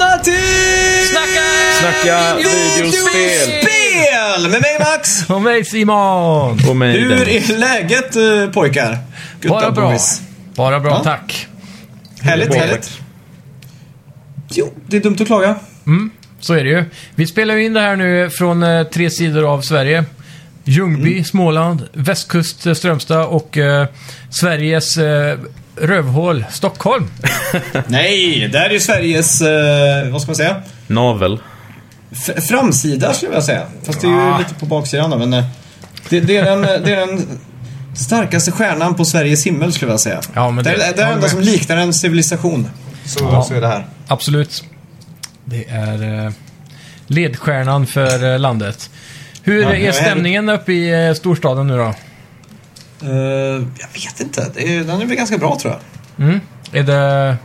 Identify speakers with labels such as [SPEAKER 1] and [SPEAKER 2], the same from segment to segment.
[SPEAKER 1] till...
[SPEAKER 2] Snacka!
[SPEAKER 3] Snacka videospel!
[SPEAKER 1] Spel! Med mig Max!
[SPEAKER 2] Och mig Simon!
[SPEAKER 3] Och mig
[SPEAKER 1] Hur
[SPEAKER 3] Dennis.
[SPEAKER 1] är läget eh, pojkar? Gutta
[SPEAKER 2] Bara bra.
[SPEAKER 1] boys.
[SPEAKER 2] Bara bra,
[SPEAKER 1] Ja.
[SPEAKER 2] tack.
[SPEAKER 1] Härligt, härligt. Jo, det är dumt att klaga.
[SPEAKER 2] Så är det ju. Vi spelar ju in det här nu från eh, tre sidor av Sverige. Ljungby, Småland, västkust, eh, Strömstad och eh, Sveriges eh, rövhål, Stockholm.
[SPEAKER 1] Nej, det här är ju Sveriges, eh, vad ska man säga?
[SPEAKER 3] Navel.
[SPEAKER 1] F- framsida skulle jag vilja säga. Fast det är ju
[SPEAKER 2] Ah.
[SPEAKER 1] lite på baksidan då, men... eh, Det, det, är den, eh, det är den starkaste stjärnan på Sveriges himmel skulle jag vilja säga.
[SPEAKER 2] Ja, men
[SPEAKER 1] det,
[SPEAKER 2] det-
[SPEAKER 1] är det är det enda som liknar en civilisation. Så, så är det här.
[SPEAKER 2] Absolut. Det är eh, ledstjärnan för eh, landet. Hur
[SPEAKER 1] Ja,
[SPEAKER 2] är
[SPEAKER 1] jag är-
[SPEAKER 2] stämningen uppe i eh, storstaden nu då?
[SPEAKER 1] Eh, jag vet inte. Det är, den är väl ganska bra tror jag.
[SPEAKER 2] Mm? Är det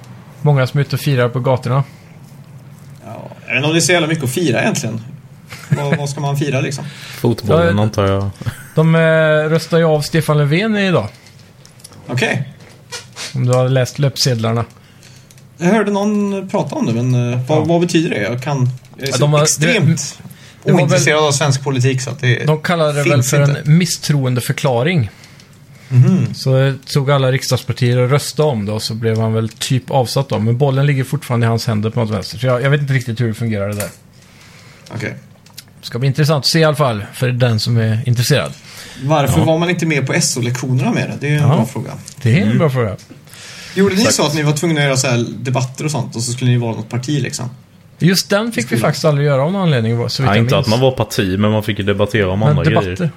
[SPEAKER 2] många som är ute och firar på gatorna?
[SPEAKER 1] Ja, jag vet inte om det är så jävla mycket att fira egentligen. vad, vad ska man fira liksom?
[SPEAKER 3] Fotbollen
[SPEAKER 2] Ja,
[SPEAKER 3] antar jag.
[SPEAKER 2] De eh, röstar ju av Stefan Löfven idag.
[SPEAKER 1] Okej.
[SPEAKER 2] Om du har läst löpsedlarna.
[SPEAKER 1] Jag hörde någon prata om det, men eh, vad,
[SPEAKER 2] Ja.
[SPEAKER 1] vad betyder det? Jag kan... Jag är
[SPEAKER 2] Ja,
[SPEAKER 1] så
[SPEAKER 2] de har-
[SPEAKER 1] extremt
[SPEAKER 2] det var väl-
[SPEAKER 1] ointresserad av svensk politik så att det...
[SPEAKER 2] De kallade det
[SPEAKER 1] Finns
[SPEAKER 2] väl för
[SPEAKER 1] inte. Mhm.
[SPEAKER 2] en misstroendeförklaring. Så eh, tog alla riksdagspartier och röstade om det och så blev han väl typ avsatt då. Men bollen ligger fortfarande i hans händer på något vänster. Så jag, jag vet inte riktigt hur det fungerar det där.
[SPEAKER 1] Okej.
[SPEAKER 2] Ska bli intressant att se i alla fall för den som är intresserad.
[SPEAKER 1] Varför var man inte med på SO-lektionerna med det? Det är ju en
[SPEAKER 2] Ja.
[SPEAKER 1] bra fråga.
[SPEAKER 2] Det är en
[SPEAKER 1] Mm.
[SPEAKER 2] bra fråga.
[SPEAKER 1] Gjorde ni så att ni var tvungna att göra så här debatter och sånt och så skulle ni vara något parti liksom?
[SPEAKER 2] Just den fick vi faktiskt aldrig göra av någon anledning. Så vitt
[SPEAKER 3] Ja,
[SPEAKER 2] jag
[SPEAKER 3] inte
[SPEAKER 2] minns.
[SPEAKER 3] att man var parti, men man fick ju debattera om
[SPEAKER 2] Men
[SPEAKER 3] andra
[SPEAKER 2] debatter.
[SPEAKER 3] grejer.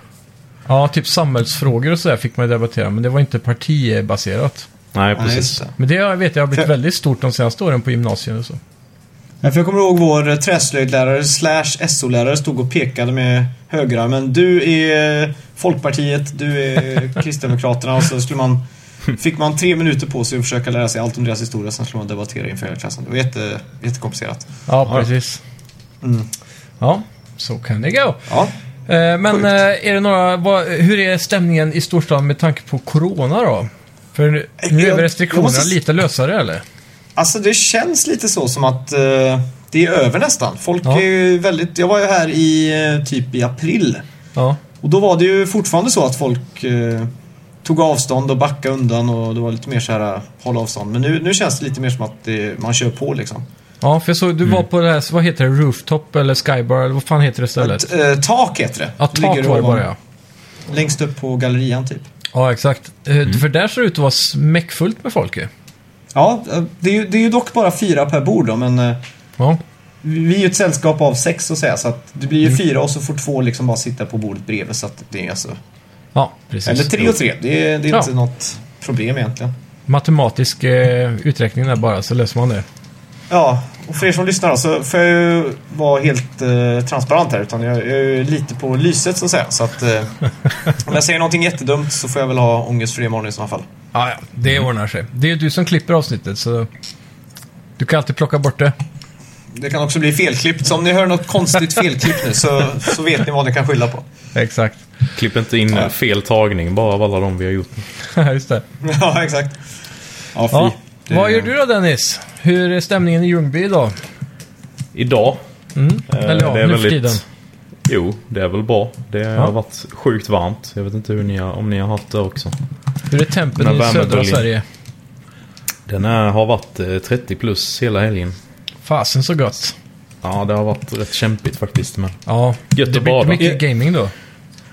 [SPEAKER 2] Ja, typ samhällsfrågor och sådär fick man ju debattera. Men det var inte partibaserat.
[SPEAKER 3] Nej,
[SPEAKER 1] Ja, just
[SPEAKER 3] precis.
[SPEAKER 1] det.
[SPEAKER 2] Men det har- vet jag har blivit
[SPEAKER 1] För-
[SPEAKER 2] väldigt stort de senaste åren på gymnasiet och så.
[SPEAKER 1] Ja, för jag kommer ihåg vår eh, träslöjdlärare slash SO-lärare stod och pekade med högerarmen. Du är eh, Folkpartiet, du är Kristdemokraterna och så skulle man... Fick man tre minuter på sig att försöka lära sig allt om deras historia, sen skulle man debattera inför hela klassen. Det var jätte, jättekomplicerat.
[SPEAKER 2] Ja,
[SPEAKER 3] Ja.
[SPEAKER 2] precis.
[SPEAKER 1] Mm.
[SPEAKER 2] Ja, så kan det gå.
[SPEAKER 1] Ja.
[SPEAKER 2] Eh, Men
[SPEAKER 1] Sjukt.
[SPEAKER 2] eh, är det några, vad, hur är stämningen i storstaden med tanke på corona då? För nu nu är
[SPEAKER 1] Eh, Jag-
[SPEAKER 2] väl restriktionerna
[SPEAKER 1] jag måste-
[SPEAKER 2] lite lösare eller?
[SPEAKER 1] Alltså det känns lite så som att eh, det är över nästan. Folk
[SPEAKER 2] Ja.
[SPEAKER 1] är ju väldigt... Jag var ju här i eh, typ i april.
[SPEAKER 2] Ja,
[SPEAKER 1] Och då var det ju fortfarande så att folk eh, tog avstånd och backade undan och det var lite mer så här eh, håll avstånd. Men nu, nu känns det lite mer som att det, man kör på liksom.
[SPEAKER 2] ja för jag såg, du
[SPEAKER 1] Mm.
[SPEAKER 2] var på det här, vad heter det, Rooftop eller Skybar eller vad fan heter det stället?
[SPEAKER 1] Ett, eh, tak heter det.
[SPEAKER 2] Ja,
[SPEAKER 1] Det
[SPEAKER 2] tak
[SPEAKER 1] ligger
[SPEAKER 2] var det
[SPEAKER 1] ovan-
[SPEAKER 2] bara ja.
[SPEAKER 1] Längst upp på gallerian typ.
[SPEAKER 2] Ja, exakt. Eh,
[SPEAKER 1] Mm.
[SPEAKER 2] För där ser det ut att vara smäckfullt med folk ju.
[SPEAKER 1] Ja, eh, det är, ju, det är ju dock bara fyra per bord då, men eh,
[SPEAKER 2] Ja.
[SPEAKER 1] vi är ju ett sällskap av sex så att säga. Så att det blir ju
[SPEAKER 2] Mm.
[SPEAKER 1] fyra och så får två liksom bara sitta på bordet bredvid. Så att det är alltså,
[SPEAKER 2] ja, precis.
[SPEAKER 1] eller tre och tre, det är, det är
[SPEAKER 2] Ja.
[SPEAKER 1] inte något problem egentligen.
[SPEAKER 2] Matematisk eh, uträkning där bara, så löser man det.
[SPEAKER 1] Ja, och för er som lyssnar då, så får jag ju vara helt eh, transparent här. Utan jag, jag är ju lite på lyset så att säga. Så att eh, om jag säger någonting jättedumt så får jag väl ha ångest för det imorgon i sådana fall.
[SPEAKER 2] Ja, ja, det
[SPEAKER 3] Mm.
[SPEAKER 2] ordnar sig. Det är ju du som klipper avsnittet, så du kan alltid plocka bort det.
[SPEAKER 1] Det kan också bli felklippt. Så om ni hör något konstigt felklipp nu så, så vet ni vad ni kan skylla på.
[SPEAKER 2] Exakt.
[SPEAKER 3] Klipp inte in fel tagning bara av alla de vi har gjort.
[SPEAKER 2] Just det.
[SPEAKER 1] ja, exakt. Ja, fy.
[SPEAKER 2] Ja.
[SPEAKER 1] Det-
[SPEAKER 2] Vad gör du då Dennis? Hur är stämningen i Ljungby idag?
[SPEAKER 3] Idag. eh,
[SPEAKER 2] Eller ja, nu för tiden.
[SPEAKER 3] Jo, det är väl bra. Det
[SPEAKER 2] Ja.
[SPEAKER 3] har varit sjukt varmt. Jag vet inte hur ni har, om ni har haft det också.
[SPEAKER 2] Hur är tempen
[SPEAKER 3] Men
[SPEAKER 2] i
[SPEAKER 3] värme
[SPEAKER 2] södra
[SPEAKER 3] döljer.
[SPEAKER 2] Sverige?
[SPEAKER 3] Den här har varit eh, 30 plus hela helgen.
[SPEAKER 2] Fasen så gott.
[SPEAKER 3] Ja, det har varit rätt kämpigt faktiskt. Men...
[SPEAKER 2] Ja,
[SPEAKER 3] Gött
[SPEAKER 2] det
[SPEAKER 3] att
[SPEAKER 2] blir inte
[SPEAKER 3] bada.
[SPEAKER 2] mycket gaming då.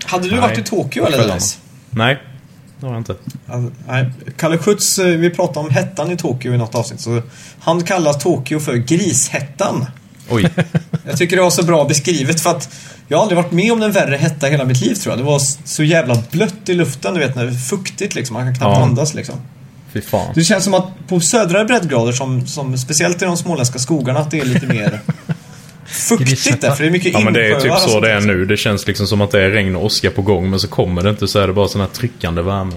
[SPEAKER 1] Hade du
[SPEAKER 3] Nej.
[SPEAKER 1] varit i Tokyo eller
[SPEAKER 3] Själv.
[SPEAKER 1] Dennis?
[SPEAKER 3] Nej, det har jag inte.
[SPEAKER 1] Alltså, nej. Kalle Schütz, eh, vi pratade om hettan i Tokyo i något avsnitt. Så han kallar Tokyo för grishettan.
[SPEAKER 3] Oj.
[SPEAKER 1] Jag tycker det var så bra beskrivet för att jag har aldrig varit med om en värre hetta i hela mitt liv tror jag. Det var s- så jävla blött i luften, du vet när det är fuktigt liksom. Man kan knappt
[SPEAKER 3] Ja.
[SPEAKER 1] andas liksom.
[SPEAKER 3] Fy fan.
[SPEAKER 1] Det känns som att på södra breddgrader, som, som speciellt i de småländska skogarna, att det är lite mer fuktigt där. För det är mycket
[SPEAKER 3] Ja men det är
[SPEAKER 1] insjöar
[SPEAKER 3] typ
[SPEAKER 1] och
[SPEAKER 3] så
[SPEAKER 1] sånt,
[SPEAKER 3] det är
[SPEAKER 1] liksom.
[SPEAKER 3] nu. Det känns liksom som att det är regn och åska på gång men så kommer det inte så är det bara sån här tryckande värme.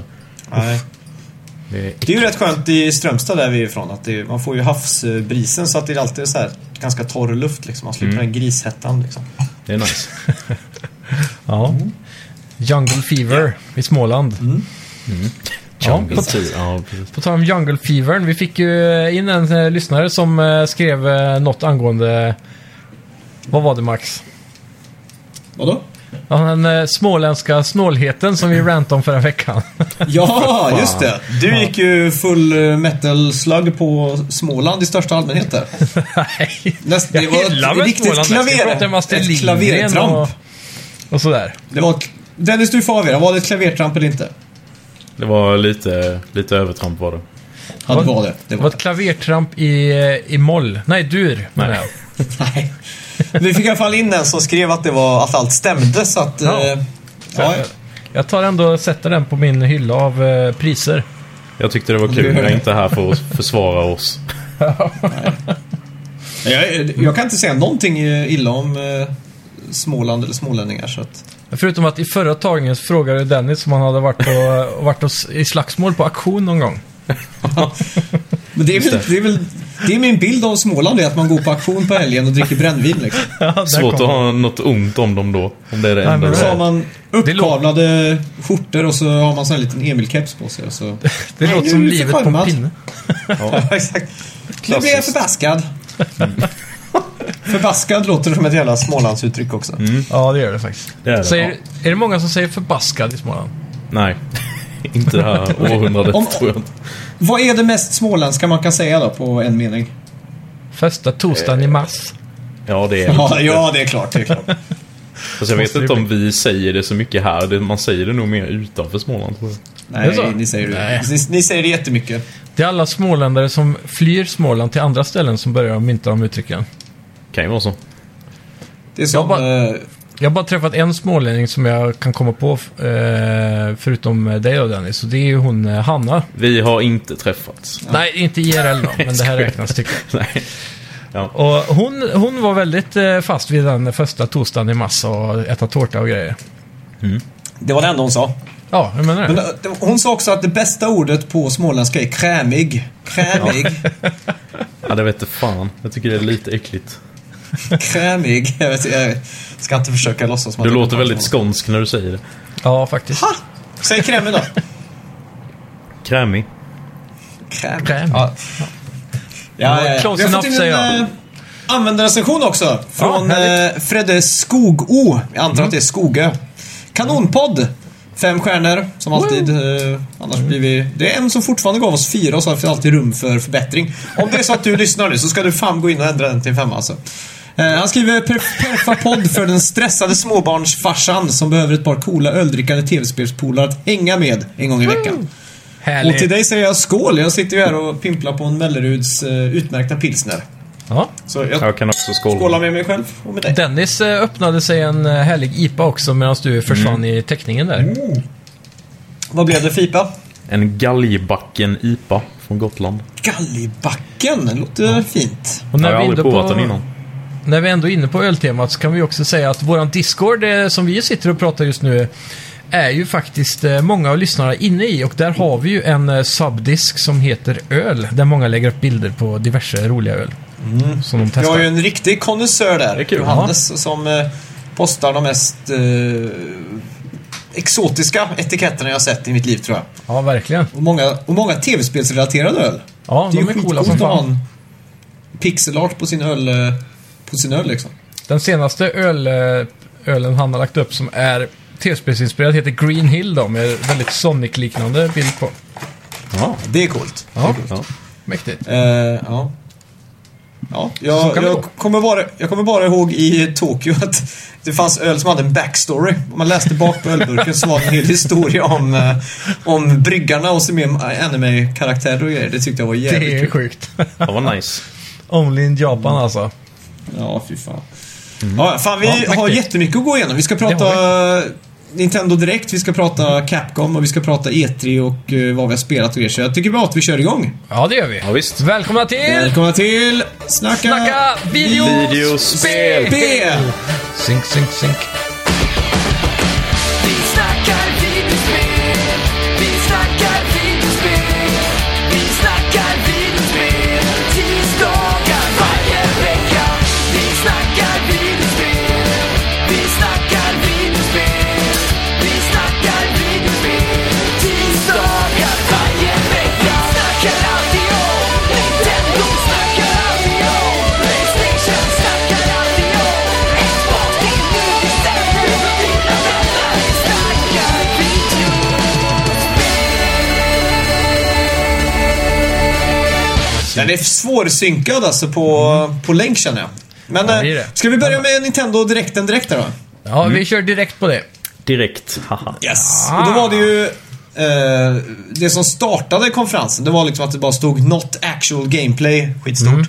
[SPEAKER 1] Nej.
[SPEAKER 3] Det är...
[SPEAKER 1] Det är ju rätt skönt i Strömstad där vi är ifrån. Att det, är- man får ju havsbrisen så att det är alltid så här ganska torr luft liksom. Man
[SPEAKER 3] Mm.
[SPEAKER 1] slipper den grishettan liksom.
[SPEAKER 3] Det är nice.
[SPEAKER 2] Ja. Jungle Fever i Småland. Ja,
[SPEAKER 3] Jungle Fever. Ja, precis.
[SPEAKER 2] På tal om Jungle Fevern, vi fick ju in en eh, lyssnare som eh, skrev eh, något angående... Vad var det Max?
[SPEAKER 1] Vadå?
[SPEAKER 2] Ja, Den eh, småländska snålheten som vi rantade om förra veckan.
[SPEAKER 1] Ja, just det. Du gick ju full eh, metal slug på Småland i största allmänhet där.
[SPEAKER 2] Nej,
[SPEAKER 1] Näst,
[SPEAKER 2] jag
[SPEAKER 1] det var
[SPEAKER 2] hyllar väl
[SPEAKER 1] ett riktigt
[SPEAKER 2] Småland. Jag pratar om
[SPEAKER 1] klaver,
[SPEAKER 2] Astrid
[SPEAKER 1] ett
[SPEAKER 2] Lindgren
[SPEAKER 1] klavertramp.
[SPEAKER 2] och, och sådär.
[SPEAKER 1] Det var, ett- Dennis, du får avgöra. Var det ett klavertramp eller inte?
[SPEAKER 3] Det var lite, lite övertramp var det.
[SPEAKER 1] Ja, det
[SPEAKER 2] Vad-
[SPEAKER 1] var det. det
[SPEAKER 2] Det var
[SPEAKER 1] var.
[SPEAKER 2] ett klavertramp i, eh, i moll. Nej, dur menar jag.
[SPEAKER 1] Nej. Vi fick i alla fall in en som skrev att, det var, att allt stämde, så att...
[SPEAKER 2] Ja.
[SPEAKER 1] eh, Ja,
[SPEAKER 2] Jag tar ändå och sätter den på min hylla av eh, priser.
[SPEAKER 3] Jag tyckte det var kul. Jag är inte här för att försvara oss.
[SPEAKER 1] jag, jag kan inte säga någonting eh, illa om eh, Småland eller smålänningar. Så att,
[SPEAKER 2] Förutom att i förra tagningen så frågade Dennis om han hade varit, på, varit hos, i slagsmål på auktion någon gång.
[SPEAKER 1] men det är, väl,
[SPEAKER 3] Just
[SPEAKER 1] det, är väl, det är min bild av Småland, det är att man går på auktion på helgen och dricker brännvin. Liksom.
[SPEAKER 2] Ja,
[SPEAKER 3] Svårt att ha något ont om dem då. Om det är det
[SPEAKER 2] Nej,
[SPEAKER 3] enda
[SPEAKER 2] men
[SPEAKER 3] du
[SPEAKER 1] Så har
[SPEAKER 3] har.
[SPEAKER 1] man uppkavlade skjortor och så har man sån här liten Emil-keps på sig. Och så...
[SPEAKER 2] Det
[SPEAKER 1] Nej,
[SPEAKER 2] låter
[SPEAKER 1] nu
[SPEAKER 2] som
[SPEAKER 1] är du
[SPEAKER 2] livet på en
[SPEAKER 1] förbannad.
[SPEAKER 2] pinne.
[SPEAKER 1] Ja, exakt. Nu blir jag
[SPEAKER 3] Klassiskt.
[SPEAKER 1] förbaskad.
[SPEAKER 2] Mm.
[SPEAKER 1] förbaskad låter som ett jävla Smålandsuttryck också.
[SPEAKER 2] Ja, det gör det faktiskt.
[SPEAKER 3] Det är det,
[SPEAKER 2] säger, Är det många som säger förbaskad i Småland?
[SPEAKER 3] Nej. inte det här århundradet
[SPEAKER 1] Om-
[SPEAKER 3] tror jag inte.
[SPEAKER 1] Vad är det mest småländska man kan säga då på en mening?
[SPEAKER 2] Första torsdagen i mars.
[SPEAKER 3] Ja, det är
[SPEAKER 1] Ja, ja det är klart. Det är klart.
[SPEAKER 3] Fast jag vet
[SPEAKER 2] Måste
[SPEAKER 3] inte
[SPEAKER 2] det
[SPEAKER 3] om vi säger det så mycket här. Det- Man säger det nog mer utanför Småland. tror jag.
[SPEAKER 2] Är det så?
[SPEAKER 1] Nej, ni säger
[SPEAKER 2] Nej.
[SPEAKER 1] det. Ni, ni säger det jättemycket.
[SPEAKER 2] Det är alla småländare som flyr Småland till andra ställen som börjar mynta de uttrycken.
[SPEAKER 3] Kan ju vara så.
[SPEAKER 1] Det är som...
[SPEAKER 2] Jag bara-
[SPEAKER 1] eh,
[SPEAKER 2] Jag har bara träffat en smålänning som jag kan komma på, eh, förutom dig då Dennis, och det är ju hon eh, Hanna.
[SPEAKER 3] Vi har inte träffats.
[SPEAKER 2] Nej, inte IRL då, men det här räknas tycker jag.
[SPEAKER 3] Nej. Ja.
[SPEAKER 2] Och hon, hon var väldigt eh, fast vid den första torsdagen i mars och äta tårta och grejer.
[SPEAKER 1] det var det enda hon sa.
[SPEAKER 2] Ja, jag menar
[SPEAKER 1] Men,
[SPEAKER 2] det.
[SPEAKER 1] eh, det- hon sa också att det bästa ordet på småländska är krämig. Krämig.
[SPEAKER 3] ja, det vet du fan. Jag tycker det är lite äckligt.
[SPEAKER 1] Krämig. Jag, vet, jag ska inte försöka låtsas som
[SPEAKER 3] Du
[SPEAKER 1] att jag
[SPEAKER 3] låter
[SPEAKER 1] kan
[SPEAKER 3] väldigt
[SPEAKER 1] prata
[SPEAKER 3] skånsk när du säger det.
[SPEAKER 2] Ja, faktiskt.
[SPEAKER 1] om det. Ha! Säg krämig då.
[SPEAKER 3] Krämig.
[SPEAKER 1] Kräm.
[SPEAKER 2] Kräm.
[SPEAKER 1] Ja. Ja, ja, ja.
[SPEAKER 2] Close
[SPEAKER 1] Vi har fått
[SPEAKER 2] enough,
[SPEAKER 1] in
[SPEAKER 2] säger
[SPEAKER 1] en
[SPEAKER 2] jag.
[SPEAKER 1] eh, användarrecension också. Från
[SPEAKER 2] Ja, härligt. Mm.
[SPEAKER 1] eh, Fredde Skogå. Jag antar att det är Skogö. Kanonpodd. Fem stjärnor, som alltid. eh, annars blir vi... Det är en som fortfarande gav oss fyra, så har vi alltid rum för förbättring. Om det är så att du lyssnar nu så ska du fan gå in och ändra den till en femma alltså. Eh, han skriver "Per- perfekt podd för den stressade småbarnsfarsan som behöver ett par coola öldrickande tv-spelspolare att hänga med en gång i veckan. Och till
[SPEAKER 2] Härligt.
[SPEAKER 1] dig säger jag skål. Jag sitter ju här och pimplar på en Melleruds eh, utmärkta pilsner.
[SPEAKER 2] Ja.
[SPEAKER 1] Så jag
[SPEAKER 3] Jag kan också skåla.
[SPEAKER 1] skålar med mig själv och med dig.
[SPEAKER 2] Dennis eh, öppnade sig en eh, härlig IPA också medan du försvann
[SPEAKER 3] Mm.
[SPEAKER 2] i teckningen där.
[SPEAKER 1] Mm. Vad blev det för IPA?
[SPEAKER 3] En galgbacken IPA från Gotland.
[SPEAKER 1] Gallibacken. Det låter fint.
[SPEAKER 2] Och
[SPEAKER 3] Jag
[SPEAKER 2] vi
[SPEAKER 3] har
[SPEAKER 2] är
[SPEAKER 3] aldrig
[SPEAKER 2] inne
[SPEAKER 3] provat
[SPEAKER 2] på-
[SPEAKER 3] den innan.
[SPEAKER 2] När vi ändå är inne på öltemat så kan vi också säga att våran Discord eh, som vi sitter och pratar just nu är ju faktiskt eh, många av lyssnarna inne i och där har vi ju en eh, subdisk som heter öl där många lägger upp bilder på diverse roliga öl. Som de
[SPEAKER 1] Vi Mm. har
[SPEAKER 2] testar.
[SPEAKER 1] ju en riktig konnässör där.
[SPEAKER 3] är kul.
[SPEAKER 1] Johannes som eh, postar de mest eh, exotiska etiketterna jag sett i mitt liv tror jag.
[SPEAKER 2] Ja, verkligen.
[SPEAKER 1] Och många, och många tv-spelsrelaterade öl.
[SPEAKER 2] Ja,
[SPEAKER 1] det är
[SPEAKER 2] de
[SPEAKER 1] ju
[SPEAKER 2] är coola
[SPEAKER 1] skitcoolt
[SPEAKER 2] som
[SPEAKER 1] att ha
[SPEAKER 2] fan.
[SPEAKER 1] en pixelart på sin öl, eh, på sin öl liksom.
[SPEAKER 2] Den senaste öl, eh, ölen han har lagt upp som är tv-spelsinspirerad heter Green Hill då med väldigt Sonic-liknande bild på.
[SPEAKER 3] Ja.
[SPEAKER 1] Det är coolt.
[SPEAKER 2] Ja,
[SPEAKER 3] ja.
[SPEAKER 2] mäktigt.
[SPEAKER 1] Eh, ja. Ja, jag,
[SPEAKER 2] kan det gå.
[SPEAKER 1] jag, kommer bara, jag kommer bara ihåg i Tokyo att det fanns öl som hade en backstory. Om man läste bak på ölburken så var det en hel historia om, eh, om bryggarna och så med anime-karaktärer och grejer. Det tyckte jag var jävligt
[SPEAKER 2] Det är
[SPEAKER 1] kul.
[SPEAKER 2] sjukt.
[SPEAKER 3] ja, vad nice.
[SPEAKER 2] Only in Japan alltså.
[SPEAKER 1] Ja, fy fan. Ja, fan vi
[SPEAKER 2] Ja, mäktigt.
[SPEAKER 1] har jättemycket att gå igenom. Vi ska prata Nintendo Direkt, vi ska prata Capcom och vi ska prata E3 och eh, vad vi har spelat och grejer. Så jag tycker bara att vi kör igång.
[SPEAKER 2] Ja, det gör vi.
[SPEAKER 3] Ja, visst.
[SPEAKER 2] Välkomna till...
[SPEAKER 1] Välkomna till Snacka,
[SPEAKER 2] Snacka video
[SPEAKER 3] Videospel.
[SPEAKER 1] spel!
[SPEAKER 2] Synk, synk, synk.
[SPEAKER 4] Vi snackar videospel, vi snackar videospel, vi snackar videospel, tisdagar varje vecka. Vi snackar videospel, vi snackar videospel, vi snackar videospel, tisdagar varje
[SPEAKER 1] Den är svårsynkad alltså på, på länk känner jag. Men
[SPEAKER 2] Ja, det är
[SPEAKER 1] eh,
[SPEAKER 2] det.
[SPEAKER 1] ska vi börja med Nintendo direkten direkt där då?
[SPEAKER 2] Ja, vi kör direkt på det.
[SPEAKER 3] Direkt, haha.
[SPEAKER 1] Yes.
[SPEAKER 2] Ah.
[SPEAKER 1] Och då var det ju... eh, det som startade konferensen, det var liksom att det bara stod “Not actual gameplay”, skitstort.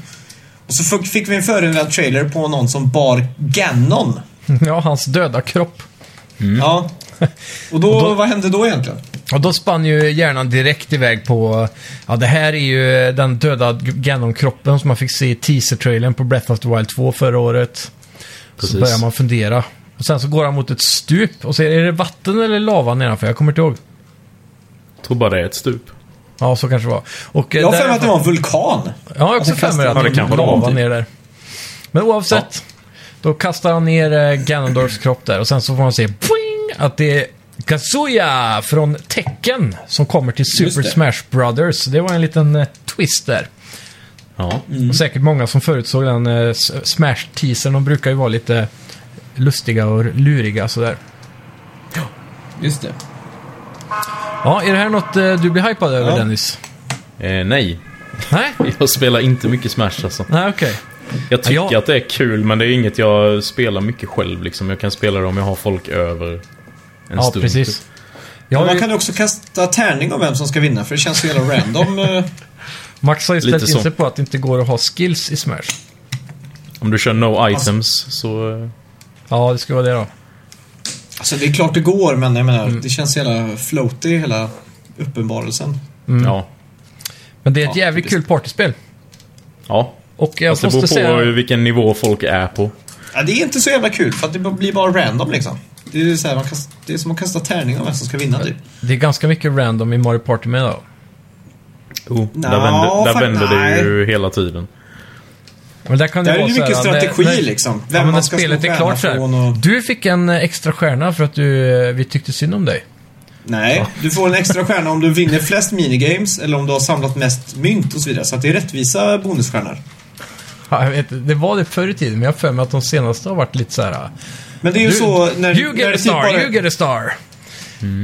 [SPEAKER 1] Och så fick- fick vi en förinspelad trailer på någon som bar Ganon.
[SPEAKER 2] Ja, hans döda kropp.
[SPEAKER 1] Ja. Mm. Och då, vad hände då egentligen?
[SPEAKER 2] Och då spann ju hjärnan direkt iväg på... Ja, det här är ju den döda Ganon-kroppen som man fick se i teaser-trailern på Breath of the Wild 2 förra året. Så
[SPEAKER 3] Precis.
[SPEAKER 2] börjar man fundera. Och sen så går han mot ett stup och ser, är det vatten eller lava nedanför? Jag kommer inte ihåg.
[SPEAKER 3] Tror bara det är ett stup.
[SPEAKER 2] Ja, så kanske det var. Och, eh,
[SPEAKER 1] Jag har för
[SPEAKER 2] där-
[SPEAKER 1] mig att det var en vulkan.
[SPEAKER 2] Ja, jag har också
[SPEAKER 1] Alltså,
[SPEAKER 2] för mig
[SPEAKER 1] kastar-
[SPEAKER 2] att
[SPEAKER 3] Ja, det
[SPEAKER 2] det
[SPEAKER 3] kanske det var
[SPEAKER 2] lava
[SPEAKER 3] typ.
[SPEAKER 2] ner där. Men oavsett. Då kastar han ner eh, Ganondorfs kropp där och sen så får man se boing, att det är Kazuya från Tekken som kommer till Super
[SPEAKER 1] det.
[SPEAKER 2] Smash Brothers. Det var en liten eh, twist där.
[SPEAKER 3] Ja.
[SPEAKER 2] Och säkert många som förutsåg den eh, S- Smash-teasern. De brukar ju vara lite lustiga och luriga sådär.
[SPEAKER 1] Just det.
[SPEAKER 2] Ja, är det här något eh, du blir hypad över
[SPEAKER 1] Ja.
[SPEAKER 2] Dennis?
[SPEAKER 3] Eh, nej,
[SPEAKER 2] Nej?
[SPEAKER 3] jag spelar inte mycket Smash alltså.
[SPEAKER 2] Nej, okej.
[SPEAKER 3] Jag tycker
[SPEAKER 2] Ja, jag-
[SPEAKER 3] att det är kul, men det är inget jag spelar mycket själv liksom. Jag kan spela det om jag har folk över en
[SPEAKER 2] Ja,
[SPEAKER 3] stund.
[SPEAKER 2] precis. Jag har
[SPEAKER 1] Man
[SPEAKER 2] ju-
[SPEAKER 1] kan ju också kasta tärning om vem som ska vinna, för det känns ju hela random. eh,
[SPEAKER 2] Max har ju
[SPEAKER 3] Lite
[SPEAKER 2] ställt in
[SPEAKER 3] så.
[SPEAKER 2] sig på att det inte går att ha skills i Smash.
[SPEAKER 3] Om du kör no
[SPEAKER 2] Alltså-
[SPEAKER 3] items så... eh,
[SPEAKER 2] Ja, det ska vara det då.
[SPEAKER 1] Alltså det är klart det går, men jag
[SPEAKER 2] Mm.
[SPEAKER 1] menar, det känns hela floaty, hela uppenbarelsen.
[SPEAKER 2] Mm.
[SPEAKER 3] Ja.
[SPEAKER 2] Men det är ett
[SPEAKER 1] Ja, Alltså,
[SPEAKER 2] jävligt
[SPEAKER 1] typiskt.
[SPEAKER 2] kul partyspel.
[SPEAKER 3] Ja.
[SPEAKER 2] Och jag
[SPEAKER 3] Fast det beror på
[SPEAKER 2] måste säga...
[SPEAKER 3] vilken nivå folk är på.
[SPEAKER 1] Ja, det är inte så jävla kul, för att det blir bara random liksom. Det är, så här, man kast, det är som att kasta tärning om vem som ska vinna typ.
[SPEAKER 2] Det är ganska mycket random i Mario Party med då.
[SPEAKER 3] Oh, där
[SPEAKER 1] Nå,
[SPEAKER 3] vänder, där
[SPEAKER 1] fakt-
[SPEAKER 3] vänder det
[SPEAKER 1] nej.
[SPEAKER 3] ju hela tiden.
[SPEAKER 2] Men där kan det,
[SPEAKER 1] Där är
[SPEAKER 2] vara
[SPEAKER 1] det
[SPEAKER 2] så här,
[SPEAKER 1] mycket
[SPEAKER 2] när-
[SPEAKER 1] strategi,
[SPEAKER 2] när,
[SPEAKER 1] liksom. Vem
[SPEAKER 2] Ja, men
[SPEAKER 1] man
[SPEAKER 2] när
[SPEAKER 1] ska
[SPEAKER 2] spelet
[SPEAKER 1] slå
[SPEAKER 2] är
[SPEAKER 1] stjärna
[SPEAKER 2] klart så här.
[SPEAKER 1] från och-
[SPEAKER 2] Du fick en eh, extra stjärna för att du, eh, vi tyckte synd om dig.
[SPEAKER 1] Nej, du får en extra stjärna om du vinner flest minigames eller om du har samlat mest mynt och så vidare. Så att det är rättvisa bonusstjärnor.
[SPEAKER 2] Ja, jag vet, det var det förr i tiden, men jag har för mig att de senaste har varit lite så här...
[SPEAKER 1] Men det är ju
[SPEAKER 2] Du,
[SPEAKER 1] så när...
[SPEAKER 2] you
[SPEAKER 1] när
[SPEAKER 2] get
[SPEAKER 1] det
[SPEAKER 2] a
[SPEAKER 1] typ
[SPEAKER 2] star,
[SPEAKER 1] bara-
[SPEAKER 2] you get a star.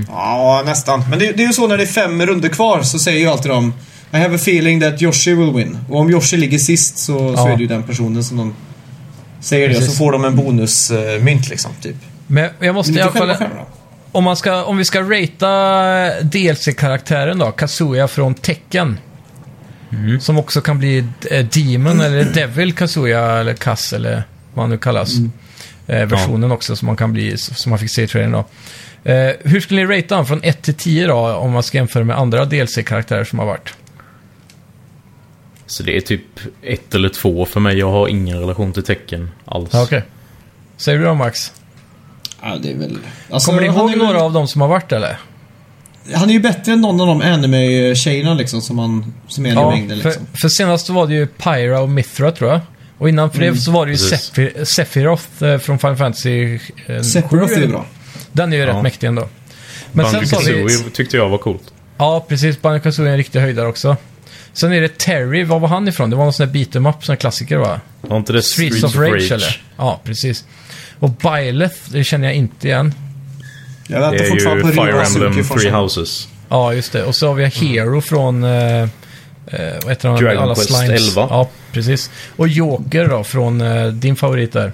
[SPEAKER 1] Ja, nästan. Men det, det är ju så när det är fem runder kvar så säger ju alltid de I have a feeling that Yoshi will win. Och om Yoshi ligger sist så, så
[SPEAKER 2] Ja.
[SPEAKER 1] är det ju den personen som de säger det. Och
[SPEAKER 2] Precis.
[SPEAKER 1] så får de en bonusmynt liksom, typ.
[SPEAKER 2] Men jag måste
[SPEAKER 1] Men
[SPEAKER 2] i
[SPEAKER 1] inte
[SPEAKER 2] alla
[SPEAKER 1] själva
[SPEAKER 2] fall...
[SPEAKER 1] stjärnorna.
[SPEAKER 2] Om, man ska, om vi ska ratea DLC-karaktären då, Kazuya från Tekken. Som också kan bli eh, Demon eller Devil Kazuya eller Kass eller vad han nu kallas. Eh, versionen också som man kan bli, som man fick se i trailern då. Eh, hur skulle ni ratea han från 1 till 10 då, om man ska jämföra med andra DLC-karaktärer som har varit?
[SPEAKER 3] Så det är typ ett eller två för mig. Jag har ingen relation till tecken alls.
[SPEAKER 2] Ja, Okej. Säger du då Max?
[SPEAKER 1] Ja, det är väl... Alltså,
[SPEAKER 2] Kommer ni
[SPEAKER 1] han är
[SPEAKER 2] ihåg
[SPEAKER 1] väl-
[SPEAKER 2] några av dem som har varit eller?
[SPEAKER 1] Han är ju bättre än någon av de anime-tjejerna liksom, som, han, som är i mängden
[SPEAKER 2] för,
[SPEAKER 1] liksom.
[SPEAKER 2] för senast var det ju Pyra och Mithra tror jag. Och innan för det så var det ju
[SPEAKER 3] precis.
[SPEAKER 2] Sephi- Sephiroth eh, från Final Fantasy eh,
[SPEAKER 1] Sephiroth är
[SPEAKER 2] sju.
[SPEAKER 1] ju bra.
[SPEAKER 2] Den är ju rätt mäktig ändå. Men sen så har vi...
[SPEAKER 3] Banjo-Kazooie tyckte jag var coolt.
[SPEAKER 2] Ja, precis. Banjo Kazooie är en riktig höjdare också. Sen är det Terry, var var han ifrån? Det var någon sån där beat'em up, sån här klassiker va?
[SPEAKER 3] Var inte det
[SPEAKER 2] Streets, of, Rage, eller? Ja, precis. Och Byleth, det känner jag inte igen.
[SPEAKER 1] Jag väntar
[SPEAKER 3] Det är
[SPEAKER 1] fortfarande
[SPEAKER 3] ju
[SPEAKER 1] på
[SPEAKER 3] Fire
[SPEAKER 1] Ryo Suzuki
[SPEAKER 3] Emblem
[SPEAKER 1] från
[SPEAKER 3] Three
[SPEAKER 1] Shanghai.
[SPEAKER 3] Houses.
[SPEAKER 2] Ja, just det. Och så har vi Hero från... Eh, eh, vad heter han?
[SPEAKER 3] Mm. Dragon
[SPEAKER 2] Alla
[SPEAKER 3] Quest
[SPEAKER 2] slimes.
[SPEAKER 3] 11.
[SPEAKER 2] Ja, precis. Och Joker då, från eh, din favorit där.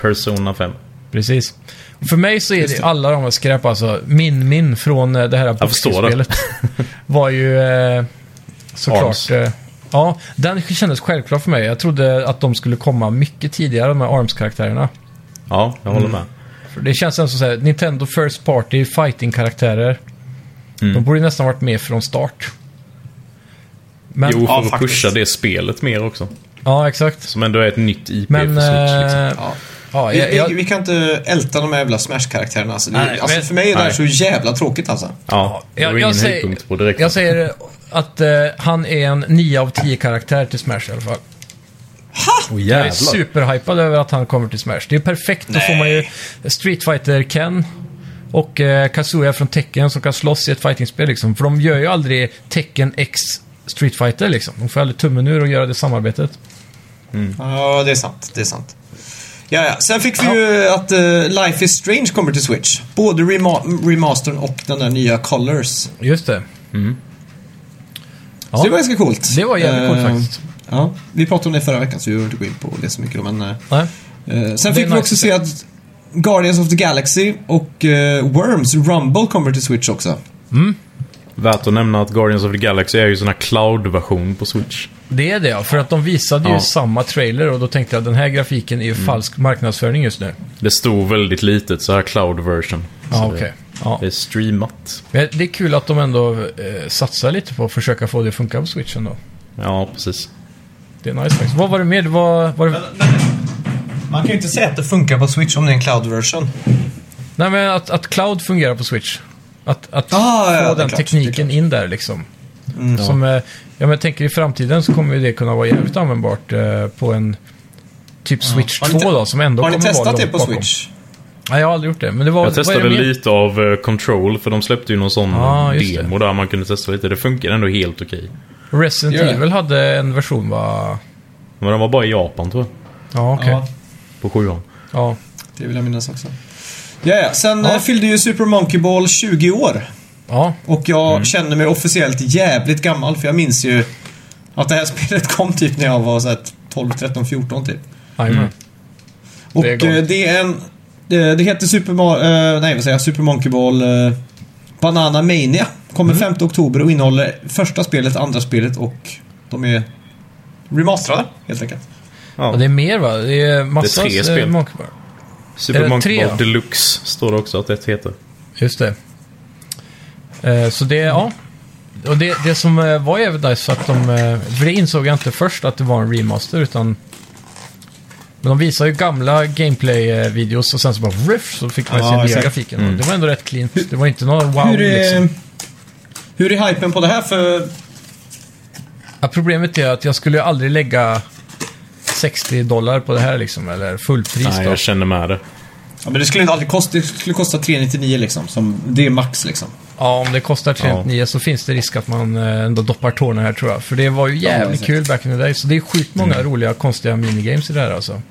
[SPEAKER 3] Persona 5.
[SPEAKER 2] Precis. Och För mig så är det, alla de här skräp alltså. Min Min från eh, det här
[SPEAKER 3] förstår
[SPEAKER 2] boxningsspelet var ju eh, såklart...
[SPEAKER 3] Arms.
[SPEAKER 2] Eh, ja, den kändes självklar för mig. Jag trodde att de skulle komma mycket tidigare, de här Arms-karaktärerna.
[SPEAKER 3] Ja, jag håller med.
[SPEAKER 2] Mm. För det känns ändå som såhär, Nintendo First Party fighting-karaktärer.
[SPEAKER 3] Mm.
[SPEAKER 2] De borde nästan varit med från start. Men,
[SPEAKER 3] Jo, för
[SPEAKER 1] Ja,
[SPEAKER 3] att
[SPEAKER 1] faktiskt.
[SPEAKER 3] pusha det spelet mer också.
[SPEAKER 2] ja exakt.
[SPEAKER 3] Som ändå är ett nytt IP
[SPEAKER 2] Men...
[SPEAKER 3] för Switch. Liksom.
[SPEAKER 2] eh,
[SPEAKER 1] Ja.
[SPEAKER 2] ja,
[SPEAKER 1] Vi,
[SPEAKER 2] jag, jag,
[SPEAKER 1] vi, vi kan inte älta de här jävla Smash-karaktärerna. Alltså, det,
[SPEAKER 2] Nej,
[SPEAKER 1] alltså,
[SPEAKER 2] men-
[SPEAKER 1] för mig är det här
[SPEAKER 3] nej.
[SPEAKER 1] så jävla tråkigt alltså.
[SPEAKER 3] Ja, det var
[SPEAKER 2] jag,
[SPEAKER 3] ingen
[SPEAKER 2] jag, säger,
[SPEAKER 3] höjdpunkt på direkt.
[SPEAKER 2] jag säger att eh, han är en 9 av 10 karaktär till Smash i alla fall. Jag är
[SPEAKER 3] Åh, jävlar.
[SPEAKER 2] superhypad över att han kommer till Smash. Det är perfekt. Då får man ju Street Fighter Ken och eh, Kazuya från Tekken som kan slåss i ett fightingspel liksom. För de gör ju aldrig Tekken X Street Fighter liksom. De får aldrig tummen ur och göra det samarbetet.
[SPEAKER 1] Ja, det är sant. Det är sant. Ja, ja. Sen fick vi
[SPEAKER 2] Ja.
[SPEAKER 1] ju att eh, Life is Strange kommer till Switch. Både rema- remastern och den där nya Colors.
[SPEAKER 2] Just det.
[SPEAKER 1] Så
[SPEAKER 2] Ja,
[SPEAKER 1] det var ganska coolt.
[SPEAKER 2] det var jävligt coolt
[SPEAKER 1] Eh,
[SPEAKER 2] faktiskt.
[SPEAKER 1] Ja, vi pratade om det förra veckan så vi behöver inte gå in på det så mycket då, men... eh,
[SPEAKER 2] Nej.
[SPEAKER 1] Eh, sen
[SPEAKER 2] är
[SPEAKER 1] fick vi
[SPEAKER 2] nice
[SPEAKER 1] också
[SPEAKER 2] att
[SPEAKER 1] se att Guardians of the Galaxy och eh, Worms Rumble kommer till Switch också.
[SPEAKER 3] Värt att nämna att Guardians of the Galaxy är ju sån här cloud-version på Switch.
[SPEAKER 2] Det är det ja, Mm. för att de visade ju
[SPEAKER 3] Ja.
[SPEAKER 2] samma trailer och då tänkte jag den här grafiken är ju falsk marknadsföring just nu.
[SPEAKER 3] Det stod väldigt litet så här cloud-version.
[SPEAKER 2] Ja,
[SPEAKER 3] Så det-
[SPEAKER 2] Ah, okej. Ja.
[SPEAKER 3] Det är streamat.
[SPEAKER 2] Men Det är kul att de ändå eh, satsar lite på att försöka få det att funka på switchen då.
[SPEAKER 3] Ja, precis.
[SPEAKER 2] Det är nice faktiskt. Vad var det mer? Det var, var det...
[SPEAKER 1] Man kan ju inte säga att det funkar på Switch om det är en cloud-version.
[SPEAKER 2] Nej men att, att cloud fungerar på switch. Att, att
[SPEAKER 1] Ah,
[SPEAKER 2] få
[SPEAKER 1] ja, det är
[SPEAKER 2] den
[SPEAKER 1] klart, det är
[SPEAKER 2] tekniken
[SPEAKER 1] klart. Mm.
[SPEAKER 2] in där liksom. Som, eh, ja, men jag tänker i framtiden så kommer ju det kunna vara jävligt användbart eh, på en typ Switch
[SPEAKER 1] Har ni
[SPEAKER 2] 2
[SPEAKER 1] te-
[SPEAKER 2] då som ändå
[SPEAKER 1] Har ni
[SPEAKER 2] kommer vara
[SPEAKER 1] testat det
[SPEAKER 2] långt
[SPEAKER 1] på
[SPEAKER 2] bakom.
[SPEAKER 1] Switch?
[SPEAKER 2] Nej, jag har aldrig gjort det. Men det var,
[SPEAKER 3] Jag
[SPEAKER 2] vad
[SPEAKER 3] testade
[SPEAKER 2] är det mer?
[SPEAKER 3] lite av eh, Control, för de släppte ju någon sån
[SPEAKER 2] Ah, just det.
[SPEAKER 3] demo där man kunde testa lite. Det funkar ändå helt okej.
[SPEAKER 2] Resident
[SPEAKER 1] Gör det.
[SPEAKER 2] Evil hade en version va?
[SPEAKER 3] Men den var bara i Japan tror jag.
[SPEAKER 2] Ja, okej.
[SPEAKER 1] Ja,
[SPEAKER 3] På sjuan.
[SPEAKER 2] Ja.
[SPEAKER 1] det vill jag minnas också. Ja, ja. Sen
[SPEAKER 2] Ja.
[SPEAKER 1] eh, fyllde ju Super Monkey Ball 20 år.
[SPEAKER 2] ja.
[SPEAKER 1] Och jag
[SPEAKER 2] Mm.
[SPEAKER 1] känner mig officiellt jävligt gammal för jag minns ju att det här spelet kom typ när jag var så här 12, 13, 14 typ.
[SPEAKER 3] Mm.
[SPEAKER 2] jajamän.
[SPEAKER 1] Och
[SPEAKER 2] Det
[SPEAKER 1] det
[SPEAKER 2] är
[SPEAKER 1] är,
[SPEAKER 2] gott.
[SPEAKER 1] det är en... eh, Det heter Super, Mar- eh, nej, vad säger jag, Super Monkey Ball eh, Banana Mania. Kommer
[SPEAKER 2] Mm.
[SPEAKER 1] 5 oktober och innehåller första spelet, andra spelet och de är remasterade helt enkelt.
[SPEAKER 3] Ja.
[SPEAKER 2] Ja, det är mer va? Det är massa...
[SPEAKER 3] Det är tre
[SPEAKER 2] eh,
[SPEAKER 3] spel.
[SPEAKER 2] Monkey Bar. Är
[SPEAKER 3] Super
[SPEAKER 2] det
[SPEAKER 3] Monkey
[SPEAKER 2] tre,
[SPEAKER 3] Ball
[SPEAKER 2] ja?
[SPEAKER 3] Deluxe står det också att det heter.
[SPEAKER 2] Just det. Eh, så det, ja. Och det, det som eh, var jävligt nice för att de... eh, För det insåg jag inte först att det var en remaster utan... Men de visar ju gamla gameplay-videos och sen så bara ruff så fick man
[SPEAKER 1] Ja,
[SPEAKER 2] se nya
[SPEAKER 1] exakt. Mm.
[SPEAKER 2] grafiken. Och Det var ändå rätt clean. Det var inte någon wow
[SPEAKER 1] hur, eh, är,
[SPEAKER 2] liksom.
[SPEAKER 1] hur är hypen på det här för...
[SPEAKER 2] Ja, problemet är att jag skulle ju aldrig lägga 60 dollar på det här liksom, eller fullpris
[SPEAKER 3] Nej,
[SPEAKER 2] då.
[SPEAKER 3] jag känner med det.
[SPEAKER 1] Ja, men det skulle inte aldrig kosta, det skulle kosta 399 liksom. Som, det är max liksom.
[SPEAKER 2] Ja, om det kostar 399 så finns det risk att man eh, ändå doppar tårna här tror jag. För det var ju jävligt
[SPEAKER 1] exakt.
[SPEAKER 2] kul back in the day. Så det är sjukt många roliga, konstiga minigames i det här alltså.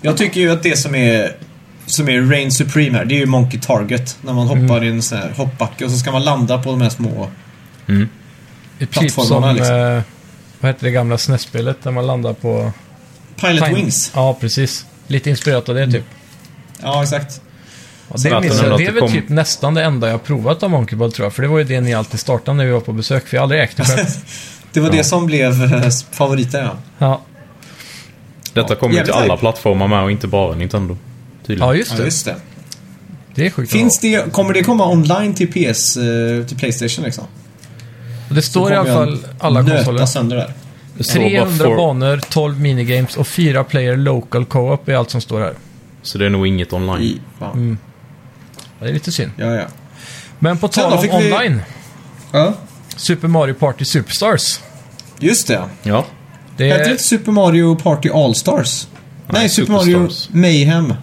[SPEAKER 1] Jag tycker ju att det som är som är Rain Supreme här, det är ju Monkey Target. När man hoppar
[SPEAKER 2] Mm.
[SPEAKER 1] i en sån här hoppbacke och så ska man landa på de här små...
[SPEAKER 2] Det är Typ som,
[SPEAKER 1] Plattformarna, liksom.
[SPEAKER 2] eh, vad heter det gamla SNES-spelet där man landar på...
[SPEAKER 1] Pilot
[SPEAKER 2] Tiny-
[SPEAKER 1] Wings.
[SPEAKER 2] Ja, precis. Lite inspirerat av det typ.
[SPEAKER 1] Ja, exakt.
[SPEAKER 2] Ja,
[SPEAKER 1] Alltså,
[SPEAKER 2] det,
[SPEAKER 3] att
[SPEAKER 2] minns
[SPEAKER 3] den ändå
[SPEAKER 2] jag.
[SPEAKER 3] att
[SPEAKER 2] det är
[SPEAKER 3] det
[SPEAKER 2] väl
[SPEAKER 3] kom-
[SPEAKER 2] typ nästan det enda jag provat av Monkey Ball tror jag. För det var ju det ni alltid startade när vi var på besök, för jag har aldrig ägt det själv.
[SPEAKER 1] Det var det som blev eh, favoriten, ja.
[SPEAKER 2] Ja,
[SPEAKER 3] Detta kommer ju till
[SPEAKER 1] jävligt
[SPEAKER 3] alla
[SPEAKER 1] hype.
[SPEAKER 3] plattformar med och inte bara Nintendo. Tydligen.
[SPEAKER 2] ja just
[SPEAKER 1] ja
[SPEAKER 2] det.
[SPEAKER 1] just det.
[SPEAKER 2] Det är sjukt.
[SPEAKER 1] Finns det, kommer det komma online till PS, eh, till Playstation liksom?
[SPEAKER 2] Och Det står i alla fall alla
[SPEAKER 1] nöta
[SPEAKER 2] konsoler.
[SPEAKER 1] sönder där.
[SPEAKER 3] det står bara
[SPEAKER 2] 300
[SPEAKER 3] for-
[SPEAKER 2] banor, 12 minigames och 4 player local co-op är allt som står här.
[SPEAKER 3] Så det är nog inget online.
[SPEAKER 1] I, ja.
[SPEAKER 2] Mm. Ja, Det är lite synd.
[SPEAKER 1] ja, ja.
[SPEAKER 2] Men på
[SPEAKER 1] Sen
[SPEAKER 2] tal
[SPEAKER 1] då
[SPEAKER 2] om
[SPEAKER 1] fick vi-
[SPEAKER 2] online,
[SPEAKER 1] Ja,
[SPEAKER 2] Super Mario Party Superstars.
[SPEAKER 1] just det.
[SPEAKER 3] Ja.
[SPEAKER 2] Det
[SPEAKER 1] Hette det
[SPEAKER 2] är...
[SPEAKER 1] inte Super Mario Party All-Stars? Nej, Super Mario
[SPEAKER 3] Superstars.
[SPEAKER 1] Mayhem.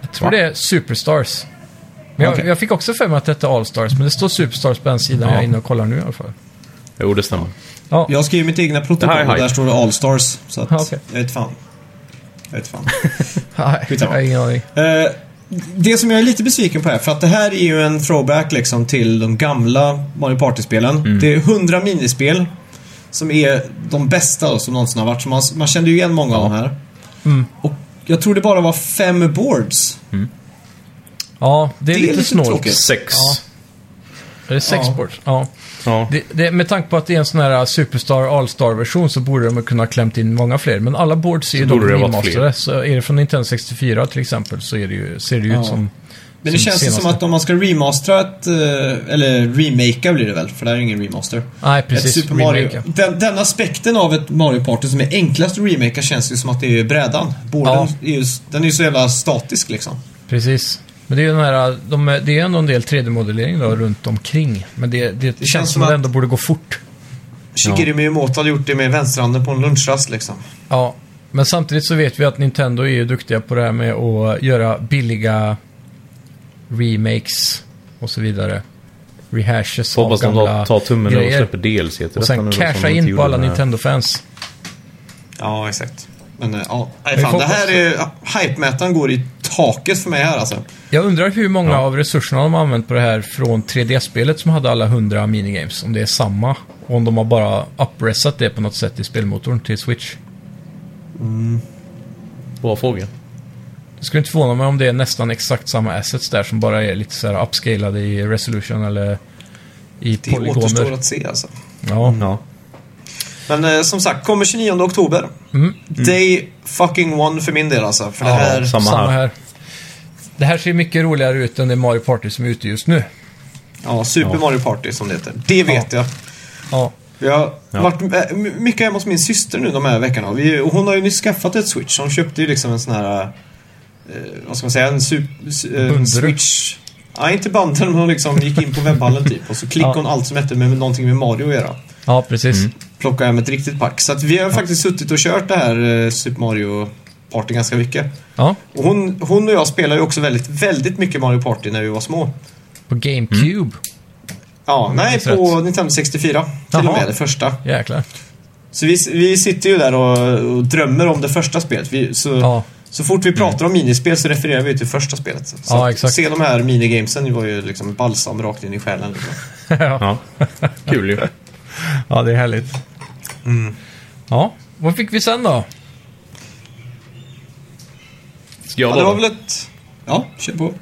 [SPEAKER 2] Jag tror det är Superstars. Men jag,
[SPEAKER 1] Okej.
[SPEAKER 2] jag fick också för mig att det hette Allstars, men det står Superstars på den sidan
[SPEAKER 3] Ja.
[SPEAKER 2] jag är inne och kollar nu i alla fall.
[SPEAKER 3] Jo, det stämmer.
[SPEAKER 2] Ja,
[SPEAKER 1] Jag skrev mitt egna
[SPEAKER 3] Det här
[SPEAKER 1] protokoll
[SPEAKER 3] är
[SPEAKER 1] och där
[SPEAKER 3] hype.
[SPEAKER 1] står det All-Stars. Så att,
[SPEAKER 2] Ja, Ah, okej.
[SPEAKER 1] jag vet fan. Jag vet fan.
[SPEAKER 2] Nej, jag
[SPEAKER 1] skitsamma.
[SPEAKER 2] har ingen aning.
[SPEAKER 1] Eh, det som jag är lite besviken på är, för att det här är ju en throwback liksom till de gamla Mario Party-spelen.
[SPEAKER 2] Mm.
[SPEAKER 1] Det är 100 minispel som är de bästa då, som någonsin har varit. Så man, man kände ju igen många av de här.
[SPEAKER 2] Mm.
[SPEAKER 1] Och jag tror det bara var fem boards.
[SPEAKER 2] Ja, det är, lite, snålt.
[SPEAKER 1] tråkigt.
[SPEAKER 3] Sex.
[SPEAKER 2] Ja. Är det sex
[SPEAKER 1] Ja.
[SPEAKER 2] boards? Ja.
[SPEAKER 3] Ja.
[SPEAKER 2] Det, det, med tanke på att det är en sån här Superstar All-Star-version så borde de ha kunnat klämt in många fler. Men alla boards är ju
[SPEAKER 3] borde det ha varit fler.
[SPEAKER 2] remasterade. Så är det från Nintendo 64 till exempel så är det ju, ser det ju
[SPEAKER 1] Ja.
[SPEAKER 2] ut som...
[SPEAKER 1] Men det
[SPEAKER 2] Som
[SPEAKER 1] känns ju som
[SPEAKER 2] senaste.
[SPEAKER 1] att om man ska remastera ett, eh, eller remakea blir det väl, för det här är ingen remaster.
[SPEAKER 2] Nej, precis.
[SPEAKER 1] ett Super Mario.
[SPEAKER 2] remake.
[SPEAKER 1] Den, den aspekten av ett Mario Party som är enklast att remakea känns ju som att det är brädan. Boarden är ju, den är ju så jävla statisk liksom.
[SPEAKER 2] Precis. Men det är ju den här, de, det är ju ändå en del 3D-modellering då runt omkring. Men det, det, känns,
[SPEAKER 1] känns
[SPEAKER 2] som
[SPEAKER 1] som
[SPEAKER 2] att det
[SPEAKER 1] att-
[SPEAKER 2] ändå borde gå fort.
[SPEAKER 1] Shigeru Miyamoto hade gjort det med vänsterhanden på en lunchrast liksom.
[SPEAKER 2] Ja. Men samtidigt så vet vi att Nintendo är ju duktiga på det här med att göra billiga remakes och så vidare. Rehashes
[SPEAKER 3] Så hoppas
[SPEAKER 2] av
[SPEAKER 3] de
[SPEAKER 2] gamla
[SPEAKER 3] tar, tar tummen ur och
[SPEAKER 2] grejer.
[SPEAKER 3] släpper DLC till
[SPEAKER 2] Och
[SPEAKER 3] detta nu
[SPEAKER 2] sen
[SPEAKER 3] då, som
[SPEAKER 2] casha
[SPEAKER 3] de inte
[SPEAKER 2] in på
[SPEAKER 3] gjorde
[SPEAKER 2] alla
[SPEAKER 3] med-
[SPEAKER 2] Nintendo-fans.
[SPEAKER 1] Ja, exakt. Men eh, ja, nej,
[SPEAKER 2] Vi
[SPEAKER 1] fan,
[SPEAKER 2] får
[SPEAKER 1] det här är... Hype-mätaren går i taket för mig här alltså.
[SPEAKER 2] Jag undrar hur många
[SPEAKER 3] Ja.
[SPEAKER 2] av resurserna de har använt på det här från 3DS-spelet som hade alla 100 minigames. Om det är samma. Och om de har bara uppressat det på något sätt i spelmotorn till Switch.
[SPEAKER 3] Bra fråga.
[SPEAKER 2] Det skulle inte förvåna mig om det är nästan exakt samma assets där som bara är lite så här upscalade i resolution eller i
[SPEAKER 1] Det återstår
[SPEAKER 2] polygoner.
[SPEAKER 1] att se alltså.
[SPEAKER 2] Ja.
[SPEAKER 3] Ja.
[SPEAKER 1] Men eh, som sagt, kommer 29 oktober.
[SPEAKER 2] Mm.
[SPEAKER 1] Day fucking one för min del alltså. För det här...
[SPEAKER 3] samma.
[SPEAKER 2] Samma
[SPEAKER 3] här.
[SPEAKER 2] här. Det här ser mycket roligare ut än det Mario Party som är ute just nu.
[SPEAKER 1] Ja, Super
[SPEAKER 3] Ja.
[SPEAKER 1] Mario Party som det heter. Det vet jag.
[SPEAKER 2] Ja,
[SPEAKER 1] Jag har
[SPEAKER 3] Ja.
[SPEAKER 1] varit eh, m- mycket hemma hos min syster nu de här veckorna. Vi, och hon har ju nyss skaffat ett Switch. Hon köpte ju liksom en sån här... Eh, vad ska man säga? En sup- su- eh,
[SPEAKER 2] Bundle.
[SPEAKER 1] Switch... Nej, inte banden, men hon liksom gick in på webbhallen typ. Och så klickade hon allt som hette med med någonting med Mario att göra.
[SPEAKER 2] ja precis.
[SPEAKER 1] Plockade hem ett riktigt pack. Så att vi har faktiskt suttit och kört det här eh, Super Mario Party ganska mycket.
[SPEAKER 2] Ja,
[SPEAKER 1] Och hon, hon och jag spelade ju också väldigt, väldigt mycket Mario Party när vi var små.
[SPEAKER 2] på GameCube.
[SPEAKER 1] Ja, nej,
[SPEAKER 2] minns
[SPEAKER 1] på Nintendo 64. Till och
[SPEAKER 2] Jaha.
[SPEAKER 1] med det första.
[SPEAKER 2] Jäklar.
[SPEAKER 1] Så vi, vi sitter ju där och, och drömmer om det första spelet. Vi, så,
[SPEAKER 2] Ja. Mm.
[SPEAKER 1] så fort vi pratar om minispel så refererar vi ju till första spelet. Så
[SPEAKER 2] Ja,
[SPEAKER 1] att
[SPEAKER 2] exakt.
[SPEAKER 1] se de här minigamesen var ju liksom balsam rakt in i själen. Liksom.
[SPEAKER 2] ja.
[SPEAKER 3] Ja. Kul ju.
[SPEAKER 2] ja, det är härligt.
[SPEAKER 1] Mm.
[SPEAKER 2] Ja, vad fick vi sen då?
[SPEAKER 3] Ska jag
[SPEAKER 1] Ja,
[SPEAKER 3] dra
[SPEAKER 1] det var
[SPEAKER 3] den?
[SPEAKER 1] väl ett... Ja, kör på.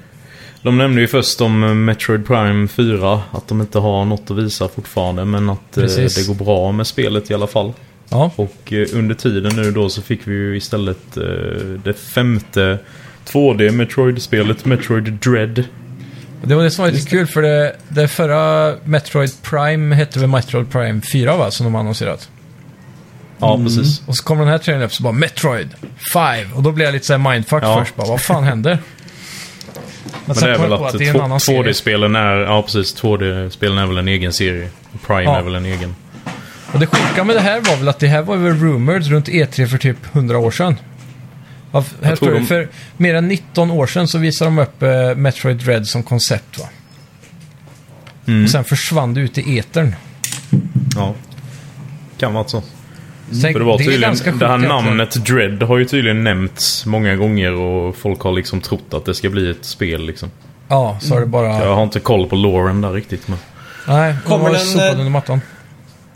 [SPEAKER 3] De nämnde ju först om eh, Metroid Prime 4, att de inte har något att visa fortfarande, men att eh,
[SPEAKER 2] Precis.
[SPEAKER 3] det går bra med spelet i alla fall.
[SPEAKER 2] Ja,
[SPEAKER 3] Och eh, under tiden nu då så fick vi ju istället eh, det femte 2D Metroid-spelet Metroid Dread.
[SPEAKER 2] det var det som var lite kul för det, det förra Metroid Prime hette väl Metroid Prime 4 va, som de har annonserat.
[SPEAKER 3] Ja,
[SPEAKER 2] Mm.
[SPEAKER 3] precis.
[SPEAKER 2] Och så kom den här trailern upp så bara Metroid 5 och då blev jag lite såhär mindfuck
[SPEAKER 3] Ja.
[SPEAKER 2] först bara, vad fan händer? Men,
[SPEAKER 3] Men det är väl
[SPEAKER 2] jag på
[SPEAKER 3] att,
[SPEAKER 2] en annan
[SPEAKER 3] två-
[SPEAKER 2] serie.
[SPEAKER 3] 2D-spelen är, ja precis, 2D-spelen är väl en egen serie. Prime
[SPEAKER 2] Ja.
[SPEAKER 3] är väl en egen.
[SPEAKER 2] Och det sjuka med det här var väl att det här var väl rumored runt E3 för typ 100 år sedan. Ja, f- Här
[SPEAKER 3] tror
[SPEAKER 2] står det,
[SPEAKER 3] de-
[SPEAKER 2] för mer än 19 år sedan så visade de upp eh, Metroid Dread som koncept va.
[SPEAKER 3] Mm.
[SPEAKER 2] Och sen försvann det ut i etern.
[SPEAKER 3] Ja. Kan vara så.
[SPEAKER 2] Tänk,
[SPEAKER 3] För det var
[SPEAKER 2] är
[SPEAKER 3] tydligen,
[SPEAKER 2] ganska
[SPEAKER 3] det här
[SPEAKER 2] sjukt egentligen.
[SPEAKER 3] namnet Dread har ju tydligen nämnts många gånger och folk har liksom trott att det ska bli ett spel liksom.
[SPEAKER 2] Ja, så har det bara...
[SPEAKER 3] Jag har inte koll på Lauren där riktigt men...
[SPEAKER 2] Nej,
[SPEAKER 1] Kommer
[SPEAKER 2] kommer den...
[SPEAKER 1] den,
[SPEAKER 2] sopad
[SPEAKER 1] eh,
[SPEAKER 2] under mattan.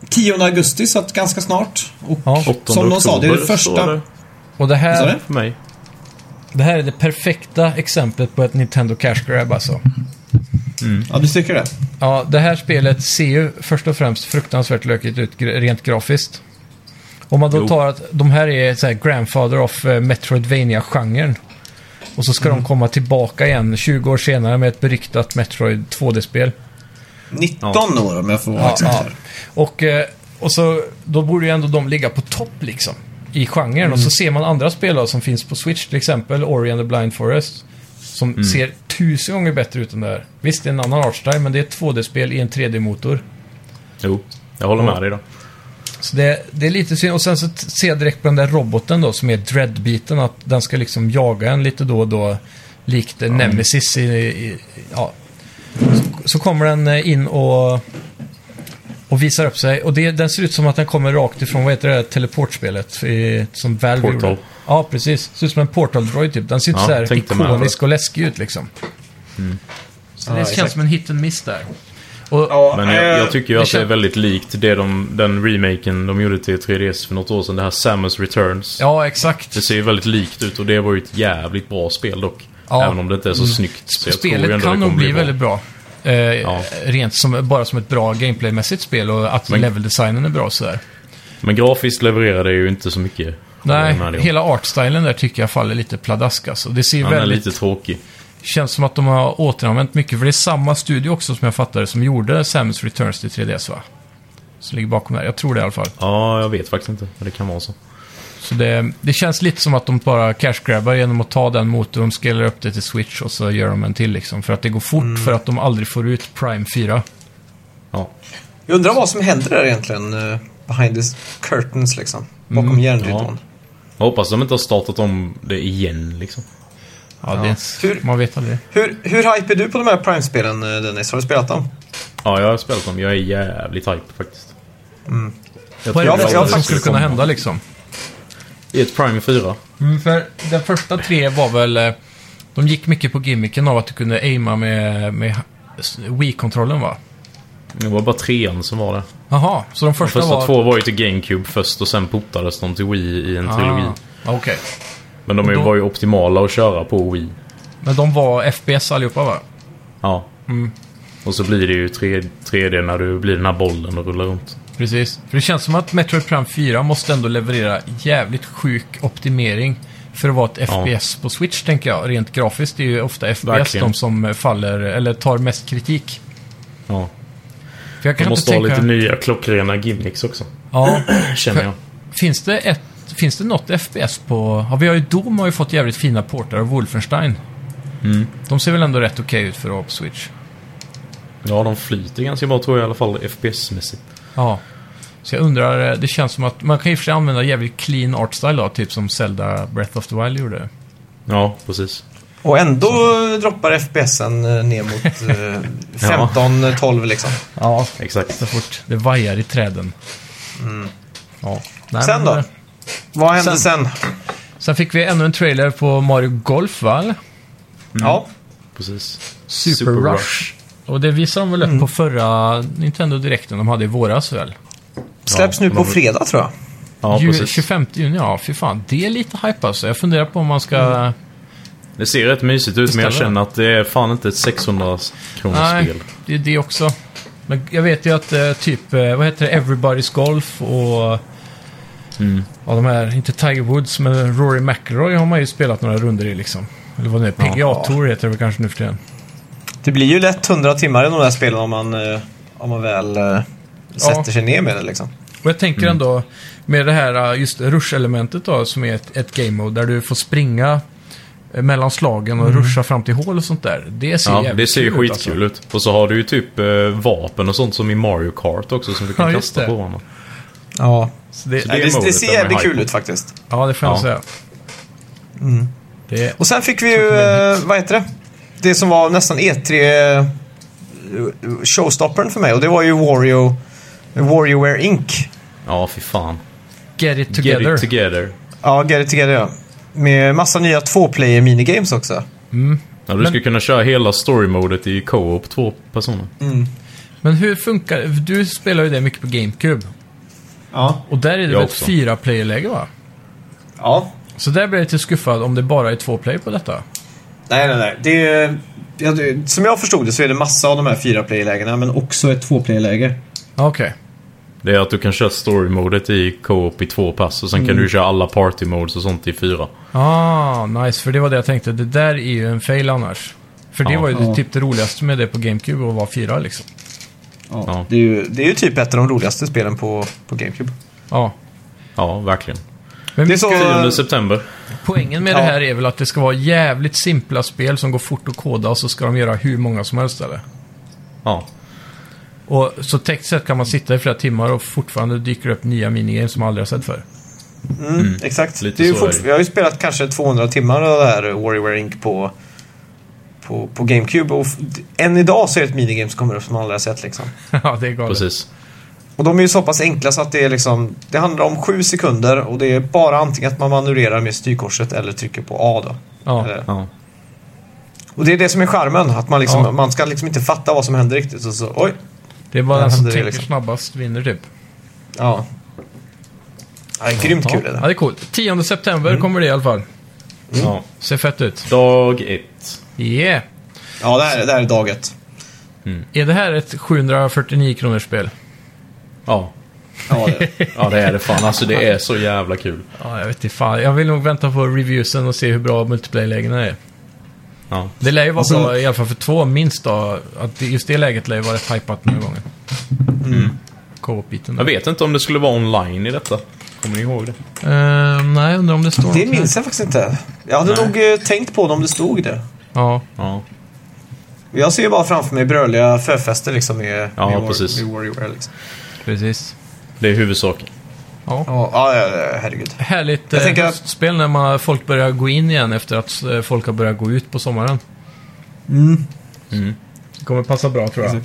[SPEAKER 1] 10 augusti, så att ganska snart. Och
[SPEAKER 2] Ja.
[SPEAKER 3] 8
[SPEAKER 1] Som de
[SPEAKER 3] oktober
[SPEAKER 1] sa, det är det första-
[SPEAKER 3] står det
[SPEAKER 2] Och det
[SPEAKER 1] Vad sa
[SPEAKER 2] här,
[SPEAKER 1] du?
[SPEAKER 3] för mig.
[SPEAKER 2] det här är det perfekta exemplet på ett Nintendo Cash Grab alltså.
[SPEAKER 1] Ja, du tycker det?
[SPEAKER 2] Ja, det här spelet ser ju först och främst fruktansvärt lökigt ut gr- rent grafiskt. Om man då
[SPEAKER 3] Jo.
[SPEAKER 2] tar att de här är så här grandfather of eh, Metroidvania-genren. Och så ska de komma tillbaka igen 20 år senare med ett beryktat Metroid 2D-spel.
[SPEAKER 1] 19 år om jag får vara
[SPEAKER 2] Ja,
[SPEAKER 1] exakt
[SPEAKER 2] ja.
[SPEAKER 1] här.
[SPEAKER 2] Och, eh, och så, då borde ju ändå de ligga på topp liksom. I genren. Och så ser man andra spel då, som finns på Switch, till exempel Ori and the Blind Forest. Som ser tusen gånger bättre ut än det här. Visst, det är en annan artstyle, men det är ett 2D-spel i en 3D-motor.
[SPEAKER 3] Jo, jag håller med dig då.
[SPEAKER 2] Så det, det är lite synd. Och sen så t- ser jag direkt på den där roboten då, som är dreadbiten, att den ska liksom jaga en lite då och då. Likt eh, Nemesis i... i ja. så, så kommer den eh, in och, och visar upp sig. Och det, den ser ut som att den kommer rakt ifrån, vad heter det, där teleportspelet? I, som Valve
[SPEAKER 3] Portal.
[SPEAKER 2] gjorde. Ja, precis. Ser ut som en portal-droid typ. Den ser inte
[SPEAKER 3] Ja,
[SPEAKER 2] så här
[SPEAKER 3] tänkte med. Mm.
[SPEAKER 2] ikonisk och läskig ut liksom. Så
[SPEAKER 1] Ja,
[SPEAKER 2] det
[SPEAKER 1] exakt.
[SPEAKER 2] känns som en hit and miss där. Och,
[SPEAKER 1] Ja, eh,
[SPEAKER 3] Men jag, jag tycker ju
[SPEAKER 2] det
[SPEAKER 3] att det är
[SPEAKER 2] kän-
[SPEAKER 3] väldigt likt det de, den remaken de gjorde till 3DS för något år sedan. Det här Samus Returns.
[SPEAKER 2] ja, exakt.
[SPEAKER 3] Det ser ju väldigt likt ut och det var ju ett jävligt bra spel dock.
[SPEAKER 2] Ja.
[SPEAKER 3] Även om det inte är så snyggt. Så jag tror ju
[SPEAKER 2] Spelet
[SPEAKER 3] ändå
[SPEAKER 2] kan
[SPEAKER 3] det
[SPEAKER 2] nog
[SPEAKER 3] kommer
[SPEAKER 2] bli väldigt bra. Eh, Rent som, bara som ett bra gameplaymässigt spel och att
[SPEAKER 3] Men-
[SPEAKER 2] leveldesignen är bra och sådär.
[SPEAKER 3] Men grafiskt levererar det ju inte så mycket.
[SPEAKER 2] Nej,
[SPEAKER 3] Håller med dig om.
[SPEAKER 2] hela artstylen där tycker jag faller lite pladask alltså. Det ser ju
[SPEAKER 3] Han är
[SPEAKER 2] väldigt...
[SPEAKER 3] lite tråkig.
[SPEAKER 2] Känns som att de har återanvänt mycket, för det är samma studio också som jag fattade som gjorde Samus Returns till 3DS va? Som ligger bakom där. Jag tror det i alla fall.
[SPEAKER 3] Ja, jag vet faktiskt inte. Men det kan vara så.
[SPEAKER 2] Så det, det känns lite som att de bara cash-grabbar genom att ta den motorn, scalar upp det till Switch och så gör de en till liksom. För att det går fort,
[SPEAKER 3] Mm.
[SPEAKER 2] för att de aldrig får ut Prime 4.
[SPEAKER 3] Ja.
[SPEAKER 1] Jag undrar vad som händer där egentligen. eh, Behind the curtains liksom. Bakom
[SPEAKER 2] Mm,
[SPEAKER 1] järnridån.
[SPEAKER 3] Jag hoppas de inte har startat om det igen liksom.
[SPEAKER 2] Ja, det,
[SPEAKER 1] Hur-
[SPEAKER 2] man vet aldrig.
[SPEAKER 1] Hur, hur hype är du på de här Prime-spelen eh, Dennis? Har du spelat dem?
[SPEAKER 3] Ja, jag har spelat dem. Jag är jävligt hype faktiskt. Jag
[SPEAKER 2] Mm. Vad är det
[SPEAKER 3] trodde
[SPEAKER 1] jag
[SPEAKER 2] bästa
[SPEAKER 1] har
[SPEAKER 2] som
[SPEAKER 3] aldrig
[SPEAKER 1] faktiskt
[SPEAKER 2] skulle kunna
[SPEAKER 3] komma.
[SPEAKER 2] hända liksom?
[SPEAKER 3] I ett Prime 4.
[SPEAKER 2] Mm, för den första tre var väl eh, De gick mycket på gimmicken av att du kunde aima med, med s- Wii-kontrollen va?
[SPEAKER 3] Det var bara trean som var det.
[SPEAKER 2] Jaha, så de
[SPEAKER 3] De
[SPEAKER 2] första,
[SPEAKER 3] första
[SPEAKER 2] var...
[SPEAKER 3] två var ju till GameCube först och sen portades de till Wii i en trilogi.
[SPEAKER 2] Ah, Okej.
[SPEAKER 3] Men de är ju-
[SPEAKER 2] Då-
[SPEAKER 3] var ju optimala att köra på Wii.
[SPEAKER 2] Men de var FPS allihopa va?
[SPEAKER 3] Ja.
[SPEAKER 2] Mm.
[SPEAKER 3] Och så blir det ju 3, 3D när du blir den här bollen och rullar runt.
[SPEAKER 2] Precis. För det känns som att Metroid Prime 4 måste ändå leverera jävligt sjuk optimering för att vara ett FPS på Switch, tänker jag. Rent grafiskt är ju ofta FPS
[SPEAKER 3] Verkligen.
[SPEAKER 2] de som faller, eller tar mest kritik.
[SPEAKER 3] Ja.
[SPEAKER 2] För jag kan
[SPEAKER 3] De
[SPEAKER 2] inte
[SPEAKER 3] måste ha
[SPEAKER 2] tänka...
[SPEAKER 3] lite nya klockrena gimmicks också.
[SPEAKER 2] Ja.
[SPEAKER 3] Känner jag.
[SPEAKER 2] Finns det ett... Finns det något FPS på... Ja, vi har ju Doom har ju fått jävligt fina portar av Wolfenstein. De ser väl ändå rätt okej ut för att vara på Switch.
[SPEAKER 3] Ja, de flyter ganska bra tror jag i alla fall FPS-mässigt.
[SPEAKER 2] Ja. Så jag undrar, eh, det känns som att man kan i och för sig använda jävligt clean art style då, typ som Zelda Breath of the Wild gjorde.
[SPEAKER 3] Ja, precis.
[SPEAKER 1] Och ändå droppar FPSen eh, ner mot eh, 15-12 liksom.
[SPEAKER 2] Ja,
[SPEAKER 3] Exakt.
[SPEAKER 2] så fort det vajar i träden. Ja. Nej,
[SPEAKER 1] Sen
[SPEAKER 2] men,
[SPEAKER 1] då?
[SPEAKER 2] eh,
[SPEAKER 1] Vad hände sen?
[SPEAKER 2] Sen fick vi ännu en trailer på Mario Golf, va?
[SPEAKER 1] Ja.
[SPEAKER 3] Precis.
[SPEAKER 2] Super,
[SPEAKER 3] Super
[SPEAKER 2] Rush.
[SPEAKER 3] Rush.
[SPEAKER 2] Och det visade de väl upp på förra Nintendo Directen de hade i våras väl?
[SPEAKER 1] Släpps nu
[SPEAKER 3] Ja,
[SPEAKER 1] på
[SPEAKER 3] de-
[SPEAKER 1] fredag tror jag.
[SPEAKER 3] Ja,
[SPEAKER 2] Ju-
[SPEAKER 3] precis.
[SPEAKER 2] 25 juni, ja fy fan. Det är lite hype alltså. Jag funderar på om man ska...
[SPEAKER 3] Mm. Det ser rätt mysigt ut men jag
[SPEAKER 2] Beställa.
[SPEAKER 3] känner att det är fan inte ett 600 kronors spel.
[SPEAKER 2] det är det också. Men jag vet ju att eh, typ, eh, vad heter det, Everybody's Golf och...
[SPEAKER 3] Mm.
[SPEAKER 2] Ja, de här, inte Tiger Woods, men Rory McIlroy har man ju spelat några runder i liksom. Eller vad det nu är, PGA Tour heter det väl kanske nu för tiden.
[SPEAKER 1] Det blir ju lätt 100 timmar i de där spelen om man, eh, om man väl eh, sätter sig ner med det liksom.
[SPEAKER 2] Och jag tänker
[SPEAKER 3] Mm.
[SPEAKER 2] ändå med det här eh, just rush-elementet då, som är ett, ett game mode där du får springa eh, mellan slagen och ruscha fram till hål och sånt där. Det ser
[SPEAKER 3] Mm. Ja,
[SPEAKER 2] jävligt
[SPEAKER 3] det ser ju
[SPEAKER 2] kul ut, alltså.
[SPEAKER 3] skitkul ut. Och så har du ju typ eh, vapen och sånt som i Mario Kart också som du kan
[SPEAKER 2] Ja, just
[SPEAKER 3] kasta
[SPEAKER 2] det.
[SPEAKER 3] på varandra.
[SPEAKER 1] Ja.
[SPEAKER 2] Så det,
[SPEAKER 3] det
[SPEAKER 1] Det,
[SPEAKER 3] är
[SPEAKER 1] det,
[SPEAKER 3] modet
[SPEAKER 1] ser
[SPEAKER 3] där med
[SPEAKER 1] jävligt
[SPEAKER 3] hype.
[SPEAKER 1] kul ut faktiskt.
[SPEAKER 2] ja, det får jag
[SPEAKER 3] Ja.
[SPEAKER 2] säga. Det,
[SPEAKER 1] Mm. Och sen fick vi ju, eh, vad heter det? Det som var nästan E3 eh, showstoppern för mig och det var ju Wario, Warriorware Inc.
[SPEAKER 3] Ja, fy fan.
[SPEAKER 2] get it together.
[SPEAKER 3] Together. Get it together.
[SPEAKER 1] Ja, Get It Together ja. Med massa nya två-player minigames också.
[SPEAKER 3] Ja, du
[SPEAKER 2] Men-
[SPEAKER 3] skulle kunna köra hela story-modet i co-op två personer.
[SPEAKER 2] Men hur funkar det? Du spelar ju det mycket på GameCube.
[SPEAKER 1] Ja.
[SPEAKER 2] Och där är det
[SPEAKER 3] Jag
[SPEAKER 2] väl ett
[SPEAKER 3] också.
[SPEAKER 2] fyra player-läge va?
[SPEAKER 1] Ja.
[SPEAKER 2] Så där blir jag lite skuffad om det bara är två player på detta.
[SPEAKER 1] Nej, nej, nej. Det är, ja, det, som jag förstod det så är det massa av de här fyra-player-lägena men också ett två-player-läge.
[SPEAKER 2] Ja, Okej.
[SPEAKER 3] Det är att du kan köra story-modet i co-op i två pass och sen
[SPEAKER 2] Mm.
[SPEAKER 3] kan du köra alla party-modes och sånt i fyra.
[SPEAKER 2] Ah, nice. För det var det jag tänkte. Det där är ju en fail annars. För det
[SPEAKER 3] Ja.
[SPEAKER 2] var ju
[SPEAKER 1] Ja.
[SPEAKER 2] typ det roligaste med det på GameCube, att vara fyra liksom.
[SPEAKER 1] Ja.
[SPEAKER 3] Ja.
[SPEAKER 1] Det, är ju, det är ju typ ett av de roligaste spelen på, på GameCube.
[SPEAKER 2] Ja.
[SPEAKER 3] Ja, verkligen.
[SPEAKER 2] Men
[SPEAKER 1] Det är så-
[SPEAKER 3] 10 september.
[SPEAKER 2] poängen med
[SPEAKER 1] Ja.
[SPEAKER 2] det här är väl att det ska vara jävligt simpla spel som går fort att koda och så ska de göra hur många som helst eller?
[SPEAKER 3] Ja.
[SPEAKER 2] Och så tekniskt sett kan man sitta i flera timmar och fortfarande dyker det upp nya minigames som man aldrig har sett förr.
[SPEAKER 1] Mm, exakt. det
[SPEAKER 3] Lite
[SPEAKER 1] är ju
[SPEAKER 3] så
[SPEAKER 1] fort,
[SPEAKER 3] är det.
[SPEAKER 1] Jag har ju spelat kanske 200 timmar av det här Warrior Inc på, på, på GameCube och f- än idag så är det ett minigame som kommer upp som man aldrig har sett liksom.
[SPEAKER 2] ja, det är galet.
[SPEAKER 3] Precis.
[SPEAKER 1] Och de är ju så pass enkla så att det är liksom, det handlar om sju sekunder och det är bara antingen att man manövrerar med styrkorset eller trycker på A då.
[SPEAKER 2] Ja.
[SPEAKER 1] Eller-
[SPEAKER 3] Ja.
[SPEAKER 2] Mm.
[SPEAKER 1] Och det är det som är charmen, att man, liksom,
[SPEAKER 2] Ja.
[SPEAKER 1] man ska liksom inte fatta vad som händer riktigt. Och så, oj,
[SPEAKER 2] Det är bara
[SPEAKER 1] Ja,
[SPEAKER 2] den som
[SPEAKER 1] det är
[SPEAKER 2] tänker
[SPEAKER 1] liksom-
[SPEAKER 2] snabbast vinner typ.
[SPEAKER 1] ja. ja det är grymt kul Mm. är
[SPEAKER 2] ja,
[SPEAKER 1] det.
[SPEAKER 2] det är coolt. 10 september kommer det i alla fall.
[SPEAKER 3] ja.
[SPEAKER 2] Ser fett ut.
[SPEAKER 3] Dag ett.
[SPEAKER 2] Yeah!
[SPEAKER 1] Ja, det här, det här är dag ett.
[SPEAKER 2] Är det här ett 749 kronors spel?
[SPEAKER 3] Ja.
[SPEAKER 1] Ja, det.
[SPEAKER 3] ja, det är det fan. Alltså det är så jävla kul.
[SPEAKER 2] Ja, jag vet inte fan. Jag vill nog vänta på reviewsen och se hur bra multiplayer-lägena är.
[SPEAKER 3] Ja.
[SPEAKER 2] Det lär ju vara
[SPEAKER 1] Alltså-
[SPEAKER 2] bra, i alla fall för två minst då. Att det- just det läget lär ju vara rätt hypat den här gången.
[SPEAKER 1] Mm.
[SPEAKER 2] Co-op-biten.
[SPEAKER 3] Jag
[SPEAKER 2] där.
[SPEAKER 3] vet inte om det skulle vara online i detta. Kommer ni ihåg det?
[SPEAKER 2] Ehm, nej, undrar om det står
[SPEAKER 1] det
[SPEAKER 2] något här.
[SPEAKER 1] minns jag faktiskt inte. Jag hade
[SPEAKER 3] Nej.
[SPEAKER 1] nog eh, tänkt på det om det stod det.
[SPEAKER 2] Ja.
[SPEAKER 3] Ja.
[SPEAKER 1] Jag ser ju bara framför mig bröliga förfester liksom med,
[SPEAKER 3] Ja,
[SPEAKER 1] med, War-
[SPEAKER 3] precis.
[SPEAKER 1] med Warrior. Liksom.
[SPEAKER 2] Precis.
[SPEAKER 3] Det är huvudsaken.
[SPEAKER 2] Ja.
[SPEAKER 1] Ja, ja, ja, herregud.
[SPEAKER 2] Härligt
[SPEAKER 1] Jag
[SPEAKER 2] eh,
[SPEAKER 1] tänker att-
[SPEAKER 2] höstspel när man, folk börjar gå in igen efter att eh, folk har börjat gå ut på sommaren. Mm. Det kommer passa bra tror jag.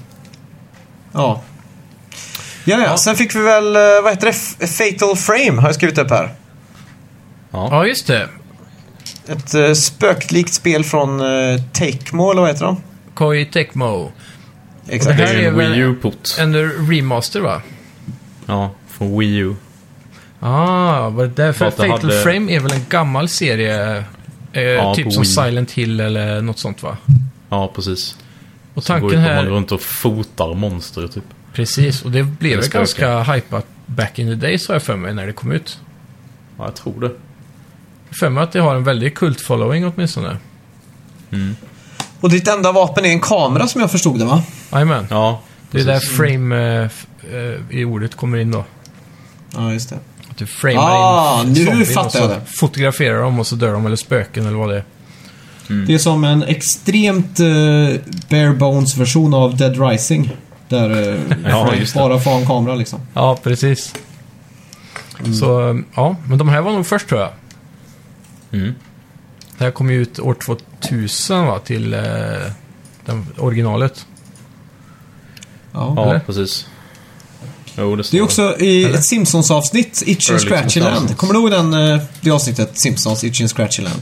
[SPEAKER 1] Ja. Ja, ja. Sen fick vi väl, eh, vad heter det? F- Fatal Frame har jag skrivit upp här.
[SPEAKER 2] Ja, just det.
[SPEAKER 1] Ett eh, spöklikt spel från eh, Tecmo, eller vad heter de?
[SPEAKER 2] Koei Tecmo.
[SPEAKER 1] Exakt.
[SPEAKER 2] Det
[SPEAKER 3] Det
[SPEAKER 2] här
[SPEAKER 3] är
[SPEAKER 2] är
[SPEAKER 3] en
[SPEAKER 2] väl-
[SPEAKER 3] Wii U-port.
[SPEAKER 2] En remaster va?
[SPEAKER 3] Ja, från Wii U.
[SPEAKER 2] Ah, var det därför
[SPEAKER 3] Att det
[SPEAKER 2] Fatal
[SPEAKER 3] hade-
[SPEAKER 2] Frame är väl en gammal serie? Eh, typ
[SPEAKER 3] på
[SPEAKER 2] som
[SPEAKER 3] Wii.
[SPEAKER 2] Silent Hill eller något sånt va?
[SPEAKER 3] Ja, precis.
[SPEAKER 2] Och
[SPEAKER 3] Som går ut
[SPEAKER 2] tanken
[SPEAKER 3] och man går
[SPEAKER 2] här...
[SPEAKER 3] runt och fotar monster typ.
[SPEAKER 2] Precis, och det blev
[SPEAKER 3] Eller
[SPEAKER 2] väl
[SPEAKER 3] spöken.
[SPEAKER 2] ganska hypat back in the days har jag för mig när det kom ut.
[SPEAKER 3] Ja, jag tror det.
[SPEAKER 2] För mig att det har en väldigt kult following åtminstone.
[SPEAKER 1] Och ditt enda vapen är en kamera som jag förstod det va?
[SPEAKER 2] Jajamän.
[SPEAKER 3] Ja,
[SPEAKER 2] Det är
[SPEAKER 3] precis.
[SPEAKER 2] där frame eh, f- eh, i ordet kommer in då.
[SPEAKER 1] Ja, just det.
[SPEAKER 2] Att du framar
[SPEAKER 1] Ah,
[SPEAKER 2] in
[SPEAKER 1] nu
[SPEAKER 2] zombien
[SPEAKER 1] fattar
[SPEAKER 2] och så
[SPEAKER 1] jag det.
[SPEAKER 2] Fotograferar dem och så dör de, eller spöken eller vad det är.
[SPEAKER 3] Mm.
[SPEAKER 1] Det är som en extremt uh, bare bones version av Dead Rising. Där eh,
[SPEAKER 3] Ja,
[SPEAKER 1] Frank
[SPEAKER 3] just det.
[SPEAKER 1] bara får ha en kamera liksom.
[SPEAKER 2] Ja, precis. Så, eh, ja. Men de här var nog först tror jag.
[SPEAKER 3] Mm.
[SPEAKER 2] Det här kom ju ut år 2000 va, till eh, den, originalet.
[SPEAKER 1] Ja.
[SPEAKER 3] Ja,
[SPEAKER 2] Eller?
[SPEAKER 3] precis. Jo, det
[SPEAKER 1] Det är
[SPEAKER 3] stämmer.
[SPEAKER 1] också i
[SPEAKER 2] Eller?
[SPEAKER 1] ett Simpsons-avsnitt, Itch and
[SPEAKER 3] Early
[SPEAKER 1] Scratchy Land.
[SPEAKER 3] 2000s.
[SPEAKER 1] Kommer du ihåg den, eh, det avsnittet? Simpsons, Itch and Scratchy Land.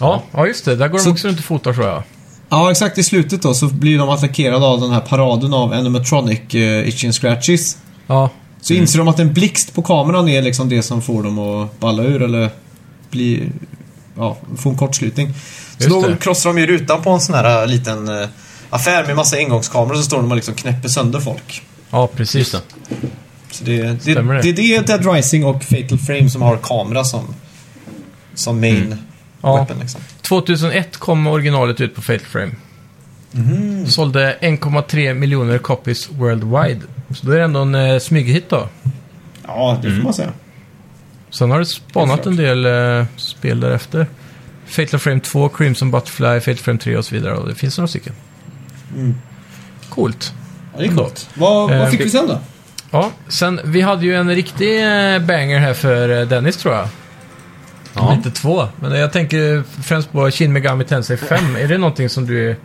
[SPEAKER 2] Ja, ja just det. Där går de
[SPEAKER 1] Så-
[SPEAKER 2] också runt och fotar tror jag.
[SPEAKER 1] Ja, exakt. I slutet då så blir de attackerade av den här paraden av animatronic uh, Itch and Scratchies.
[SPEAKER 2] Ja,
[SPEAKER 1] Så inser de att en blixt på kameran är liksom det som får dem att balla ur eller bli... Ja, få en kortslutning. Så
[SPEAKER 2] Just
[SPEAKER 1] då
[SPEAKER 2] det.
[SPEAKER 1] krossar de ju rutan på en sån här eh, liten eh, affär med massa engångskameror så står de och liksom knäpper sönder folk.
[SPEAKER 2] ja precis.
[SPEAKER 3] Just
[SPEAKER 1] Så det, det, det,
[SPEAKER 2] Stämmer det?
[SPEAKER 1] det, är Dead Rising och Fatal Frame som har kamera som, som main
[SPEAKER 2] Mm. Ja.
[SPEAKER 1] weapon. Liksom.
[SPEAKER 2] 2001 kom originalet ut på Fatal Frame. Mhm. Sålde 1,3 miljoner copies worldwide. Så då är det ändå en eh, smyghit då.
[SPEAKER 1] Ja,
[SPEAKER 2] Mm.
[SPEAKER 1] det får man säga.
[SPEAKER 2] Sen har det spanat
[SPEAKER 1] Helt
[SPEAKER 2] en del eh, spel därefter. Fatal Frame 2, Crimson Butterfly, Fatal Frame 3 och så vidare. Och det finns några stycken. Mm. Coolt.
[SPEAKER 1] Ja, det är coolt. Vad, vad
[SPEAKER 2] Eh,
[SPEAKER 1] fick vi sen då?
[SPEAKER 2] Ja, sen vi hade ju en riktig eh, banger här för eh, Dennis tror jag.
[SPEAKER 3] Ja.
[SPEAKER 2] Inte två, men jag tänker främst på Shin Megami Tensei 5. Är det någonting som du... är-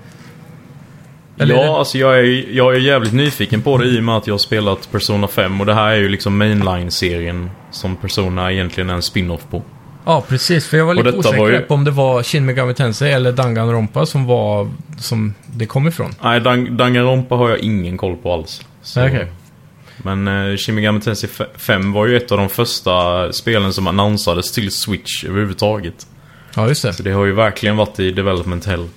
[SPEAKER 2] Eller är
[SPEAKER 3] ja,
[SPEAKER 2] det-
[SPEAKER 3] alltså jag är, jag är jävligt nyfiken på det i och med att jag har spelat Persona 5 och det här är ju liksom mainline-serien som Persona egentligen är en spin-off på.
[SPEAKER 2] Ja, precis. För jag var
[SPEAKER 3] Och
[SPEAKER 2] lite
[SPEAKER 3] detta
[SPEAKER 2] osäker
[SPEAKER 3] var ju-
[SPEAKER 2] på om det var Shin Megami Tensei eller Danganronpa som var... Som det kom ifrån.
[SPEAKER 3] Nej, Dang- Danganronpa har jag ingen koll på alls. Så-
[SPEAKER 2] Okej.
[SPEAKER 3] Men eh, Shin Megami Tensei 5 var ju ett av de första spelen som annonsades till Switch överhuvudtaget.
[SPEAKER 2] Ja, just det.
[SPEAKER 3] Så det har ju verkligen varit i development hell.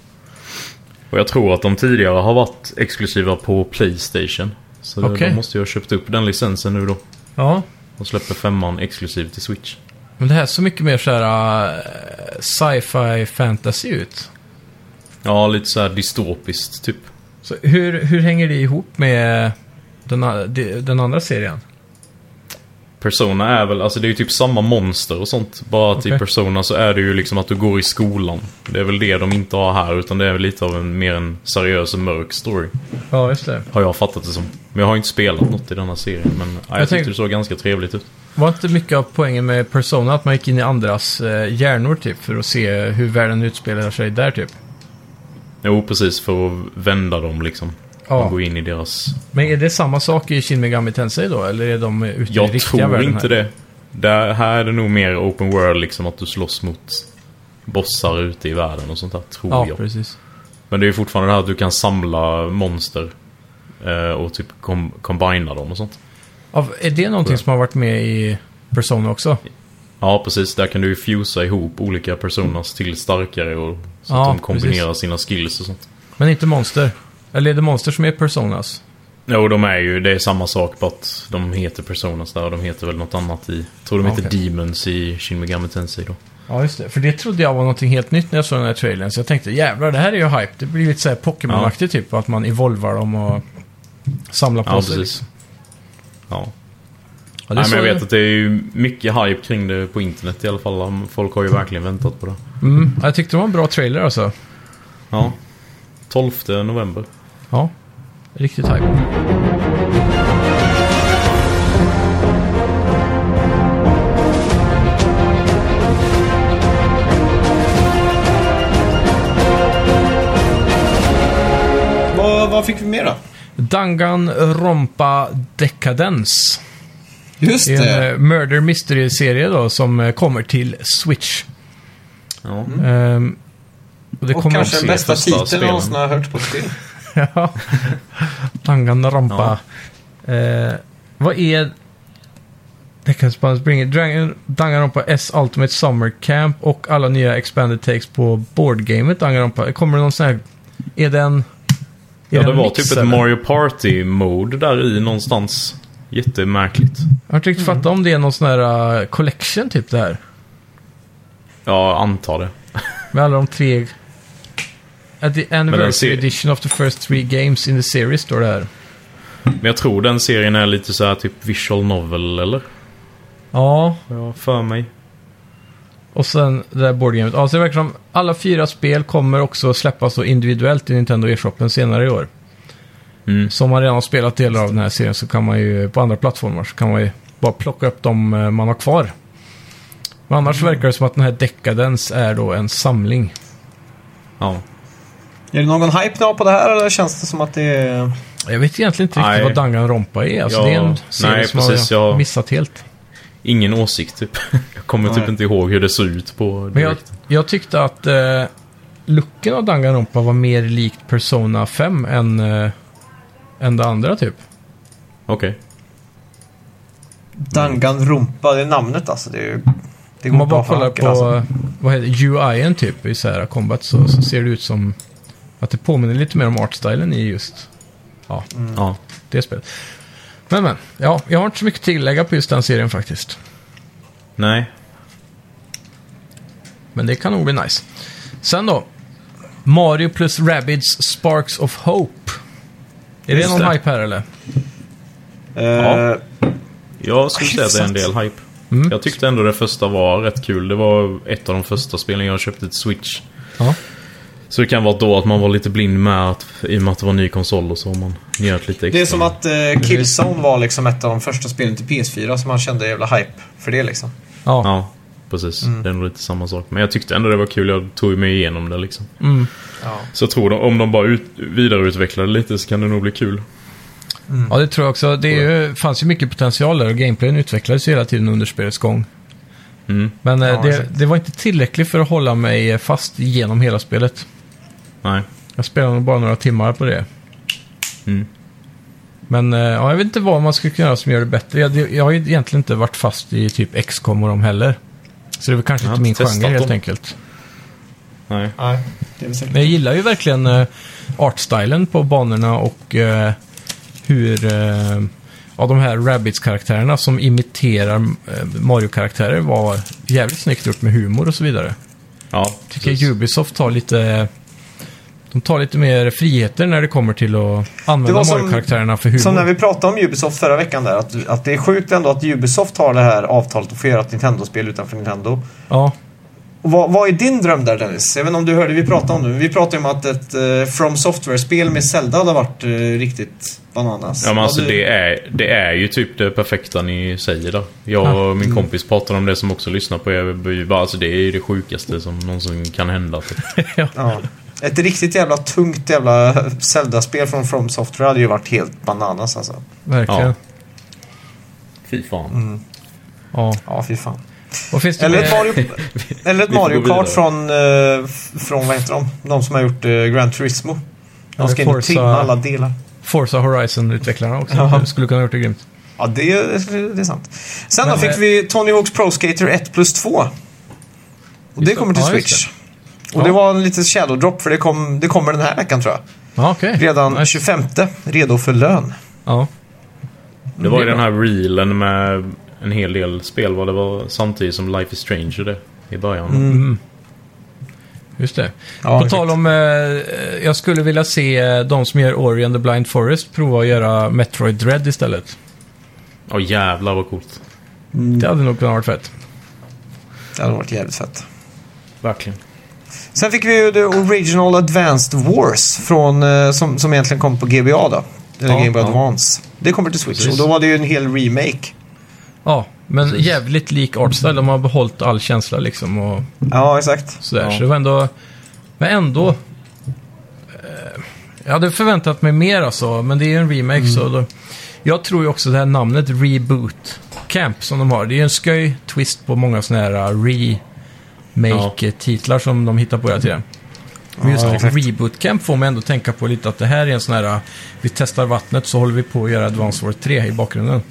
[SPEAKER 3] Och jag tror att de tidigare har varit exklusiva på Playstation. Så
[SPEAKER 2] Okej.
[SPEAKER 3] de måste ju ha köpt upp den licensen nu då.
[SPEAKER 2] Ja.
[SPEAKER 3] Och släpper femman exklusivt till Switch.
[SPEAKER 2] Men det här är så mycket mer så här eh, sci-fi fantasy ut.
[SPEAKER 3] Ja, lite så här dystopiskt typ.
[SPEAKER 2] Så hur, hur hänger det ihop med den, a- de- den andra serien?
[SPEAKER 3] Persona är väl, alltså det är ju typ samma monster och sånt. Bara att
[SPEAKER 2] Okej.
[SPEAKER 3] i Persona så är det ju liksom att du går i skolan. Det är väl det de inte har här, utan det är väl lite av en mer en seriös och mörk story.
[SPEAKER 2] Ja, just det.
[SPEAKER 3] Har jag fattat det som. Men jag har inte spelat något i denna serien, men ja, jag,
[SPEAKER 2] Jag
[SPEAKER 3] tyckte
[SPEAKER 2] tänk-
[SPEAKER 3] det såg ganska trevligt ut.
[SPEAKER 2] Var inte mycket av poängen med Persona att man gick in i andras eh, hjärnor typ för att se hur världen utspelar sig där typ?
[SPEAKER 3] Jo, precis, för att vända dem liksom.
[SPEAKER 2] Ja.
[SPEAKER 3] Och gå in i deras...
[SPEAKER 2] Men är det samma sak i Shin Megami Tensei då? Eller är de ute i
[SPEAKER 3] Jag
[SPEAKER 2] riktiga
[SPEAKER 3] tror
[SPEAKER 2] världen här?
[SPEAKER 3] inte det. Där, här är det nog mer open world, liksom att du slåss mot bossar ute i världen och sånt där, tror
[SPEAKER 2] Ja,
[SPEAKER 3] jag.
[SPEAKER 2] precis.
[SPEAKER 3] Men det är ju fortfarande det här att du kan samla monster. eh, Och typ kom- combina dem och sånt.
[SPEAKER 2] Ja, är det någonting som har varit med i Persona också?
[SPEAKER 3] Ja, precis. Där kan du ju fusa ihop olika personas till starkare. Och, så
[SPEAKER 2] Ja,
[SPEAKER 3] att de kombinerar
[SPEAKER 2] precis.
[SPEAKER 3] sina skills och sånt.
[SPEAKER 2] Men inte Monster? Eller är det Monster som är Personas?
[SPEAKER 3] Jo, de är ju... Det är samma sak på att de heter personas där och de heter väl något annat i... Tror de
[SPEAKER 2] Ja,
[SPEAKER 3] heter
[SPEAKER 2] okej.
[SPEAKER 3] Demons i Shin Megami Tensei då.
[SPEAKER 2] Ja, just det. För det trodde jag var någonting helt nytt när jag såg den här trailern. Så jag tänkte, jävlar, det här är ju hype. Det blir lite såhär Pokémon-aktigt typ. Att man evolvar dem och samlar på
[SPEAKER 3] Ja,
[SPEAKER 2] sig.
[SPEAKER 3] precis. Ja.
[SPEAKER 2] Ja, det
[SPEAKER 3] Nej,
[SPEAKER 2] såg
[SPEAKER 3] men jag
[SPEAKER 2] jag.
[SPEAKER 3] vet att det är ju mycket hype kring det på internet i alla fall. Folk har ju verkligen väntat på det.
[SPEAKER 2] Mm, ja, jag tyckte det var en bra trailer alltså.
[SPEAKER 3] Ja. 12 november.
[SPEAKER 2] Ja, riktigt hype.
[SPEAKER 1] Vad, vad fick vi mer då?
[SPEAKER 2] Dangan Rompa Decadence.
[SPEAKER 1] Just
[SPEAKER 2] Det är en
[SPEAKER 1] det.
[SPEAKER 2] eh, Murder Mystery-serie då som eh, kommer till Switch.
[SPEAKER 3] Ja.
[SPEAKER 2] Ehm, och det
[SPEAKER 1] Och
[SPEAKER 2] kommer
[SPEAKER 1] kanske
[SPEAKER 2] också...
[SPEAKER 1] den bästa
[SPEAKER 3] första
[SPEAKER 1] titeln jag
[SPEAKER 3] spelen.
[SPEAKER 1] någonsin har hört på ett spel.
[SPEAKER 2] Ja. Danganronpa. Eh, vad är... Det kanske bara springer. Dragon- Danganronpa S Ultimate Summer Camp och alla nya expanded takes på boardgamet Danganronpa. Kommer det någon sån här... Är den... är
[SPEAKER 3] ja, det
[SPEAKER 2] den
[SPEAKER 3] var
[SPEAKER 2] mix,
[SPEAKER 3] typ ett
[SPEAKER 2] eller?
[SPEAKER 3] Mario Party-mode där i någonstans. Jättemärkligt.
[SPEAKER 2] Jag har inte riktigt fattat om det är någon sån här eh, collection typ det här.
[SPEAKER 3] Ja, antar det.
[SPEAKER 2] Med alla de tre... At the anniversary
[SPEAKER 3] ser-
[SPEAKER 2] edition of the first three games in the series står det här.
[SPEAKER 3] Men jag tror den serien är lite så här typ visual novel, eller?
[SPEAKER 2] Ja,
[SPEAKER 3] Har jag för mig.
[SPEAKER 2] Och sen det där boardgamet. Ja, så det verkar som alla fyra spel kommer också släppas då individuellt i Nintendo E-shoppen senare i år.
[SPEAKER 3] Mm.
[SPEAKER 2] Så om man redan har spelat delar av den här serien så kan man ju på andra plattformar så kan man ju bara plocka upp de eh, man har kvar. Men annars
[SPEAKER 3] Mm.
[SPEAKER 2] verkar det som att den här Decadence är då en samling.
[SPEAKER 3] Ja.
[SPEAKER 1] Är det någon hype nu på det här eller känns det som att det är...
[SPEAKER 2] Jag vet egentligen inte riktigt
[SPEAKER 3] Nej.
[SPEAKER 2] vad Danganronpa är. Alltså
[SPEAKER 3] Ja,
[SPEAKER 2] det är en serie
[SPEAKER 3] nej,
[SPEAKER 2] som
[SPEAKER 3] precis,
[SPEAKER 2] jag har
[SPEAKER 3] jag-
[SPEAKER 2] missat helt.
[SPEAKER 3] Ingen åsikt typ. Jag kommer typ
[SPEAKER 1] Nej.
[SPEAKER 3] inte ihåg hur det såg ut på
[SPEAKER 2] Men jag,
[SPEAKER 3] direkt.
[SPEAKER 2] jag tyckte att eh, looken av Danganronpa var mer likt Persona 5 än, eh, än det andra typ.
[SPEAKER 3] Okej.
[SPEAKER 1] Danganrumpa, det är namnet alltså. Det, är ju- det
[SPEAKER 2] Om
[SPEAKER 1] går
[SPEAKER 2] man
[SPEAKER 1] bra
[SPEAKER 2] bara
[SPEAKER 1] för
[SPEAKER 2] kollar
[SPEAKER 1] hacker
[SPEAKER 2] på
[SPEAKER 1] alltså.
[SPEAKER 2] vad heter, UI'en typ i Sierra Combat så, så ser det ut som att det påminner lite mer om artstylen i just Mm.
[SPEAKER 3] Ja.
[SPEAKER 2] det spelet. Men men, ja, jag har inte så mycket att tillägga på just den serien faktiskt.
[SPEAKER 3] Nej.
[SPEAKER 2] Men det kan nog bli nice. Sen då, Mario plus Rabbids Sparks of Hope. Är det
[SPEAKER 3] Just
[SPEAKER 2] någon
[SPEAKER 3] det.
[SPEAKER 2] hype här eller?
[SPEAKER 1] Eh,
[SPEAKER 3] Jag skulle säga att det är en del hype.
[SPEAKER 2] Mm.
[SPEAKER 3] Jag tyckte ändå det första var rätt kul. Det var ett av de första spelen jag köpte till Switch.
[SPEAKER 2] Ja.
[SPEAKER 3] Så det kan vara då att man var lite blind med att, i och med att det var en ny konsol och så har man njöt lite extra.
[SPEAKER 1] Det är som att eh, Killzone var liksom ett av de första spelen till PS4 som man kände jävla hype för det liksom.
[SPEAKER 2] Ja.
[SPEAKER 3] Ja, precis.
[SPEAKER 2] Mm.
[SPEAKER 3] Det är nog lite samma sak. Men jag tyckte ändå det var kul. Jag tog mig igenom det liksom.
[SPEAKER 2] Mm.
[SPEAKER 1] Ja.
[SPEAKER 3] Så jag tror de, om de bara ut, vidareutvecklar det lite så kan det nog bli kul.
[SPEAKER 2] ja, det tror jag också. Det är ju, fanns ju mycket potential där och gameplayen utvecklades ju hela tiden under spelets gång.
[SPEAKER 3] Mm.
[SPEAKER 2] Men eh,
[SPEAKER 1] Ja,
[SPEAKER 2] det,
[SPEAKER 1] exakt.
[SPEAKER 2] det var inte tillräckligt för att hålla mig eh, fast genom hela spelet.
[SPEAKER 3] Nej.
[SPEAKER 2] Jag spelade nog bara några timmar på det.
[SPEAKER 3] Mm.
[SPEAKER 2] Men eh, ja, jag vet inte vad man skulle kunna göra som gör det bättre. Jag, jag har ju egentligen inte varit fast i typ XCOM och de heller. Så det är väl kanske
[SPEAKER 3] Jag har
[SPEAKER 2] inte min
[SPEAKER 3] inte testat
[SPEAKER 2] genre helt
[SPEAKER 3] dem.
[SPEAKER 2] enkelt.
[SPEAKER 3] Nej.
[SPEAKER 1] Nej, det är väl säkert.
[SPEAKER 2] Men jag gillar ju verkligen eh, artstylen på banorna och eh, hur eh, ja, de här Rabbids-karaktärerna som imiterar eh, Mario-karaktärer var jävligt snyggt gjort med humor och så vidare.
[SPEAKER 3] Ja,
[SPEAKER 2] tycker jag Ubisoft tar lite... De tar lite mer friheter när det kommer till att använda
[SPEAKER 1] Det var som-
[SPEAKER 2] Mario-karaktärerna för humor.
[SPEAKER 1] Som när vi pratade om Ubisoft förra veckan där, att, att det är sjukt ändå att Ubisoft har det här avtalet och får göra ett Nintendo-spel utanför Nintendo.
[SPEAKER 2] Ja,
[SPEAKER 1] Och vad, vad är din dröm där Dennis? Jag vet inte om du hörde vi pratade om det, men vi pratade om att ett eh, From Software-spel med Zelda hade varit eh, riktigt bananas.
[SPEAKER 3] Ja, men alltså
[SPEAKER 1] Vad du-
[SPEAKER 3] det är, det är ju typ det perfekta ni säger där. Jag och min kompis pratade om det som också lyssnar på er. Vi bara, Alltså det är ju det sjukaste som någonsin kan hända. typ.
[SPEAKER 1] Ja. Ett riktigt jävla tungt jävla Zelda-spel från From Software hade ju varit helt bananas alltså.
[SPEAKER 2] verkligen. Ja.
[SPEAKER 3] Ja. Fy fan.
[SPEAKER 1] Ja, fy fan.
[SPEAKER 2] Vad finns det
[SPEAKER 1] Eller ett
[SPEAKER 2] med...
[SPEAKER 1] Mario, eller ett
[SPEAKER 3] Vi får
[SPEAKER 1] Mario
[SPEAKER 3] gå
[SPEAKER 1] Kart
[SPEAKER 3] vidare.
[SPEAKER 1] från, eh, f- från vad heter de? De som har gjort eh, Gran Turismo.
[SPEAKER 2] Eller
[SPEAKER 1] De ska in och
[SPEAKER 2] Forza.
[SPEAKER 1] trimma alla delar.
[SPEAKER 2] Forza Horizon-utvecklarna också.
[SPEAKER 1] Ja.
[SPEAKER 2] Det skulle kunna ha gjort det grymt.
[SPEAKER 1] Ja, det, är- det är sant. Sen
[SPEAKER 2] Men,
[SPEAKER 1] då fick
[SPEAKER 2] eh,
[SPEAKER 1] vi Tony Hawk's Pro Skater 1 plus 2. Och
[SPEAKER 2] Just
[SPEAKER 1] det
[SPEAKER 2] det.
[SPEAKER 1] kommer till
[SPEAKER 2] Ja, just
[SPEAKER 1] Switch. Och det
[SPEAKER 2] Ja.
[SPEAKER 1] var en liten shadow drop för det, kom, det kommer den här veckan tror jag.
[SPEAKER 2] Ja, okej.
[SPEAKER 1] Redan
[SPEAKER 2] Nice.
[SPEAKER 1] 25, redo för lön.
[SPEAKER 2] Ja.
[SPEAKER 3] Det var ju
[SPEAKER 2] Det är
[SPEAKER 3] den här reelen med en hel del spel. Vad det var samtidigt som Life is Strange och det i början.
[SPEAKER 2] Just det.
[SPEAKER 1] Ja,
[SPEAKER 2] På tal om, eh, jag skulle vilja se eh, de som gör Ori and the Blind Forest prova att göra Metroid Dread istället.
[SPEAKER 3] Åh jävlar vad coolt.
[SPEAKER 2] Det hade nog kunnat varit fett.
[SPEAKER 1] Det hade varit jävligt fett.
[SPEAKER 3] Verkligen.
[SPEAKER 1] Sen fick vi ju The Original Advanced Wars från, eh, som, som egentligen kom på GBA då. Eller
[SPEAKER 2] Ja,
[SPEAKER 1] Game Boy
[SPEAKER 3] ja.
[SPEAKER 1] Advance. Det kommer till Switch.
[SPEAKER 3] Precis.
[SPEAKER 1] Och då var det ju en hel remake.
[SPEAKER 2] Ja, men
[SPEAKER 3] Precis.
[SPEAKER 2] jävligt lik artstyle. De har behållit all känsla liksom och
[SPEAKER 1] Ja, exakt.
[SPEAKER 2] sådär.
[SPEAKER 3] Ja.
[SPEAKER 2] Så det var ändå... Men ändå... Eh, jag hade förväntat mig mer alltså, men det är ju en remake
[SPEAKER 1] Mm.
[SPEAKER 2] så... Då, jag tror ju också det här namnet Reboot Camp som de har. Det är ju en sköj twist på många sådana här eh, re... make-titlar som de hittar på hela tiden. Men just
[SPEAKER 1] Ja, exakt.
[SPEAKER 2] Reboot Camp får mig ändå tänka på lite att det här är en sån här, eh, vi testar vattnet så håller vi på att göra Advance War 3 i bakgrunden.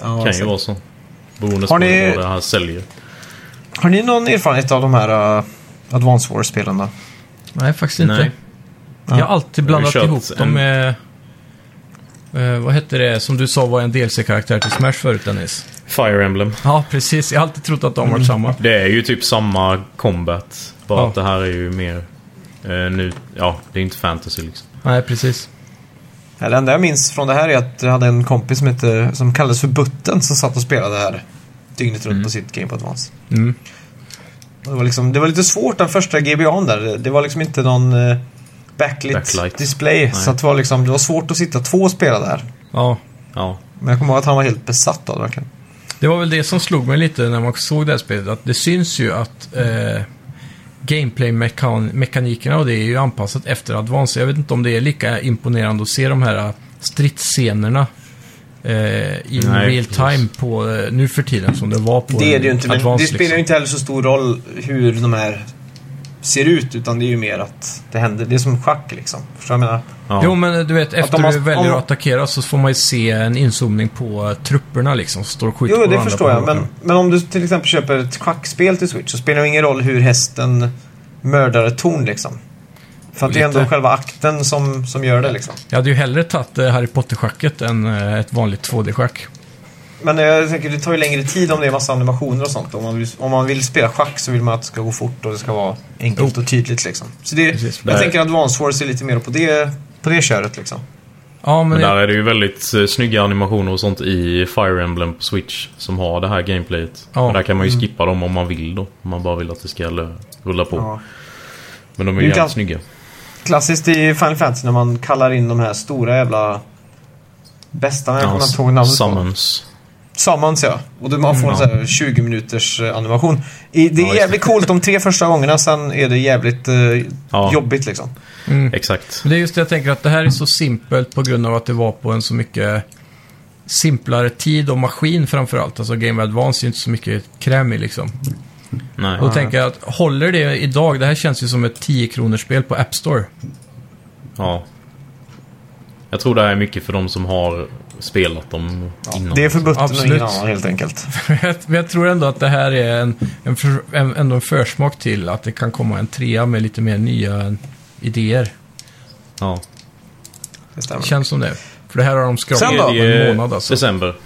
[SPEAKER 1] Ja,
[SPEAKER 3] kan ju
[SPEAKER 1] exakt.
[SPEAKER 3] vara så. Beroende på
[SPEAKER 1] Har ni-
[SPEAKER 3] vad det här säljer.
[SPEAKER 1] Har ni någon erfarenhet av de här uh, Advance War-spelen då?
[SPEAKER 2] Nej, faktiskt inte.
[SPEAKER 3] Nej.
[SPEAKER 2] Jag har alltid blandat
[SPEAKER 3] Jag har
[SPEAKER 2] ihop
[SPEAKER 3] köpt
[SPEAKER 2] dem
[SPEAKER 3] en-
[SPEAKER 2] med... eh, vad hette det som du sa var en DLC-karaktär till Smash förut, Dennis? Mm.
[SPEAKER 3] Fire Emblem.
[SPEAKER 2] Ja, precis. Jag har alltid trott att de varit samma.
[SPEAKER 3] Det är ju typ samma combat. Bara
[SPEAKER 2] Ja.
[SPEAKER 3] att det här är ju mer... eh, nu, ja, det är inte fantasy liksom.
[SPEAKER 2] Nej, precis.
[SPEAKER 1] Ja, Det enda jag minns från det här är att jag hade en kompis som, hette, som kallades för Butten som satt och spelade det här dygnet runt på sitt Game på Advance.
[SPEAKER 2] Mm.
[SPEAKER 1] Och Det var, liksom, det var lite svårt den första GBA'n där. Det- Det var liksom inte någon eh, backlit,
[SPEAKER 3] Backlight.
[SPEAKER 1] display. Så att det, var liksom, det var svårt att sitta två och spela där.
[SPEAKER 2] Ja,
[SPEAKER 3] Ja,
[SPEAKER 1] Men jag kommer ihåg att han var helt besatt av det verkligen.
[SPEAKER 2] Det var väl det som slog mig lite när man såg det här spelet. Att det syns ju att eh, gameplay-mekanikerna och det är ju anpassat efter Advance. Jag vet inte om det är lika imponerande att se de här eh, stridsscenerna eh, in
[SPEAKER 3] Nej,
[SPEAKER 2] real time
[SPEAKER 3] precis.
[SPEAKER 2] på eh, nu för tiden som det var på
[SPEAKER 1] Det är det ju inte, men
[SPEAKER 2] Advance.
[SPEAKER 1] det spelar ju
[SPEAKER 2] liksom.
[SPEAKER 1] inte heller så stor roll hur de här ser ut. Utan det är ju mer att det händer. Det är som schack liksom. Förstår du vad jag menar?
[SPEAKER 3] ja.
[SPEAKER 2] Jo, men du vet, efter
[SPEAKER 1] de har-
[SPEAKER 2] du väljer
[SPEAKER 1] om-
[SPEAKER 2] att attackera så får man ju se en inzoomning på eh, trupperna liksom, som står och skjuter
[SPEAKER 1] Jo,
[SPEAKER 2] på
[SPEAKER 1] det
[SPEAKER 2] varandra
[SPEAKER 1] förstår
[SPEAKER 2] på
[SPEAKER 1] jag. Men,
[SPEAKER 2] båten.
[SPEAKER 1] men om du till exempel köper ett schackspel till Switch så spelar det ingen roll hur hästen mördar ett torn liksom. För att det är ändå
[SPEAKER 2] Lite.
[SPEAKER 1] själva akten som, som gör det liksom.
[SPEAKER 2] Jag hade ju hellre tagit eh, Harry Potter-schacket än eh, ett vanligt 2D-schack.
[SPEAKER 1] Men eh, jag tänker, det tar ju längre tid om det är massa animationer och sånt. Om man vill, om man vill spela schack så vill man att det ska gå fort och det ska vara enkelt och tydligt liksom. Så det,
[SPEAKER 2] Precis.
[SPEAKER 1] jag
[SPEAKER 3] Nej.
[SPEAKER 1] tänker att Advance Wars är lite mer på det, på det köret liksom.
[SPEAKER 2] Ja, men,
[SPEAKER 3] Men
[SPEAKER 2] jag-
[SPEAKER 3] där är det ju väldigt eh, snygga animationer och sånt i Fire Emblem på Switch som har det här gameplayet.
[SPEAKER 2] Ja. Mm.
[SPEAKER 3] Men där kan man ju skippa dem om man vill då. Om man bara vill att det ska lö- rulla på.
[SPEAKER 1] Ja.
[SPEAKER 3] Men de är
[SPEAKER 1] Du
[SPEAKER 3] ju
[SPEAKER 1] kan-
[SPEAKER 3] jävligt snygga.
[SPEAKER 1] Klassiskt i Final Fantasy när man kallar in de här stora jävla bästarna. Jag kommer inte ihåg namnet på.
[SPEAKER 3] summons.
[SPEAKER 1] Summons ja. Och då man får en sån här 20 minuters eh, animation. I, det är
[SPEAKER 3] just det.
[SPEAKER 1] jävligt coolt de tre första gångerna, sen är det jävligt eh,
[SPEAKER 3] Ja.
[SPEAKER 1] jobbigt liksom.
[SPEAKER 3] Exakt.
[SPEAKER 2] Men det är just det jag tänker att det här är så simpelt på grund av att det var på en så mycket simplare tid och maskin framförallt. Alltså Game Boy Advance är ju inte så mycket krämig liksom.
[SPEAKER 3] Nej.
[SPEAKER 2] Och då tänker jag att håller det idag? Det här känns ju som ett 10-kronorsspel på App Store.
[SPEAKER 3] Ja. Jag tror det här är mycket för de som har spelat dem innan.
[SPEAKER 1] Det är förbuttet och
[SPEAKER 2] Absolut.
[SPEAKER 1] ingen annan helt enkelt.
[SPEAKER 2] Men jag tror ändå att det här är en, en, för, en, ändå en försmak till att det kan komma en trea med lite mer nya idéer.
[SPEAKER 3] Ja.
[SPEAKER 1] Det stämmer.
[SPEAKER 2] Det känns som det. För det här har de
[SPEAKER 1] Sen
[SPEAKER 2] skrapat
[SPEAKER 1] då?
[SPEAKER 2] på en
[SPEAKER 3] Tredje
[SPEAKER 2] månad alltså.
[SPEAKER 3] December.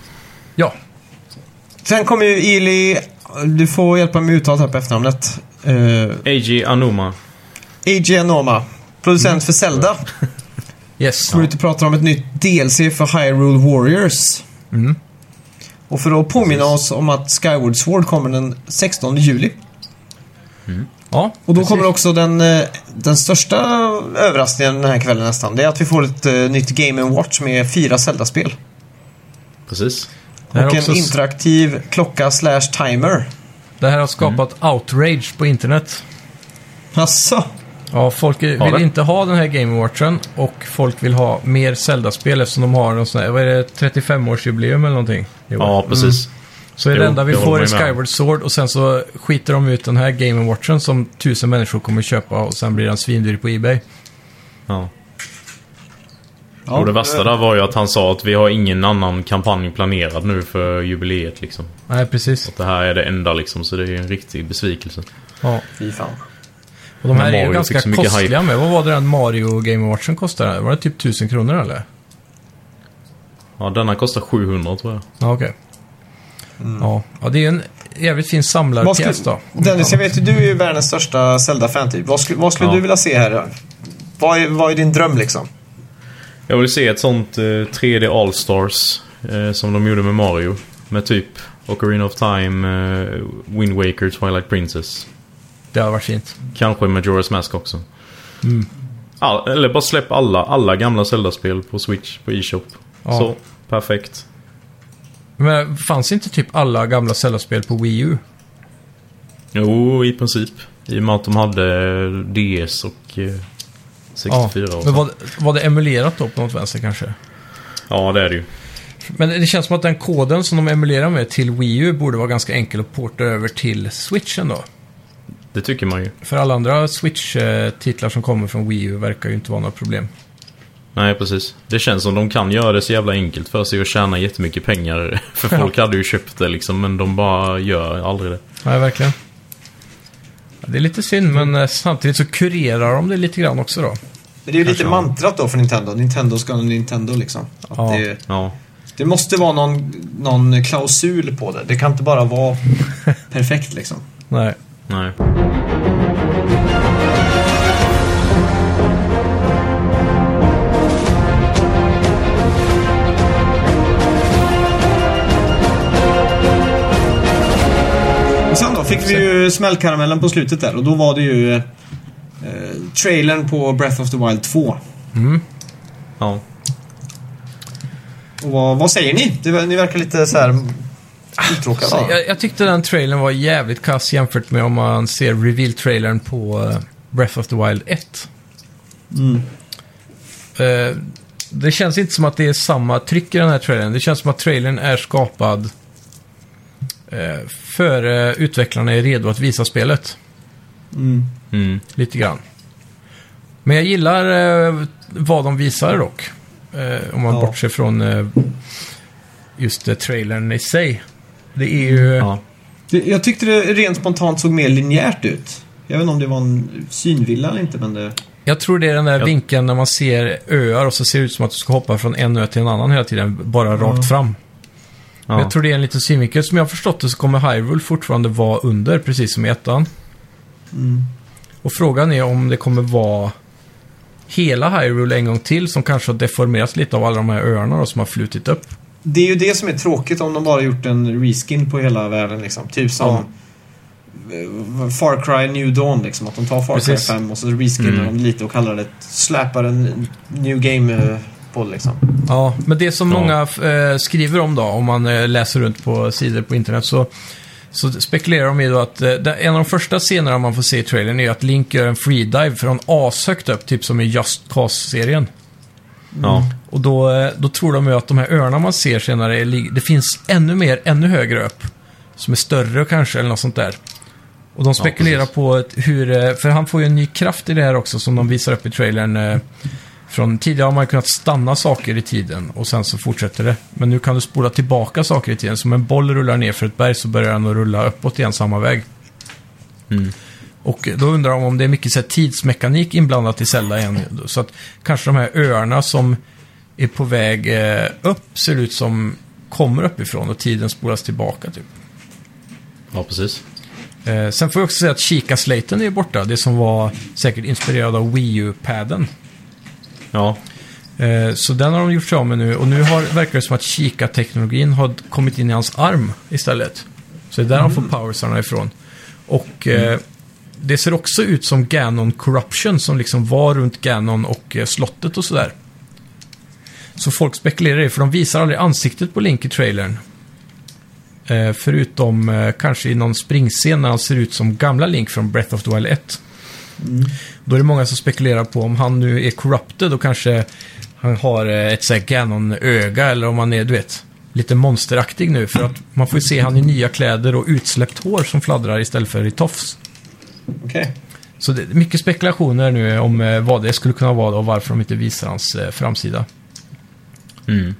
[SPEAKER 2] Ja,
[SPEAKER 1] Sen kommer ju Ili, du får hjälpa mig med uttalet här på efternamnet. Uh,
[SPEAKER 3] A.G. Anuma.
[SPEAKER 1] AJ Noma, producent för Zelda.
[SPEAKER 2] yes.
[SPEAKER 1] som är ute och pratar om ett nytt DLC för Hyrule Warriors.
[SPEAKER 2] Mm.
[SPEAKER 1] Och för att påminna oss om att Skyward Sword kommer den 16 juli.
[SPEAKER 2] Ja,
[SPEAKER 1] Och då
[SPEAKER 2] precis.
[SPEAKER 1] kommer också den, eh, den största överraskningen den här kvällen nästan. Det är att vi får ett eh, nytt Game Watch med fyra Zelda-spel.
[SPEAKER 3] Precis.
[SPEAKER 2] Det här är
[SPEAKER 1] Och
[SPEAKER 2] också
[SPEAKER 1] en
[SPEAKER 2] s-
[SPEAKER 1] interaktiv klocka slash timer.
[SPEAKER 2] Det här har skapat
[SPEAKER 1] Mm.
[SPEAKER 2] outrage på internet.
[SPEAKER 1] Jaså?
[SPEAKER 2] Ja, folk
[SPEAKER 3] Har
[SPEAKER 2] vill
[SPEAKER 3] det.
[SPEAKER 2] inte ha den här Game Watchen och folk vill ha mer Zelda-spel eftersom de har någon sån här, vad är det, 35-årsjubileum eller någonting? i år.
[SPEAKER 3] Ja, precis.
[SPEAKER 2] Så är det
[SPEAKER 3] jo,
[SPEAKER 2] enda vi
[SPEAKER 3] det
[SPEAKER 2] får
[SPEAKER 3] håller
[SPEAKER 2] är
[SPEAKER 3] man ju med om.
[SPEAKER 2] Skyward Sword och sen så skiter de ut den här Game Watchen som tusen människor kommer köpa och sen blir den svindyr på Ebay.
[SPEAKER 3] Ja. och det värsta där var ju att han sa att vi har ingen annan kampanj planerad nu för jubileet liksom.
[SPEAKER 2] Nej, precis.
[SPEAKER 3] Det här är det enda liksom, så det är ju en riktig besvikelse.
[SPEAKER 2] Ja.
[SPEAKER 1] Fy fan.
[SPEAKER 2] Och de här
[SPEAKER 3] Men
[SPEAKER 2] är ju
[SPEAKER 3] Mario
[SPEAKER 2] ganska
[SPEAKER 3] fick så mycket
[SPEAKER 2] kostliga med. Vad var det den Mario Game Watchen kostade? Var det typ 1000 kronor eller?
[SPEAKER 3] Ja, denna kostar 700 tror jag.
[SPEAKER 2] Ja, okej. Ja. ja, det är ju en jävligt fin
[SPEAKER 1] Vad skulle,
[SPEAKER 2] samlarpjäs då.
[SPEAKER 1] Dennis, jag vet ju du är ju världens största Zelda-fan typ. Vad skulle, vad skulle
[SPEAKER 3] Ja.
[SPEAKER 1] du vilja se här? Vad är, vad är din dröm liksom?
[SPEAKER 3] Jag vill se ett sånt eh, 3D All-Stars eh, som de gjorde med Mario. Med typ Ocarina of Time, eh, Wind Waker, Twilight Princess.
[SPEAKER 2] Det har varit fint.
[SPEAKER 3] Kanske Majora's Mask också. All, eller bara släpp alla, alla gamla Zelda-spel på Switch, på E-shop.
[SPEAKER 2] Ja.
[SPEAKER 3] Så, perfekt.
[SPEAKER 2] Men fanns inte typ alla gamla Zelda-spel på Wii U?
[SPEAKER 3] Jo, i princip. I och med att de hade DS och eh, 64 och
[SPEAKER 2] Men
[SPEAKER 3] sånt.
[SPEAKER 2] var, var det emulerat då på något vänster kanske?
[SPEAKER 3] Ja, det är det ju.
[SPEAKER 2] Men det känns som att den koden som de emulerar med till Wii U borde vara ganska enkel att porta över till Switchen då.
[SPEAKER 3] Det tycker man ju.
[SPEAKER 2] För alla andra Switch-titlar som kommer från Wii U verkar ju inte vara något problem.
[SPEAKER 3] Nej, precis. Det känns som de kan göra det så jävla enkelt för sig och tjäna jättemycket pengar. För
[SPEAKER 2] Ja.
[SPEAKER 3] folk hade ju köpt det liksom, men de bara gör aldrig det.
[SPEAKER 2] Nej, verkligen. Ja, Det är lite synd, men eh, samtidigt så kurerar de det lite grann också då.
[SPEAKER 1] Men det är ju lite
[SPEAKER 3] Kanske.
[SPEAKER 1] mantrat då för Nintendo. Nintendo ska vara Nintendo liksom. Att
[SPEAKER 2] Ja.
[SPEAKER 1] det,
[SPEAKER 3] Ja.
[SPEAKER 1] det måste vara någon, någon klausul på det. Det kan inte bara vara perfekt liksom.
[SPEAKER 2] Nej.
[SPEAKER 3] Nej.
[SPEAKER 1] Och sen då fick vi ju smällkaramellen på slutet där och då var det ju eh, trailern på Breath of the Wild 2.
[SPEAKER 3] Ja.
[SPEAKER 1] Och vad, vad säger ni? Det, ni verkar lite så här uttråkade. va?
[SPEAKER 2] Jag, jag tyckte den trailern var jävligt kass jämfört med om man ser reveal-trailern på eh, Breath of the Wild 1.
[SPEAKER 1] Mm.
[SPEAKER 2] Eh, Det känns inte som att det är samma tryck i den här trailern. Det känns som att trailern är skapad eh, före utvecklarna är redo att visa spelet.
[SPEAKER 1] Mm.
[SPEAKER 3] Mm.
[SPEAKER 2] Lite grann. Men jag gillar eh, vad de visar dock. Eh, om man
[SPEAKER 1] Ja.
[SPEAKER 2] bortser från eh, just eh, trailern i sig. Det är ju...
[SPEAKER 3] Ja.
[SPEAKER 1] Det, jag tyckte det rent spontant såg mer linjärt ut. Jag vet inte om det var en synvilla eller inte, men det...
[SPEAKER 2] Jag tror det är den där
[SPEAKER 3] Ja.
[SPEAKER 2] vinkeln när man ser öar och så ser det ut som att du ska hoppa från en ö till en annan hela tiden, bara rakt fram. Men
[SPEAKER 3] Ja.
[SPEAKER 2] Jag tror det är en liten synvinkel. Som jag har förstått det så kommer Hyrule fortfarande vara under, precis som i ettan.
[SPEAKER 1] Mm.
[SPEAKER 2] Och frågan är om det kommer vara hela Hyrule en gång till som kanske har deformerats lite av alla de här öarna då, som har flutit upp.
[SPEAKER 1] Det är ju det som är tråkigt om de bara gjort en reskin på hela världen liksom. Typ som eh, Far Cry New Dawn liksom. Att de tar Far
[SPEAKER 2] Precis.
[SPEAKER 1] Cry 5 och så reskinnar
[SPEAKER 3] Mm.
[SPEAKER 1] de lite och kallar det släpar en New Game eh, på liksom.
[SPEAKER 2] Ja, men det som
[SPEAKER 3] Ja.
[SPEAKER 2] många eh, skriver om då, om man eh, läser runt på sidor på internet, så, så spekulerar de ju då att eh, det- en av de första scenerna man får se i trailern är ju att Link gör en freedive från ashögt upp, typ som i Just Cause-serien.
[SPEAKER 3] Ja.
[SPEAKER 2] Och då, eh, då tror de ju att de här öarna man ser senare, är lig- det finns ännu mer, ännu högre upp. Som är större kanske, eller något sånt där. Och de spekulerar
[SPEAKER 3] precis.
[SPEAKER 2] på ett- hur, eh, för han får ju en ny kraft i det här också som de visar upp i trailern. eh, Från tidigare har man kunnat stanna saker i tiden och sen så fortsätter det. Men nu kan du spola tillbaka saker i tiden. Som en boll rullar ner för ett berg så börjar den att rulla uppåt igen samma väg.
[SPEAKER 3] Mm.
[SPEAKER 2] Och då undrar de om det är mycket så här, tidsmekanik inblandat i Zelda igen. Så att kanske de här öarna som är på väg eh, upp ser ut som kommer uppifrån och tiden spolas tillbaka typ.
[SPEAKER 3] ja, precis.
[SPEAKER 2] Eh, sen får jag också säga att Chica-slaten är borta. Det som var säkert inspirerad av Wii U-paden.
[SPEAKER 3] Ja.
[SPEAKER 2] Eh, så den har de gjort sig av med nu. Och nu har, verkar det som att Chica-teknologin har kommit in i hans arm istället. Så det är där han får powersarna ifrån. Och eh, det ser också ut som Ganon Corruption som liksom var runt Ganon och eh, slottet och sådär. Så folk spekulerar i det, för de visar aldrig ansiktet på Link i trailern. Eh, förutom eh, kanske i någon springscen när han ser ut som gamla Link från Breath of the Wild 1. Då är det många som spekulerar på om han nu är corrupted och kanske han har eh, ett sånt Ganon-öga eller om han är, du vet, lite monsteraktig nu. För att man får ju se han i nya kläder och utsläppt hår som fladdrar istället för i tofs.
[SPEAKER 1] Okej.
[SPEAKER 2] Så det är mycket spekulationer nu om eh, vad det skulle kunna vara och varför de inte visar hans eh, framsida.
[SPEAKER 3] Mm.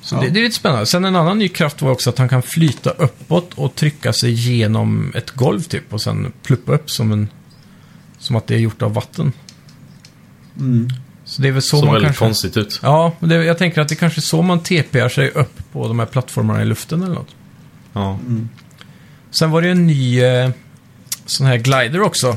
[SPEAKER 2] Så
[SPEAKER 1] Ja.
[SPEAKER 2] det, det är lite spännande. Sen en annan ny kraft var också att han kan flyta uppåt och trycka sig genom ett golv typ och sen pluppa upp som en... Som att det är gjort av vatten.
[SPEAKER 1] Mm.
[SPEAKER 2] Så det är väl så
[SPEAKER 3] Såg
[SPEAKER 2] man
[SPEAKER 3] väldigt
[SPEAKER 2] kanske...
[SPEAKER 3] konstigt ut.
[SPEAKER 2] Ja, men det, jag tänker att det kanske är så man TPar sig upp på de här plattformarna i luften eller något.
[SPEAKER 3] Ja.
[SPEAKER 2] Mm. Sen var det ju en ny eh, sån här glider också.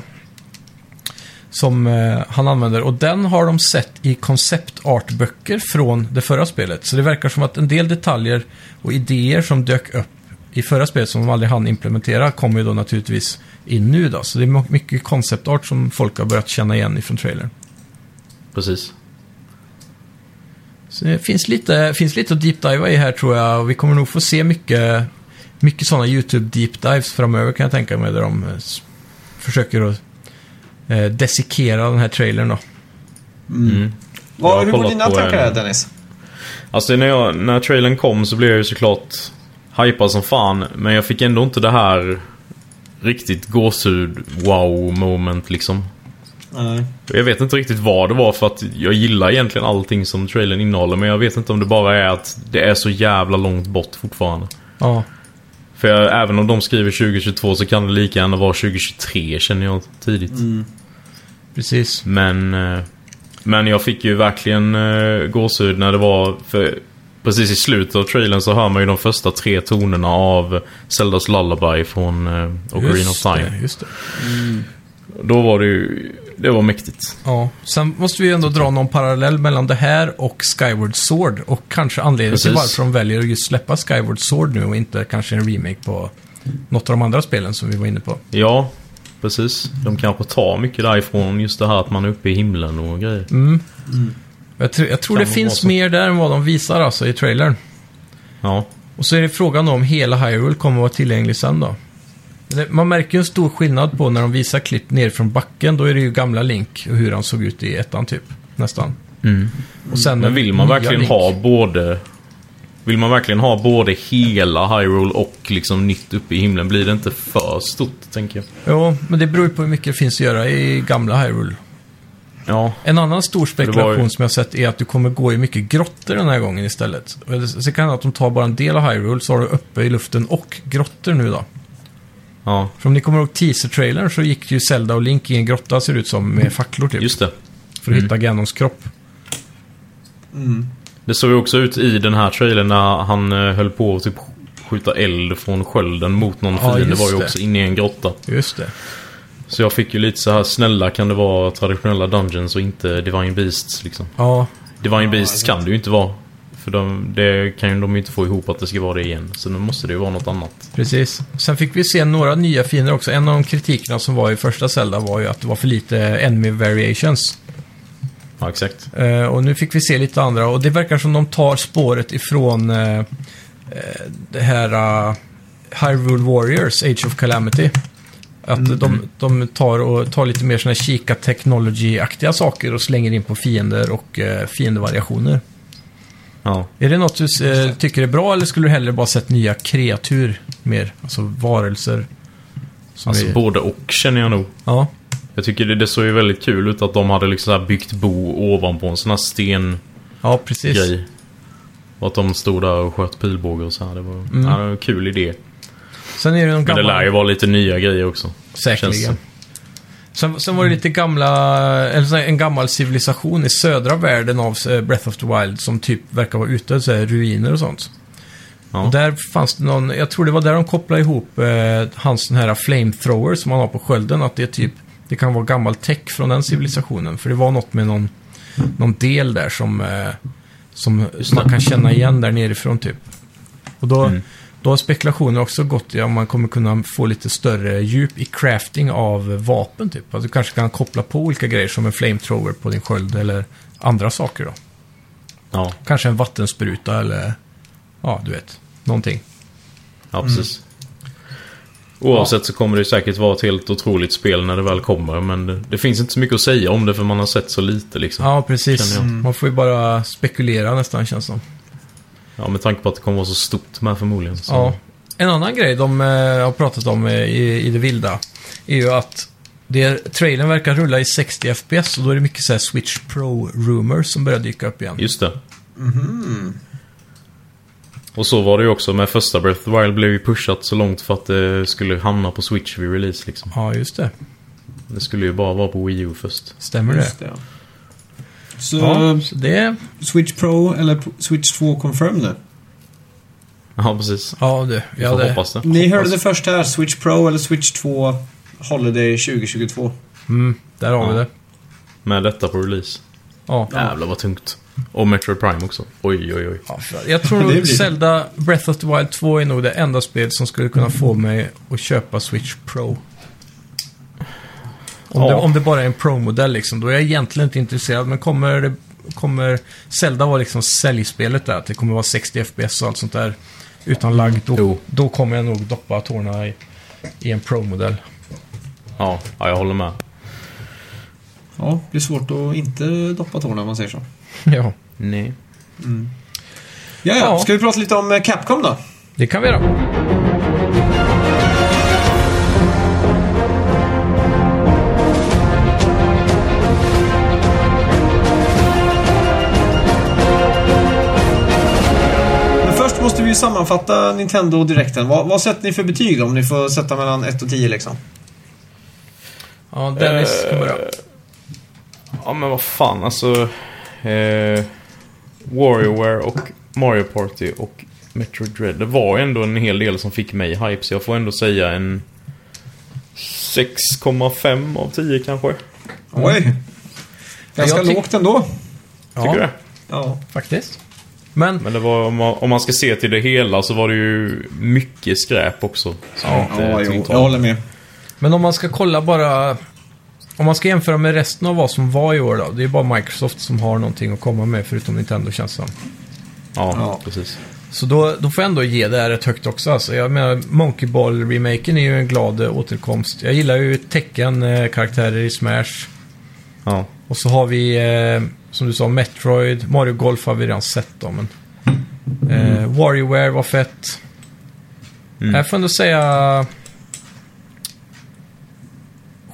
[SPEAKER 2] Som eh, han använder och den har de sett i konceptartböcker från det förra spelet. Så det verkar som att en del detaljer och idéer som dök upp i förra spelet som de aldrig hann implementera kommer ju då naturligtvis in nu då. Så det är mo- mycket konceptart som folk har börjat känna igen ifrån trailern.
[SPEAKER 3] Precis.
[SPEAKER 2] Så det finns lite, finns lite att deepdiva i här tror jag. Och vi kommer nog få se mycket, mycket sådana YouTube-deepdives framöver kan jag tänka mig. Där de eh, s- försöker att eh, dissekera den här trailern då.
[SPEAKER 3] Mm. Jag har
[SPEAKER 1] Vad, hur går
[SPEAKER 3] kollat
[SPEAKER 1] dina
[SPEAKER 3] på
[SPEAKER 1] tankar
[SPEAKER 3] en-
[SPEAKER 1] där Dennis?
[SPEAKER 3] Alltså när, jag, när trailern kom så blev jag ju såklart hypad som fan. Men jag fick ändå inte det här riktigt gåshud wow moment liksom.
[SPEAKER 1] Nej.
[SPEAKER 3] Jag vet inte riktigt vad det var för att jag gillar egentligen allting som trailern innehåller men jag vet inte om det bara är att det är så jävla långt bort fortfarande.
[SPEAKER 2] Ja.
[SPEAKER 3] För jag, även om de skriver 2022 så kan det lika gärna vara 2023 känner jag tidigt.
[SPEAKER 2] Precis.
[SPEAKER 3] Men, eh, men jag fick ju verkligen eh, gåshud när det var... För precis i slutet av trailern så hör man ju de första tre tonerna av Zeldas Lullaby från eh, Ocarina of
[SPEAKER 2] Just
[SPEAKER 3] Time.
[SPEAKER 2] det, just det.
[SPEAKER 3] Då var det ju... Det var mäktigt.
[SPEAKER 2] Ja. Sen måste vi ändå dra någon parallell mellan det här och Skyward Sword. Och kanske anledningen till
[SPEAKER 3] Precis.
[SPEAKER 2] varför de väljer att just släppa Skyward Sword nu och inte kanske en remake på något av de andra spelen som vi var inne på.
[SPEAKER 3] Ja, precis. De kanske tar mycket därifrån. Just det här att man är uppe i himlen och grejer.
[SPEAKER 2] Mm. Jag, tr- jag tror
[SPEAKER 3] Kan
[SPEAKER 2] det
[SPEAKER 3] nog vara
[SPEAKER 2] finns
[SPEAKER 3] så.
[SPEAKER 2] mer där än vad de visar alltså i trailern.
[SPEAKER 3] Ja.
[SPEAKER 2] Och så är det frågan om hela Hyrule kommer att vara tillgänglig sen då. Det- Man märker ju en stor skillnad på när de visar klipp ner från backen. Då är det ju gamla Link och hur han såg ut i ettan typ. Nästan. Och sen
[SPEAKER 3] Men
[SPEAKER 2] den
[SPEAKER 3] vill man
[SPEAKER 2] Mm. nya
[SPEAKER 3] verkligen
[SPEAKER 2] Link.
[SPEAKER 3] ha både... Vill man verkligen ha både hela Hyrule och liksom nytt uppe i himlen? Blir det inte för stort, tänker jag.
[SPEAKER 2] Jo, men det beror ju på hur mycket det finns att göra i gamla Hyrule.
[SPEAKER 3] Ja,
[SPEAKER 2] En annan stor
[SPEAKER 3] Det var
[SPEAKER 2] spekulation
[SPEAKER 3] ju-
[SPEAKER 2] som jag sett är att du kommer gå i mycket grottor den här gången istället. Och det- Så kan det att de tar bara en del av Hyrule, så har du uppe i luften och grottor nu då.
[SPEAKER 3] ja.
[SPEAKER 2] För om ni kommer ihåg teaser-trailern så gick ju Zelda och Link i en grotta, ser det ut som, med facklor typ.
[SPEAKER 3] Just det.
[SPEAKER 2] för att hitta Ganons kropp.
[SPEAKER 3] Det såg ju också ut i den här trailern när han eh, höll på att typ skjuta eld från skölden mot någon
[SPEAKER 2] Ja,
[SPEAKER 3] fiende. Det
[SPEAKER 2] just
[SPEAKER 3] var ju
[SPEAKER 2] det.
[SPEAKER 3] också inne i en grotta.
[SPEAKER 2] Just det.
[SPEAKER 3] Så jag fick ju lite så här snälla kan det vara traditionella Dungeons och inte Divine Beasts liksom.
[SPEAKER 2] Ja,
[SPEAKER 3] Divine Beasts kan det ju inte vara. För de, det kan ju de ju inte få ihop att det ska vara det igen. Så nu måste det ju vara något annat.
[SPEAKER 2] precis. Sen fick vi se några nya fiender också. En av de kritikerna som var i första Zelda var ju att det var för lite enemy variations.
[SPEAKER 3] Ja, exakt.
[SPEAKER 2] Eh, och nu fick vi se lite andra och det verkar som de tar spåret ifrån eh, eh, det här eh, Hyrule Warriors, Age of Calamity. Att de, de tar, och tar lite mer såna här kika technology-aktiga saker och slänger in på fiender och eh, fiendevariationer.
[SPEAKER 3] Ja.
[SPEAKER 2] Är det något du eh, tycker är bra eller skulle du hellre bara sett nya kreatur mer? Alltså varelser? Som
[SPEAKER 3] Alltså
[SPEAKER 2] är-
[SPEAKER 3] både och känner jag nog.
[SPEAKER 2] ja,
[SPEAKER 3] Jag tycker det, det såg ju väldigt kul ut att de hade liksom så här byggt bo ovanpå en sån här stengrej.
[SPEAKER 2] ja, precis.
[SPEAKER 3] Och att de stod där och sköt pilbåge och så här. Det var, ja, det var en kul idé.
[SPEAKER 2] Sen är det någon
[SPEAKER 3] Men det
[SPEAKER 2] Mm. gammal-
[SPEAKER 3] lär ju vara lite nya grejer också.
[SPEAKER 2] Säkerligen.
[SPEAKER 3] Känns-
[SPEAKER 2] Sen, sen var det lite gamla, eller sån här, en gammal civilisation i södra världen av eh, Breath of the Wild som typ verkar vara ute, så här, ruiner och sånt.
[SPEAKER 3] Ja.
[SPEAKER 2] Och där fanns det någon, jag tror det var där de kopplade ihop eh, hans den här flamethrower som han har på skölden, att det är typ, det kan vara gammal tech från den civilisationen. För det var något med någon, någon del där som, eh, som man kan känna igen där nerifrån typ. Och då, då har spekulationer också gått i om man kommer kunna få lite större djup i crafting av vapen typ. Att du kanske kan koppla på olika grejer som en flamethrower på din sköld eller andra saker då.
[SPEAKER 3] Ja,
[SPEAKER 2] Kanske en vattenspruta eller, ja du vet, någonting.
[SPEAKER 3] ja precis.
[SPEAKER 2] Mm.
[SPEAKER 3] Oavsett så kommer det säkert vara ett helt otroligt spel när det väl kommer. Men det, det finns inte så mycket att säga om det för man har sett så lite liksom. Ja.
[SPEAKER 2] Ja, precis.
[SPEAKER 3] Känner jag.
[SPEAKER 2] Man får ju bara spekulera nästan känns som.
[SPEAKER 3] med tanke på att det kommer vara så stort med förmodligen. Så.
[SPEAKER 2] Ja. En annan grej de eh, har pratat om eh, i, i det vilda är ju att det, trailern verkar rulla i 60 FPS och då är det mycket så här Switch Pro-rumors som börjar dyka upp igen.
[SPEAKER 3] Just det.
[SPEAKER 2] Mhm.
[SPEAKER 3] Och så var det ju också med första Breath of the Wild blev ju pushat så långt för att det skulle hamna på Switch vid release liksom.
[SPEAKER 2] Ja, just det.
[SPEAKER 3] Det skulle ju bara vara på Wii U först.
[SPEAKER 2] Stämmer det?
[SPEAKER 1] Just det. Så
[SPEAKER 3] eh,
[SPEAKER 2] Ja, så det,
[SPEAKER 1] Switch Pro eller P- Switch 2 confirm nu?
[SPEAKER 3] Ja, precis.
[SPEAKER 2] ja du.
[SPEAKER 3] Vi
[SPEAKER 2] Jag
[SPEAKER 3] får
[SPEAKER 2] hade,
[SPEAKER 3] hoppas det.
[SPEAKER 1] Ni
[SPEAKER 3] hoppas.
[SPEAKER 1] hörde det först här. Switch Pro eller Switch 2 Holiday 2022.
[SPEAKER 2] mm, där har vi
[SPEAKER 3] Ja.
[SPEAKER 2] det.
[SPEAKER 3] Med detta på release.
[SPEAKER 2] Ja.
[SPEAKER 3] Jävlar vad tungt. Och Metro Prime också. Oj, oj, oj.
[SPEAKER 2] Ja, för- Jag tror
[SPEAKER 1] Det blir-
[SPEAKER 2] nog Zelda Breath of the Wild 2 är nog det enda spel som skulle kunna få mig att köpa Switch Pro. Om,
[SPEAKER 3] Ja.
[SPEAKER 2] det, om det bara är en Pro-modell liksom, då är jag egentligen inte intresserad. Men kommer, det, kommer Zelda vara liksom säljspelet där, att det kommer vara 60 FPS och allt sånt där utan lagg, då,
[SPEAKER 3] Jo.
[SPEAKER 2] då kommer jag nog doppa tårna i, i en Pro-modell.
[SPEAKER 3] Ja, ja jag håller med.
[SPEAKER 1] Ja, det är svårt att inte doppa tårna om man säger så.
[SPEAKER 2] ja,
[SPEAKER 3] Nej.
[SPEAKER 1] Ja, ja.
[SPEAKER 2] Ja.
[SPEAKER 1] Ska vi prata lite om eh, Capcom då?
[SPEAKER 2] det kan vi göra.
[SPEAKER 1] sammanfatta Nintendo direkten. Vad, vad sätter ni för betyg då? Om ni får sätta mellan 1 och 10 liksom.
[SPEAKER 2] Ja, Dennis kan börja.
[SPEAKER 3] Ja men vad fan alltså. Eh, Warriorware och Mario Party och Metroid Dread. Det var ändå en hel del som fick mig hype så jag får ändå säga en 6,5 av 10 kanske.
[SPEAKER 1] Oj! Ganska
[SPEAKER 2] Jag tyck-
[SPEAKER 1] lågt ändå.
[SPEAKER 3] Tycker
[SPEAKER 2] Ja,
[SPEAKER 3] du det?
[SPEAKER 1] Ja.
[SPEAKER 2] faktiskt. Men
[SPEAKER 3] Men det var, om, man, om man ska se till det hela så var det ju mycket skräp också. Som jag inte
[SPEAKER 1] Ja, jo,
[SPEAKER 3] tyckte om.
[SPEAKER 1] jag håller med.
[SPEAKER 2] Men om man ska kolla bara... Om man ska jämföra med resten av vad som var i år då. Det är bara Microsoft som har någonting att komma med förutom Nintendo känns det som.
[SPEAKER 3] ja,
[SPEAKER 1] Ja.
[SPEAKER 3] precis.
[SPEAKER 2] Så då, då får jag ändå ge det här ett högt också. Alltså, jag menar, Monkey Ball-remaken är ju en glad eh, återkomst. Jag gillar ju tecken-karaktärer i Smash.
[SPEAKER 3] Ja.
[SPEAKER 2] Och så har vi, eh, som du sa, Metroid. Mario Golf har vi redan sett då, men... Eh, WarioWare var fett.
[SPEAKER 3] Mm.
[SPEAKER 2] Jag får ändå säga...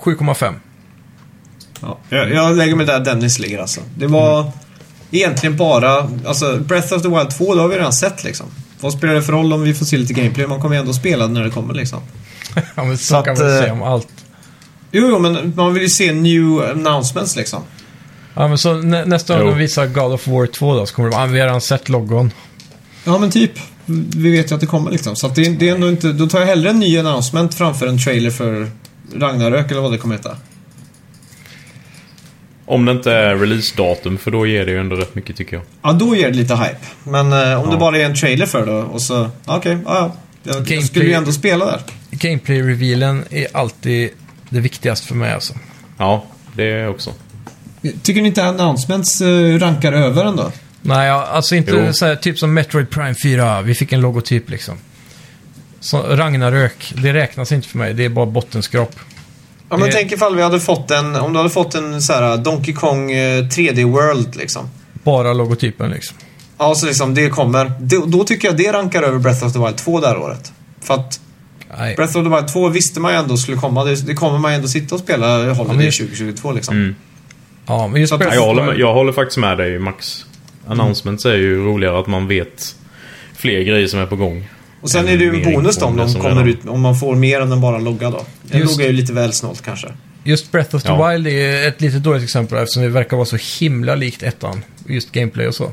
[SPEAKER 2] 7,5.
[SPEAKER 1] Ja. Jag, jag lägger mig där Dennis ligger alltså. Det var egentligen bara... Alltså, Breath of the Wild 2, det har vi redan sett liksom. Vad spelar det för roll om vi får se lite gameplay? Man kommer ju ändå spela det när det kommer liksom.
[SPEAKER 2] ja, men så,
[SPEAKER 1] Så
[SPEAKER 2] kan
[SPEAKER 1] att,
[SPEAKER 2] man
[SPEAKER 1] eh,
[SPEAKER 2] säga om allt.
[SPEAKER 1] Jo, jo, men man vill ju se new announcements liksom.
[SPEAKER 2] Ja, men så nä nästa gång
[SPEAKER 3] Jo.
[SPEAKER 2] de visar God of War 2 då, så kommer de ah, vi har redan sett logon.
[SPEAKER 1] Ja, men typ. Vi vet ju att det kommer liksom. Så att det, det är ändå inte... Då tar jag hellre en ny announcement framför en trailer för Ragnarök eller vad det kommer heta.
[SPEAKER 3] Om det inte är releasedatum för då ger det ju ändå rätt mycket tycker jag.
[SPEAKER 1] Ja, då ger det lite hype. Men eh, om det
[SPEAKER 3] Ja.
[SPEAKER 1] bara är en trailer för det och så... ja, Okej, ja, ja. Jag, jag skulle ju
[SPEAKER 2] Gameplay-
[SPEAKER 1] ändå spela där.
[SPEAKER 2] Gameplay-revealen är alltid det viktigaste för mig alltså.
[SPEAKER 3] Ja, det är också.
[SPEAKER 1] Tycker ni inte announcements eh, rankar över ändå?
[SPEAKER 2] Nej, ja, alltså inte
[SPEAKER 3] Jo.
[SPEAKER 2] så här, typ som Metroid Prime 4. Vi fick en logotyp liksom. Så Ragnarök, det räknas inte för mig. Det är bara bottenskrap.
[SPEAKER 1] Ja, men
[SPEAKER 2] Det-
[SPEAKER 1] tänk ifall vi hade fått en, om du hade fått en så här Donkey Kong eh, 3D World liksom.
[SPEAKER 2] Bara logotypen liksom.
[SPEAKER 1] Ja, så liksom det kommer. Då, då tycker jag det rankar över Breath of the Wild 2 det här året. För att
[SPEAKER 2] Nej.
[SPEAKER 1] Breath of the Wild 2 visste man ju ändå skulle komma. Det, det kommer man ju ändå sitta och spela Holiday
[SPEAKER 2] men-
[SPEAKER 1] 2022 liksom.
[SPEAKER 2] Ja, men just
[SPEAKER 1] Så att-
[SPEAKER 2] Breath
[SPEAKER 3] Ja,
[SPEAKER 2] of
[SPEAKER 3] jag,
[SPEAKER 2] the
[SPEAKER 3] håller med,
[SPEAKER 2] Wild-
[SPEAKER 3] jag håller faktiskt med dig Max. Announcements är ju roligare att man vet fler grejer som är på gång.
[SPEAKER 1] Och sen är det ju
[SPEAKER 3] Mer
[SPEAKER 1] en bonus då om
[SPEAKER 3] information
[SPEAKER 1] de
[SPEAKER 3] som
[SPEAKER 1] kommer
[SPEAKER 3] redan-
[SPEAKER 1] ut, om man får mer än en bara logga då. En
[SPEAKER 2] Just-
[SPEAKER 1] logga är ju lite väl snålt kanske.
[SPEAKER 2] Just Breath of the
[SPEAKER 3] Ja.
[SPEAKER 2] Wild är ett lite dåligt exempel eftersom det verkar vara så himla likt ettan. Just gameplay och så.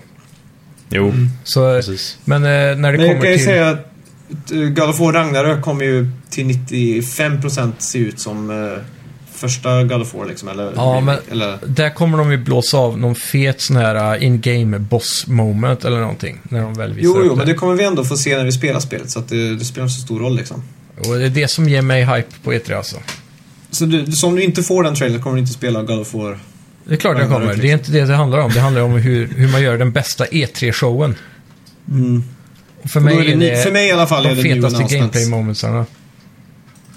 [SPEAKER 3] Jo,
[SPEAKER 2] så eh,
[SPEAKER 3] precis.
[SPEAKER 2] men eh, när det
[SPEAKER 1] Men jag
[SPEAKER 2] kommer
[SPEAKER 1] kan ju
[SPEAKER 2] till...
[SPEAKER 1] säga att eh, God of War Ragnarök kommer ju till 95% se ut som eh, första God of War liksom. Eller,
[SPEAKER 2] Ja, men-
[SPEAKER 1] eller
[SPEAKER 2] Där kommer de ju blåsa av någon fet sån här eh, in-game boss moment eller någonting. När de väl visar
[SPEAKER 1] Jo,
[SPEAKER 2] upp
[SPEAKER 1] jo, men
[SPEAKER 2] det.
[SPEAKER 1] det kommer vi ändå få se när vi spelar spelet, så att det, det spelar inte så stor roll liksom.
[SPEAKER 2] Och det är det som ger mig hype på E3 alltså.
[SPEAKER 1] Så du, så om du inte får den trailern kommer du inte spela God of War.
[SPEAKER 2] Det är klart jag
[SPEAKER 1] Men
[SPEAKER 2] kommer.
[SPEAKER 1] verkligen.
[SPEAKER 2] Det är inte det det handlar om. Det handlar om hur, hur man gör den bästa E3-showen. Och För
[SPEAKER 1] För
[SPEAKER 2] mig
[SPEAKER 1] mig,
[SPEAKER 2] är det,
[SPEAKER 1] Mm. är det, för mig i alla fall är
[SPEAKER 2] de
[SPEAKER 1] det new
[SPEAKER 2] fetaste
[SPEAKER 1] announcements.
[SPEAKER 2] gameplay momentsarna.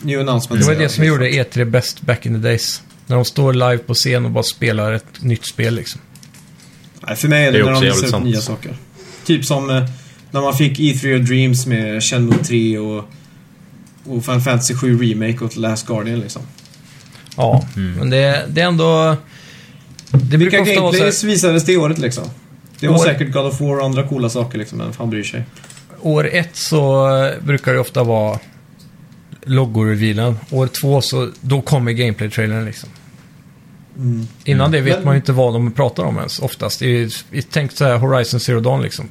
[SPEAKER 1] New
[SPEAKER 2] Det
[SPEAKER 1] announcements.
[SPEAKER 2] var det som gjorde E3 bäst back in the days. När de står live på scen och bara spelar ett nytt spel liksom.
[SPEAKER 1] Nej, för mig är det,
[SPEAKER 3] Det är
[SPEAKER 1] när de
[SPEAKER 3] också
[SPEAKER 1] visar upp
[SPEAKER 3] jävligt sant.
[SPEAKER 1] nya saker. Typ som eh, när man fick E3 och Dreams med Shenmue 3 och, och Final Fantasy 7 Remake och The Last Guardian liksom.
[SPEAKER 2] Ja, men det, det är ändå... Det
[SPEAKER 1] Mm. Vilka
[SPEAKER 2] brukar ofta vara så här,
[SPEAKER 1] gameplays visades det i året liksom? Det var
[SPEAKER 2] År-
[SPEAKER 1] säkert God of War och andra coola saker liksom, men fan bryr sig.
[SPEAKER 2] År ett så eh, brukar det ofta vara logorevealen. År två så, då kommer gameplay-trailern liksom.
[SPEAKER 1] Mm.
[SPEAKER 2] Innan det vet
[SPEAKER 1] Men-
[SPEAKER 2] man ju inte vad de pratar om ens, oftast. I, i, tänk så här Horizon Zero Dawn liksom.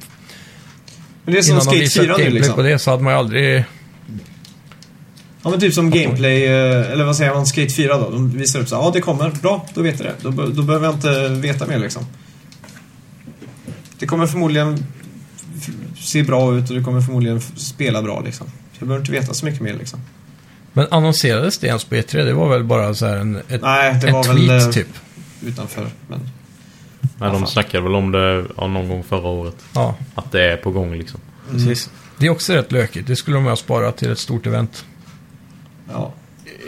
[SPEAKER 1] Men det är som
[SPEAKER 2] Innan de
[SPEAKER 1] Skate
[SPEAKER 2] visar
[SPEAKER 1] 4 nu
[SPEAKER 2] gameplay
[SPEAKER 1] liksom.
[SPEAKER 2] på det så hade man ju aldrig...
[SPEAKER 1] Ja men typ som gameplay, eh, eller vad säger man, Skate 4 då. De visar upp så här, ja det kommer, bra, då vet jag det. Då, be- då behöver jag inte veta mer liksom. Det kommer förmodligen f- se bra ut och det kommer förmodligen f- spela bra liksom. Så jag behöver inte veta så mycket mer liksom.
[SPEAKER 2] Men annonserades det ens på E3? Det var väl bara så här en, ett,
[SPEAKER 1] Nej, det
[SPEAKER 2] en
[SPEAKER 1] var
[SPEAKER 2] tweet
[SPEAKER 1] väl eh,
[SPEAKER 2] typ.
[SPEAKER 1] utanför. Men...
[SPEAKER 3] Nej, de snackade väl om det ja, någon gång förra året.
[SPEAKER 2] Ja,
[SPEAKER 3] Att det är på gång liksom.
[SPEAKER 2] precis. Det är också rätt lökigt. Det skulle de ju ha sparat till ett stort event.
[SPEAKER 1] Ja.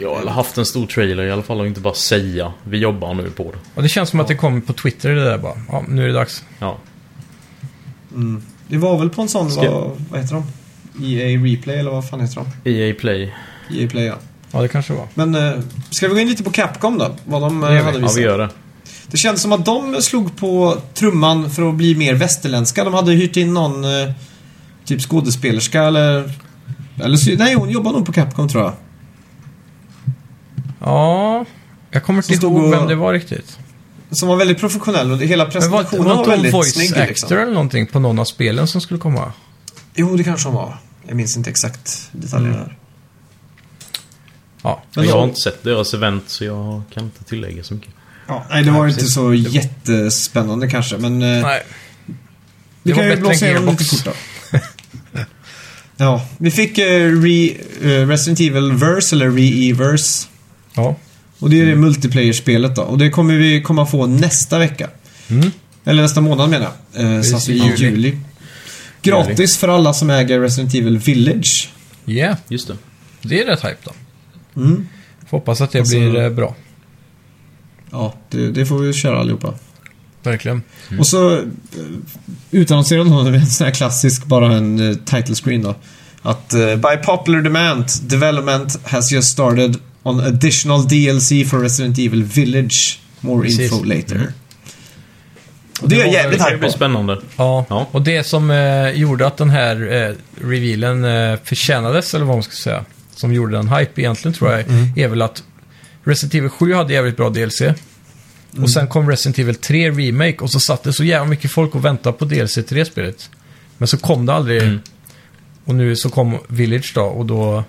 [SPEAKER 3] Ja, eller haft en stor trailer i alla fall och inte bara säga vi jobbar nu på det.
[SPEAKER 2] Och det känns som att det kommer på Twitter det där bara. Ja, nu är det dags.
[SPEAKER 3] Ja,
[SPEAKER 1] Mm. Det var väl på en sån,
[SPEAKER 3] Ska-
[SPEAKER 1] vad, vad heter de? EA Replay eller vad fan heter de?
[SPEAKER 3] EA E Play.
[SPEAKER 1] EA Play ja.
[SPEAKER 2] Ja, det kanske det var.
[SPEAKER 1] Men eh, ska vi gå in lite på Capcom då? Vad de eh,
[SPEAKER 2] Det gör vi.
[SPEAKER 1] hade
[SPEAKER 3] Ja,
[SPEAKER 1] visat.
[SPEAKER 3] vi gör det.
[SPEAKER 1] Det kändes som att de slog på trumman för att bli mer västerländska. De hade hyrt in någon eh, typ skådespelerska eller... eller sy- nej, hon jobbar nog på Capcom tror jag.
[SPEAKER 2] Ja, jag kommer
[SPEAKER 1] Som
[SPEAKER 2] inte
[SPEAKER 1] stod
[SPEAKER 2] ihåg
[SPEAKER 1] och-
[SPEAKER 2] vem det var riktigt.
[SPEAKER 1] Som var väldigt professionell och hela
[SPEAKER 2] Men var,
[SPEAKER 1] presentationen
[SPEAKER 2] var
[SPEAKER 1] var,
[SPEAKER 2] inte hon
[SPEAKER 1] väldigt
[SPEAKER 2] voice
[SPEAKER 1] snygg.
[SPEAKER 2] actor
[SPEAKER 1] Liksom.
[SPEAKER 2] eller någonting på någon av spelen som skulle komma?
[SPEAKER 1] Jo, det kanske hon var. Jag minns inte exakt detaljerna.
[SPEAKER 2] Mm.
[SPEAKER 1] här.
[SPEAKER 2] Ja.
[SPEAKER 1] Men
[SPEAKER 3] jag
[SPEAKER 1] då-
[SPEAKER 3] har inte sett deras event så jag kan inte tillägga så mycket.
[SPEAKER 1] Ja, nej, det var
[SPEAKER 2] Nej,
[SPEAKER 1] inte
[SPEAKER 2] precis.
[SPEAKER 1] så jättespännande kanske, men... eh,
[SPEAKER 2] Nej.
[SPEAKER 1] Vi
[SPEAKER 2] Det
[SPEAKER 1] kan
[SPEAKER 2] var
[SPEAKER 1] ju
[SPEAKER 2] bättre
[SPEAKER 1] blåsa
[SPEAKER 2] än
[SPEAKER 1] igenom lite
[SPEAKER 2] Gearbox.
[SPEAKER 1] fort då. Ja, vi fick eh, re, eh, Resident Evil Verse, eller Re-Everse.
[SPEAKER 2] Ja.
[SPEAKER 1] Och det är det
[SPEAKER 2] Mm.
[SPEAKER 1] multiplayer-spelet då. Och det kommer vi komma få nästa vecka.
[SPEAKER 2] Mm.
[SPEAKER 1] Eller nästa månad menar jag. Eh, så alltså i
[SPEAKER 2] i
[SPEAKER 1] juli.
[SPEAKER 2] juli.
[SPEAKER 1] Gratis för alla som äger Resident Evil Village.
[SPEAKER 2] Yeah,
[SPEAKER 3] Just det.
[SPEAKER 2] det är rätt hype då.
[SPEAKER 1] Mm.
[SPEAKER 2] Får hoppas att det
[SPEAKER 1] Alltså-
[SPEAKER 2] blir eh, bra.
[SPEAKER 1] Ja, det, det får vi köra allihopa.
[SPEAKER 2] Verkligen.
[SPEAKER 1] Och så eh, utannonserar de en sån här klassisk, bara en eh, title screen då. Att eh, by popular demand, development has just started on additional DLC for Resident Evil Village. More
[SPEAKER 2] Precis. Mm.
[SPEAKER 1] info later. Och det är jag
[SPEAKER 2] Det var-
[SPEAKER 1] jävligt
[SPEAKER 3] Det kan ju
[SPEAKER 1] hype
[SPEAKER 3] bli
[SPEAKER 1] på.
[SPEAKER 3] spännande.
[SPEAKER 2] Ja,
[SPEAKER 3] Ja.
[SPEAKER 2] och det som eh, gjorde att den här eh, revealen eh, förtjänades, eller vad man ska säga, som gjorde den hype egentligen tror jag, är väl att Resident Evil 7 hade jävligt bra DLC. Och sen kom Resident Evil 3 Remake och så satt det så jävla mycket folk och väntade på DLC till det spelet. Men så kom det aldrig. Och nu så kom Village då och då,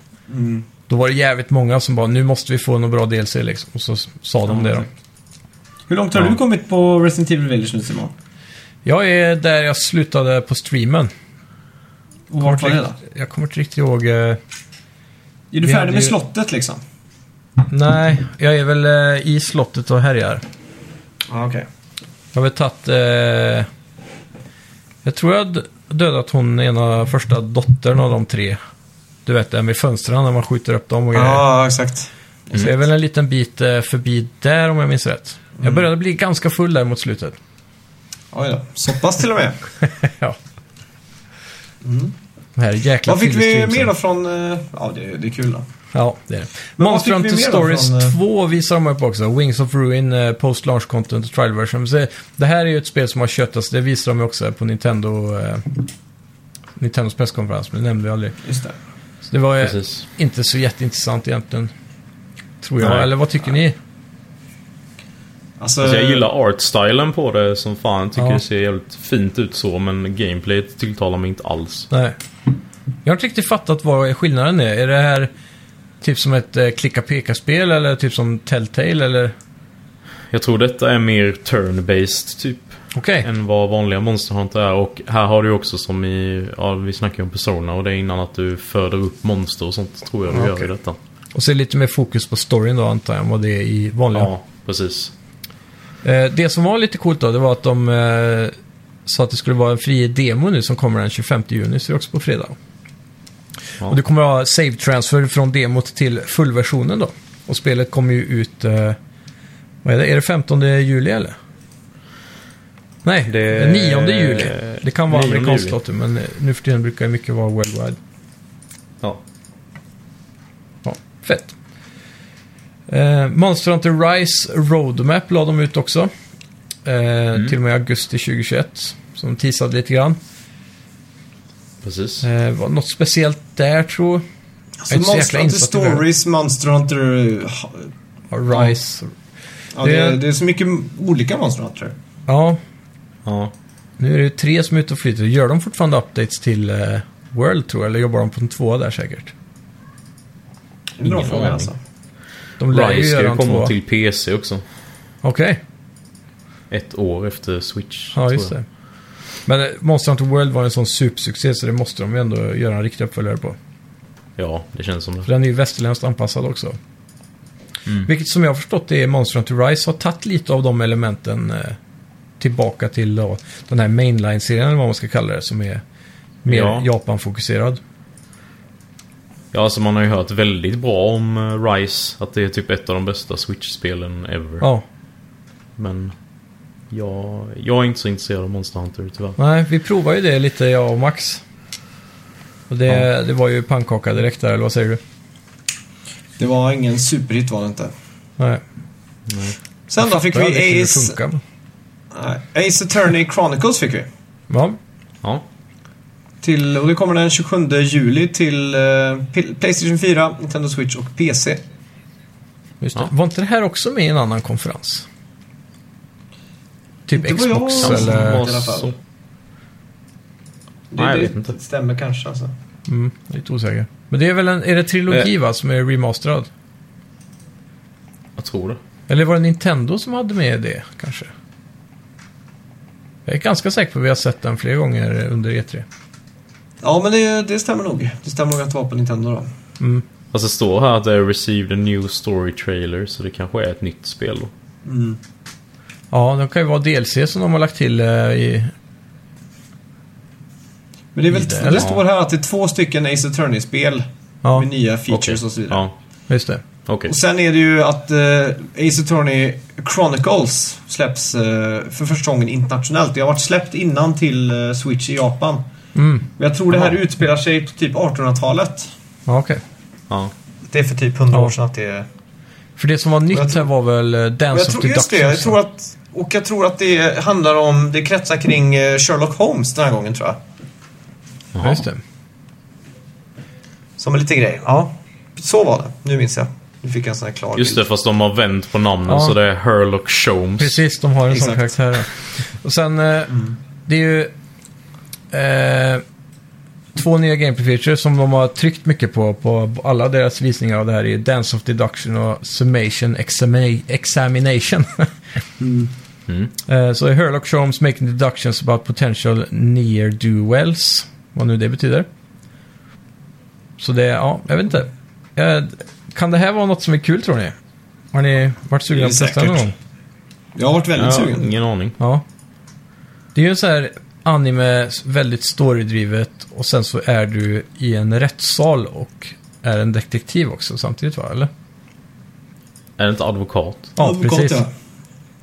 [SPEAKER 2] då var det jävligt många som bara nu måste vi få något bra DLC liksom. Och så sa de det då.
[SPEAKER 1] Hur långt har
[SPEAKER 3] Ja.
[SPEAKER 1] du kommit på Resident Evil Village nu Simon?
[SPEAKER 2] Jag är där jag slutade på streamen.
[SPEAKER 1] Och vart var det då?
[SPEAKER 2] Jag kommer inte riktigt ihåg. Eh,
[SPEAKER 1] Är du
[SPEAKER 2] Vi
[SPEAKER 1] färdig
[SPEAKER 2] hade
[SPEAKER 1] med
[SPEAKER 2] ju-
[SPEAKER 1] slottet liksom?
[SPEAKER 2] Nej, jag är väl eh, i slottet och härjar.
[SPEAKER 1] Ja, okej.
[SPEAKER 2] Jag har väl tagit... Eh, jag tror jag hade dödat hon ena första dottern av de tre. Du vet, den vid fönstren när man skjuter upp dem och grejer.
[SPEAKER 1] Ja, exakt.
[SPEAKER 2] Så jag är väl en liten bit eh, förbi där om jag minns rätt.
[SPEAKER 1] Mm.
[SPEAKER 2] Jag började bli ganska full där mot slutet.
[SPEAKER 1] Oj då. Så pass till och med.
[SPEAKER 2] ja. Den här jäkla
[SPEAKER 1] Vad fick vi
[SPEAKER 2] filmstreamsen.
[SPEAKER 1] mer då från... eh, Ja, det, det är kul då.
[SPEAKER 2] Ja, det är det.
[SPEAKER 1] Men vad
[SPEAKER 2] Monster
[SPEAKER 1] fick vi
[SPEAKER 2] Hunter
[SPEAKER 1] mer då
[SPEAKER 2] Stories
[SPEAKER 1] från, eh,
[SPEAKER 2] 2 visar de upp också. Wings of Ruin, eh, Post Launch Content och Trial Version. Så det här är ju ett spel som har köttats. Det visar de ju också på Nintendo... Eh, Nintendos presskonferens, men det nämnde vi aldrig.
[SPEAKER 1] Just det.
[SPEAKER 2] Så det var eh,
[SPEAKER 3] Precis.
[SPEAKER 2] inte så jätteintressant egentligen. Tror jag.
[SPEAKER 3] Nej.
[SPEAKER 2] Eller vad tycker ni?
[SPEAKER 1] Alltså,
[SPEAKER 3] Alltså jag gillar artstylen på det som fan. Tycker
[SPEAKER 2] Eh, Ja.
[SPEAKER 3] det ser jävligt fint ut så men gameplayet tilltalar mig inte alls.
[SPEAKER 2] Nej. Jag har inte riktigt fattat vad skillnaden är. Är det här typ som ett eh, klicka-peka-spel eller typ som Telltale eller?
[SPEAKER 3] Jag tror detta är mer turn-based typ.
[SPEAKER 2] Okej.
[SPEAKER 3] Än vad vanliga Monster Hunter är. Och här har du också som i... Ja, vi snackade ju om Persona och det är innan att du föder upp monster och sånt tror jag du
[SPEAKER 2] Ja,
[SPEAKER 3] gör
[SPEAKER 2] okej.
[SPEAKER 3] i detta.
[SPEAKER 2] Och så är det lite mer fokus på storyn då antar jag, än vad det är i vanliga.
[SPEAKER 3] Ja, precis.
[SPEAKER 2] Eh, Det som var lite coolt då, det var att de eh, sa att det skulle vara en fri demo nu som kommer den 25 juni, så det är också på fredag.
[SPEAKER 3] Ja.
[SPEAKER 2] Och du kommer ha save transfer från demot till fullversionen då. Och spelet kommer ju ut, eh, vad är det, är det 15 juli eller? Nej,
[SPEAKER 3] Det-
[SPEAKER 2] 9 juli. Det kan vara
[SPEAKER 3] 9
[SPEAKER 2] amerikanskt
[SPEAKER 3] juli.
[SPEAKER 2] datum, men eh, nu för tiden brukar ju mycket vara worldwide.
[SPEAKER 3] Ja.
[SPEAKER 2] Ja, fett. Eh, Monster Hunter Rise Roadmap la de ut också. Eh,
[SPEAKER 3] Mm.
[SPEAKER 2] Till och med augusti 2021. Som teasade lite grann.
[SPEAKER 3] Precis.
[SPEAKER 2] Eh, var något speciellt där tror
[SPEAKER 1] alltså,
[SPEAKER 2] jag är så
[SPEAKER 1] Monster
[SPEAKER 2] jäkla
[SPEAKER 1] Hunter
[SPEAKER 2] insatt i det här.
[SPEAKER 1] Stories, Monster Hunter... eh,
[SPEAKER 2] jag. Rise.
[SPEAKER 1] Ja, det, är,
[SPEAKER 2] Det-
[SPEAKER 1] det är så mycket olika Monster Hunter.
[SPEAKER 2] Ja,
[SPEAKER 3] Ja.
[SPEAKER 2] nu är det ju tre som är ute och flyter. Gör de fortfarande updates till eh, World tror jag? Eller jobbar de på en tvåa där säkert?
[SPEAKER 1] Det är en bra
[SPEAKER 3] Ingen
[SPEAKER 1] fråga
[SPEAKER 3] aning.
[SPEAKER 1] alltså.
[SPEAKER 2] De lär ju
[SPEAKER 3] Rise ska
[SPEAKER 2] göra
[SPEAKER 3] ju
[SPEAKER 2] en
[SPEAKER 3] komma
[SPEAKER 2] tvåa.
[SPEAKER 3] till PC också.
[SPEAKER 2] Okej,
[SPEAKER 3] Ett år efter Switch.
[SPEAKER 2] ja
[SPEAKER 3] tror
[SPEAKER 2] just
[SPEAKER 3] jag.
[SPEAKER 2] det. Men eh, Monster Hunter World var en sån supersuccé så det måste de ju ändå göra en riktig uppföljare på.
[SPEAKER 3] Ja, det känns som det.
[SPEAKER 2] För den är ju västerländskt anpassad också.
[SPEAKER 3] Mm.
[SPEAKER 2] Vilket som jag har förstått det är Monster Hunter Rise har tagit lite av de elementen eh, tillbaka till då, den här mainline-serien eller vad man ska kalla det som är mer
[SPEAKER 3] Ja.
[SPEAKER 2] Japan-fokuserad.
[SPEAKER 3] Ja, alltså man har ju hört väldigt bra om eh, Rise. Att det är typ ett av de bästa Switch-spelen ever.
[SPEAKER 2] Ja,
[SPEAKER 3] Men jag, jag är inte så intresserad av Monster Hunter tyvärr.
[SPEAKER 2] nej, vi provar ju det lite jag och Max. Och det,
[SPEAKER 3] Ja.
[SPEAKER 2] det var ju pannkaka direkt där, eller vad säger du?
[SPEAKER 1] Det var ingen superhit var det inte.
[SPEAKER 2] Nej,
[SPEAKER 1] Sen då fick
[SPEAKER 2] jag vet inte hur
[SPEAKER 1] vi
[SPEAKER 2] det
[SPEAKER 1] Ace...
[SPEAKER 2] funkar. men-
[SPEAKER 1] Nej, Ace Attorney Chronicles fick vi.
[SPEAKER 2] Ja,
[SPEAKER 3] Ja,
[SPEAKER 1] Till, och det kommer den 27 juli till eh, P- Playstation 4, Nintendo Switch och PC.
[SPEAKER 2] Just det.
[SPEAKER 3] Ja.
[SPEAKER 2] Var inte det här också med i en annan konferens? Typ
[SPEAKER 1] Inte vad jag
[SPEAKER 2] Xbox
[SPEAKER 1] minns.
[SPEAKER 2] eller...
[SPEAKER 1] eh, i alla fall.
[SPEAKER 3] Alltså, Så.
[SPEAKER 1] Det,
[SPEAKER 3] Nej, jag
[SPEAKER 1] det
[SPEAKER 3] vet inte.
[SPEAKER 1] stämmer kanske alltså.
[SPEAKER 2] Mm, lite osäker. Eh. Men det är väl en... Är det trilogi va, som är remasterad?
[SPEAKER 3] Jag tror det.
[SPEAKER 2] Eller var det Nintendo som hade med det, kanske? Jag är ganska säker på att vi har sett den flera gånger under E E3.
[SPEAKER 1] Ja, men det, det stämmer nog. Det stämmer nog att det var på Nintendo då.
[SPEAKER 2] Mm.
[SPEAKER 3] Fast Alltså, det står här att det är received a new story trailer, så det kanske är ett nytt spel då.
[SPEAKER 1] Mm.
[SPEAKER 2] Ja, det kan ju vara DLC som de har lagt till eh, i...
[SPEAKER 1] Men det, är väl,
[SPEAKER 2] Det-
[SPEAKER 1] det,
[SPEAKER 2] eller?
[SPEAKER 1] står här att det är två stycken Ace Attorney-spel
[SPEAKER 2] Ja,
[SPEAKER 1] med nya features
[SPEAKER 3] Okej.
[SPEAKER 1] och så vidare.
[SPEAKER 3] Ja,
[SPEAKER 2] just det.
[SPEAKER 3] okej.
[SPEAKER 1] Och sen är det ju att eh, Ace Attorney Chronicles släpps eh, för första gången internationellt. Det har varit släppt innan till eh, Switch i Japan.
[SPEAKER 2] Mm,
[SPEAKER 1] Men jag tror det här
[SPEAKER 3] Jaha.
[SPEAKER 1] utspelar sig på typ 1800-talet.
[SPEAKER 2] ja, okej.
[SPEAKER 3] Ja.
[SPEAKER 1] Det är för typ 100
[SPEAKER 2] Ja.
[SPEAKER 1] år sedan att det...
[SPEAKER 2] För det som var nytt
[SPEAKER 1] jag tror-
[SPEAKER 2] här var väl eh,
[SPEAKER 1] Och
[SPEAKER 2] Dance
[SPEAKER 1] jag
[SPEAKER 2] of
[SPEAKER 1] tror,
[SPEAKER 2] the
[SPEAKER 1] just
[SPEAKER 2] Duck.
[SPEAKER 1] det, jag tror att... Och jag tror att det handlar om... Det kretsar kring eh, Sherlock Holmes den här gången tror jag.
[SPEAKER 2] Ja, just det.
[SPEAKER 1] Som en liten grej. Ja. Så var det. Nu minns jag. Nu fick jag en sån här klar
[SPEAKER 3] Just det,
[SPEAKER 1] bild.
[SPEAKER 3] fast de har vänt på namnen
[SPEAKER 2] Ja.
[SPEAKER 3] så det är Herlock Sholmes.
[SPEAKER 2] Precis, de har en sån
[SPEAKER 1] Exakt. Mm.
[SPEAKER 2] karaktär. ja. Och sen, eh, det är ju eh, två nya gameplay features som de har tryckt mycket på, på alla deras visningar av det här är Dance of Deduction och Summation Exami- Examination.
[SPEAKER 1] Mm.
[SPEAKER 2] Eh, Så är Herlock Sholmes making deductions about potential near duels. Vad nu det betyder. Så det, ja, jag vet inte. Eh, Kan det här vara något som är kul tror ni? Har ni varit sugna
[SPEAKER 1] Det
[SPEAKER 2] på
[SPEAKER 1] är
[SPEAKER 2] att testa
[SPEAKER 1] säkert.
[SPEAKER 2] någon gång?
[SPEAKER 1] Jag har varit
[SPEAKER 3] Jag
[SPEAKER 1] väldigt
[SPEAKER 3] har
[SPEAKER 1] sugen.
[SPEAKER 3] ingen aning.
[SPEAKER 2] Ja. Det är ju en sån här anime, väldigt storydrivet och sen så är du i en rättssal och är en detektiv också samtidigt va, eller?
[SPEAKER 3] Är det inte advokat?
[SPEAKER 2] Ja,
[SPEAKER 1] Advokat,
[SPEAKER 2] precis.
[SPEAKER 1] ja.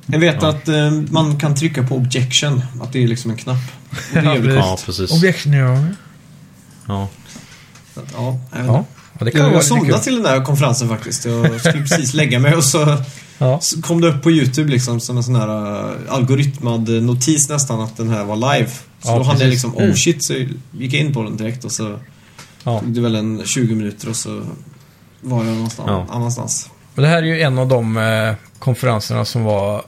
[SPEAKER 1] Jag vet att eh, man kan trycka på objection, att det är liksom en knapp. Och det är
[SPEAKER 2] Ja,
[SPEAKER 1] jävligt
[SPEAKER 2] precis.
[SPEAKER 3] Ja, precis.
[SPEAKER 2] Objection, ja.
[SPEAKER 3] Ja.
[SPEAKER 1] Så att, Ja, jag vet
[SPEAKER 2] Ja,
[SPEAKER 1] inte.
[SPEAKER 2] ja det kan
[SPEAKER 1] jag
[SPEAKER 2] vara
[SPEAKER 1] jag
[SPEAKER 2] lite kul.
[SPEAKER 1] somnade till den där konferensen faktiskt. Jag skulle precis lägga mig och så
[SPEAKER 2] Ja.
[SPEAKER 1] så kom det upp på YouTube liksom som en sån här eh, algoritmad notis nästan att den här var live. Så
[SPEAKER 2] Ja,
[SPEAKER 1] då hann jag
[SPEAKER 2] precis. Mm.
[SPEAKER 1] liksom, oh shit, så gick jag in på den direkt och så
[SPEAKER 2] Ja.
[SPEAKER 1] tog det väl en 20 minuter och så var jag någonstans,
[SPEAKER 3] Ja.
[SPEAKER 1] annanstans.
[SPEAKER 2] Men det här är ju en av de eh, konferenserna som var,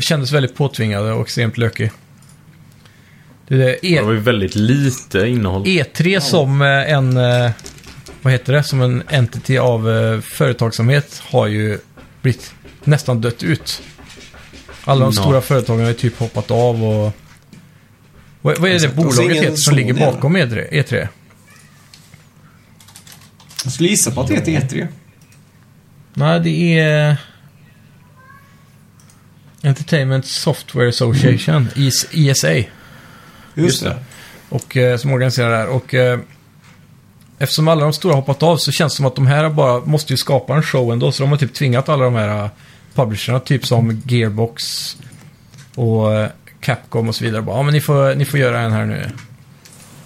[SPEAKER 2] kändes väldigt påtvingade och extremt lökig. Det är
[SPEAKER 3] Det var
[SPEAKER 2] E-
[SPEAKER 3] ju väldigt lite innehåll.
[SPEAKER 2] E3 E som eh, en, eh, vad heter det, som en entity av eh, företagsamhet har ju blivit nästan dött ut. Alla de
[SPEAKER 3] Ja.
[SPEAKER 2] stora företagen har ju typ hoppat av och... Vad, vad är det
[SPEAKER 1] Exakt. Alltså, Och så
[SPEAKER 2] bolaget
[SPEAKER 1] ingen
[SPEAKER 2] heter som
[SPEAKER 1] Sony,
[SPEAKER 2] ligger bakom E E3? E3?
[SPEAKER 1] Jag skulle gissa på att det heter E E3.
[SPEAKER 2] Nej, det är... Entertainment Software Association, E IS- ESA.
[SPEAKER 1] Just,
[SPEAKER 3] Just
[SPEAKER 1] det.
[SPEAKER 3] det.
[SPEAKER 2] och, eh, som organiserar det här. Och, eh, eftersom alla de stora har hoppat av så känns det som att de här bara måste ju skapa en show ändå. Så de har typ tvingat alla de här eh, publisherna, typ som Gearbox och eh, Capcom och så vidare. Bara, ja, men ni får, ni får göra en här nu.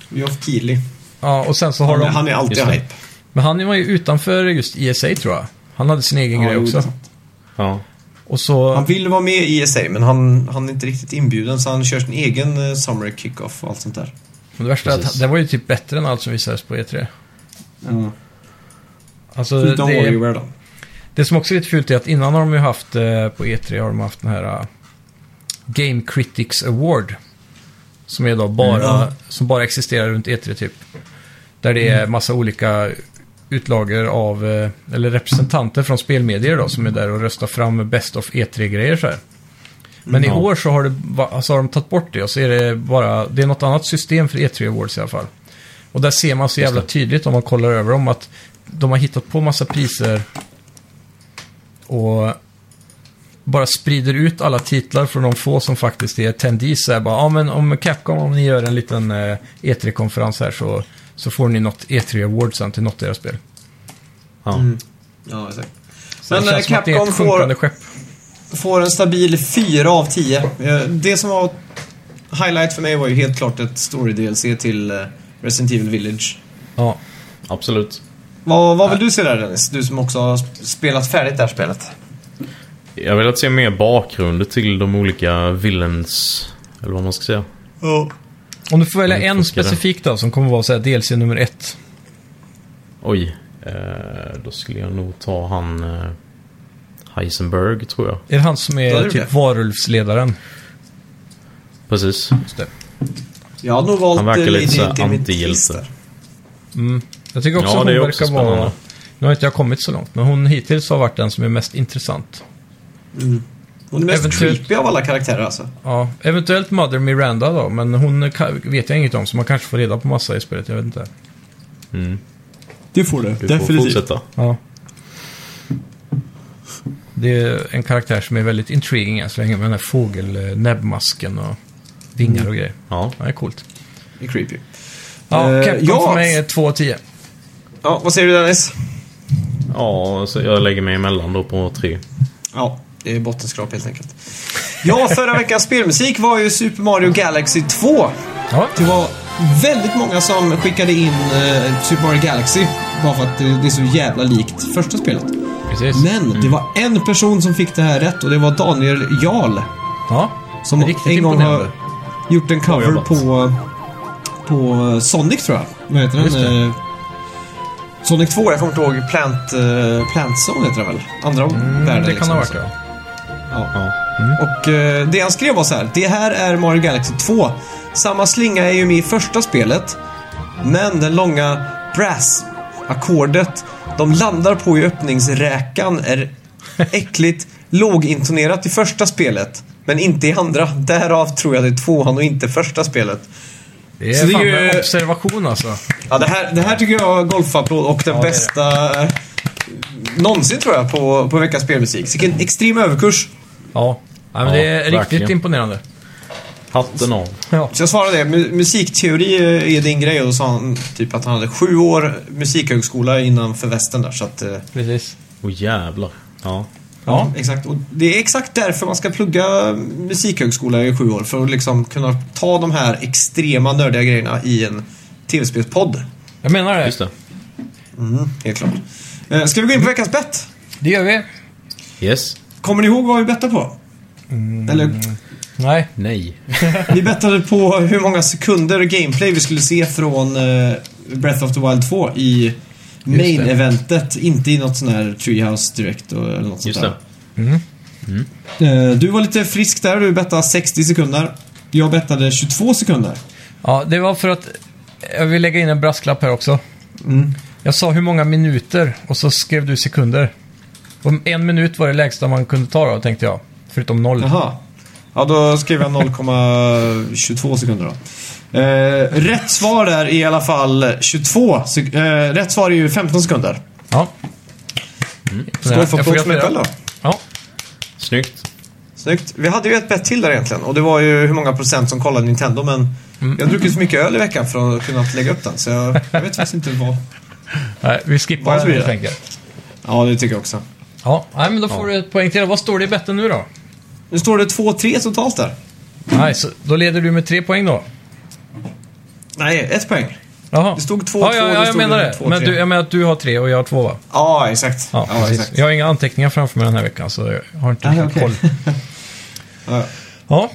[SPEAKER 1] Geoff Keighley.
[SPEAKER 2] Ja, och sen så har
[SPEAKER 1] Han,
[SPEAKER 2] de...
[SPEAKER 1] han är alltid
[SPEAKER 3] Just det.
[SPEAKER 1] hype.
[SPEAKER 2] Men han var ju utanför just ESA tror jag. Han hade sin egen
[SPEAKER 1] Ja,
[SPEAKER 2] grej
[SPEAKER 1] jo, det är
[SPEAKER 2] också.
[SPEAKER 1] sant.
[SPEAKER 3] Ja.
[SPEAKER 2] Och så...
[SPEAKER 1] Han vill vara med i ESA men han, han är inte riktigt inbjuden så han kör sin egen eh, summer kick-off och allt sånt där.
[SPEAKER 2] men det värsta är att
[SPEAKER 3] Precis.
[SPEAKER 2] det var ju typ bättre än allt som visades på E3.
[SPEAKER 1] Mm.
[SPEAKER 2] Alltså,
[SPEAKER 1] Utom
[SPEAKER 2] det-
[SPEAKER 1] Warrior då.
[SPEAKER 2] Det som också är lite fult är att innan har de ju haft, eh, på E3 har de haft den här eh, Game Critics Award. Som är då bara,
[SPEAKER 1] Mm.
[SPEAKER 2] som bara existerar runt E3 typ. Där det är massa olika utlager av, eh, eller representanter från spelmedier då, som är där och röstar fram Best of E3-grejer så här. Men i
[SPEAKER 3] Mm.
[SPEAKER 2] år så har, det, va- så har de tagit bort det och så är det bara, det är något annat system för E3 Awards i alla fall. Och där ser man så jävla tydligt om man kollar över dem att de har hittat på massa priser och bara sprider ut alla titlar från de få som faktiskt är attendees. Så här bara, ja men om Capcom, om ni gör en liten eh, E3-konferens här så, så får ni något E3 Award sen till något av era spel.
[SPEAKER 3] Ja.
[SPEAKER 1] Mm. Ja, exakt.
[SPEAKER 2] Så
[SPEAKER 1] Men
[SPEAKER 2] det
[SPEAKER 1] eh,
[SPEAKER 2] känns som att det är
[SPEAKER 1] Capcom
[SPEAKER 2] ett sjunkande
[SPEAKER 1] får,
[SPEAKER 2] skepp.
[SPEAKER 1] får en stabil 4 av 10. Eh, Det som var highlight för mig var ju helt klart ett story-DLC till eh, Resident Evil Village.
[SPEAKER 2] Ja.
[SPEAKER 3] Absolut.
[SPEAKER 1] Vad, vad vill du se där Dennis? Du som också har spelat färdigt det här spelet.
[SPEAKER 3] Jag vill att se mer bakgrunder till de olika villains. Eller vad man ska säga.
[SPEAKER 1] Ja.
[SPEAKER 2] Om du får välja
[SPEAKER 3] Om du
[SPEAKER 2] en
[SPEAKER 3] fuckar det.
[SPEAKER 2] specifik då, som kommer vara så här, DLC nummer ett.
[SPEAKER 3] Oj. Eh, då skulle jag nog ta han eh, Heisenberg, tror jag.
[SPEAKER 2] Är det han som
[SPEAKER 1] Ja, det
[SPEAKER 2] är
[SPEAKER 1] är
[SPEAKER 2] typ
[SPEAKER 1] det.
[SPEAKER 2] varulvsledaren?
[SPEAKER 3] Precis.
[SPEAKER 2] Just det.
[SPEAKER 1] Jag hade nog valt
[SPEAKER 3] Han verkar
[SPEAKER 1] eh,
[SPEAKER 3] lite
[SPEAKER 1] Lady
[SPEAKER 3] så här
[SPEAKER 1] Dimitrius
[SPEAKER 3] antihjälte.
[SPEAKER 1] där.
[SPEAKER 2] Mm. Jag tycker också
[SPEAKER 3] Ja,
[SPEAKER 2] hon
[SPEAKER 3] det är
[SPEAKER 2] verkar
[SPEAKER 3] också
[SPEAKER 2] vara...
[SPEAKER 3] spännande.
[SPEAKER 2] Nu har inte jag kommit så långt, men hon hittills har varit den som är mest intressant.
[SPEAKER 1] Hon är mest
[SPEAKER 2] Eventuellt-
[SPEAKER 1] creepy av alla karaktärer alltså.
[SPEAKER 2] Ja, eventuellt Mother Miranda då, men hon kan, vet jag inget om, så man kanske får reda på massa i spelet, jag vet inte.
[SPEAKER 3] Mm.
[SPEAKER 1] Det får
[SPEAKER 3] Du får fortsätta.
[SPEAKER 2] Ja. Det är en karaktär som är väldigt intriguing än så länge, med den här fågelnäbbmasken och
[SPEAKER 1] Mm.
[SPEAKER 2] vingar och grejer.
[SPEAKER 3] Ja.
[SPEAKER 2] Ja, det är coolt.
[SPEAKER 1] Det är creepy.
[SPEAKER 2] Ja,
[SPEAKER 1] Eh,
[SPEAKER 2] Capcom
[SPEAKER 1] ja.
[SPEAKER 2] för mig är 2 av 10.
[SPEAKER 1] Ja, vad säger du Dennis?
[SPEAKER 3] ja, så jag lägger mig emellan då på tre.
[SPEAKER 1] Ja, det är bottenskrap helt enkelt. Ja, förra veckans spelmusik var ju Super Mario Galaxy 2.
[SPEAKER 2] Ja,
[SPEAKER 1] Det var väldigt många som skickade in eh, Super Mario Galaxy bara för att det, det är så jävla likt första spelet.
[SPEAKER 2] precis.
[SPEAKER 1] Men det var en person som fick det här rätt och det var Daniel Jarl.
[SPEAKER 2] Ja,
[SPEAKER 1] Som
[SPEAKER 2] Riktigt
[SPEAKER 1] en gång
[SPEAKER 2] imponerande.
[SPEAKER 1] har gjort en cover
[SPEAKER 3] jobbat.
[SPEAKER 1] på, på Sonic tror jag. Vad heter
[SPEAKER 2] Just det.
[SPEAKER 1] den? Eh, Sonic 2, jag kommer inte ihåg. Plant, eh, Plant Zone heter den väl? Andra världen.
[SPEAKER 2] Mm, det kan
[SPEAKER 1] liksom,
[SPEAKER 2] ha varit
[SPEAKER 1] så.
[SPEAKER 2] ja.
[SPEAKER 3] Ja.
[SPEAKER 1] Och eh, det han skrev var så här. Det här är Mario Galaxy 2. Samma slinga är ju med i första spelet. Men den långa brass-ackordet de landar på i öppningsräkan är äckligt lågintonerat i första spelet. Men inte i andra. Därav tror jag det är tvåan och inte första spelet.
[SPEAKER 2] Det
[SPEAKER 1] Så
[SPEAKER 2] är
[SPEAKER 1] det är
[SPEAKER 2] fan
[SPEAKER 1] ju-
[SPEAKER 2] med observation alltså.
[SPEAKER 1] Ja, det här, det här tycker jag är golfapplåd och den
[SPEAKER 2] Ja, det är
[SPEAKER 1] bästa eh, någonsin tror jag på, på veckans spelmusik. Så Vilken extrem överkurs.
[SPEAKER 2] Ja, ja men
[SPEAKER 3] Ja,
[SPEAKER 2] det är riktigt
[SPEAKER 3] verkligen.
[SPEAKER 2] imponerande.
[SPEAKER 3] Hatten av.
[SPEAKER 2] Ja.
[SPEAKER 1] Så jag svarade det. Mu- Musikteori eh, är din grej. Och då sa han typ att han hade sju år musikhögskola innanför västen där. Så att, eh,
[SPEAKER 2] Precis.
[SPEAKER 3] Åh jävlar. Ja.
[SPEAKER 2] Ja.
[SPEAKER 1] exakt. Och det är exakt därför man ska plugga musikhögskola i sju år. För att liksom kunna ta de här extrema nördiga grejerna i en tv-spelspodd. Mm,
[SPEAKER 2] Jag menar det.
[SPEAKER 3] Just det.
[SPEAKER 1] Helt klart. Eh, Ska vi gå in på veckans bett?
[SPEAKER 2] Det gör vi.
[SPEAKER 3] Yes.
[SPEAKER 1] Kommer ni ihåg vad vi bettade på? Eller,
[SPEAKER 2] Nej.
[SPEAKER 3] Nej.
[SPEAKER 1] vi bettade på hur många sekunder gameplay vi skulle se från eh, Breath of the Wild 2 i
[SPEAKER 2] det.
[SPEAKER 1] main-eventet. Inte i något sån här Treehouse Direct och- eller något
[SPEAKER 3] Just
[SPEAKER 1] sånt
[SPEAKER 3] det.
[SPEAKER 1] där. Eh, Du var lite frisk där, du bettade 60 sekunder. Jag bettade 22 sekunder.
[SPEAKER 2] Ja, det var för att jag vill lägga in en brasklapp här också.
[SPEAKER 1] Mm.
[SPEAKER 2] Jag sa hur många minuter och så skrev du sekunder. Och en minut var det lägsta man kunde ta då, tänkte jag. Förutom noll.
[SPEAKER 1] Jaha. Ja, då skrev jag 0,22 sekunder då. Eh, rätt svar där är i alla fall 22. sek- Eh, rätt svar är ju 15 sekunder.
[SPEAKER 2] Ja.
[SPEAKER 1] Skål för
[SPEAKER 2] Jag får
[SPEAKER 1] applåd för mig själv
[SPEAKER 2] gratulera.
[SPEAKER 1] då.
[SPEAKER 2] Ja,
[SPEAKER 3] Snyggt.
[SPEAKER 1] Snyggt. Vi hade ju ett bett till där egentligen och det var ju hur många procent som kollade Nintendo men
[SPEAKER 2] Mm.
[SPEAKER 1] jag har druckit så mycket öl i veckan för att kunna lägga upp den så jag, jag vet faktiskt inte vad.
[SPEAKER 2] Nej, vi skippar
[SPEAKER 1] Vad
[SPEAKER 2] den
[SPEAKER 1] blir
[SPEAKER 2] helt
[SPEAKER 1] det?
[SPEAKER 2] enkelt.
[SPEAKER 1] Ja, det tycker jag också.
[SPEAKER 2] Ja, nej, men då får du ett poäng till. Vad står det i betten nu då?
[SPEAKER 1] Nu står det 2-3 totalt där.
[SPEAKER 2] Nej, så då leder du med tre poäng då.
[SPEAKER 1] Nej, ett poäng.
[SPEAKER 2] Jaha.
[SPEAKER 1] Det stod två,
[SPEAKER 2] ja,
[SPEAKER 1] två,
[SPEAKER 2] ja,
[SPEAKER 1] det
[SPEAKER 2] ja, jag
[SPEAKER 1] stod
[SPEAKER 2] menar det.
[SPEAKER 1] två,
[SPEAKER 2] men
[SPEAKER 1] tre.
[SPEAKER 2] du, jag menar att du har tre och jag har två va?
[SPEAKER 1] Ja, exakt.
[SPEAKER 2] Ja, precis. Jag har inga anteckningar framför mig den här veckan så jag har inte
[SPEAKER 1] Nej,
[SPEAKER 2] riktigt
[SPEAKER 1] okej.
[SPEAKER 2] koll.
[SPEAKER 1] Ja,
[SPEAKER 2] Ja,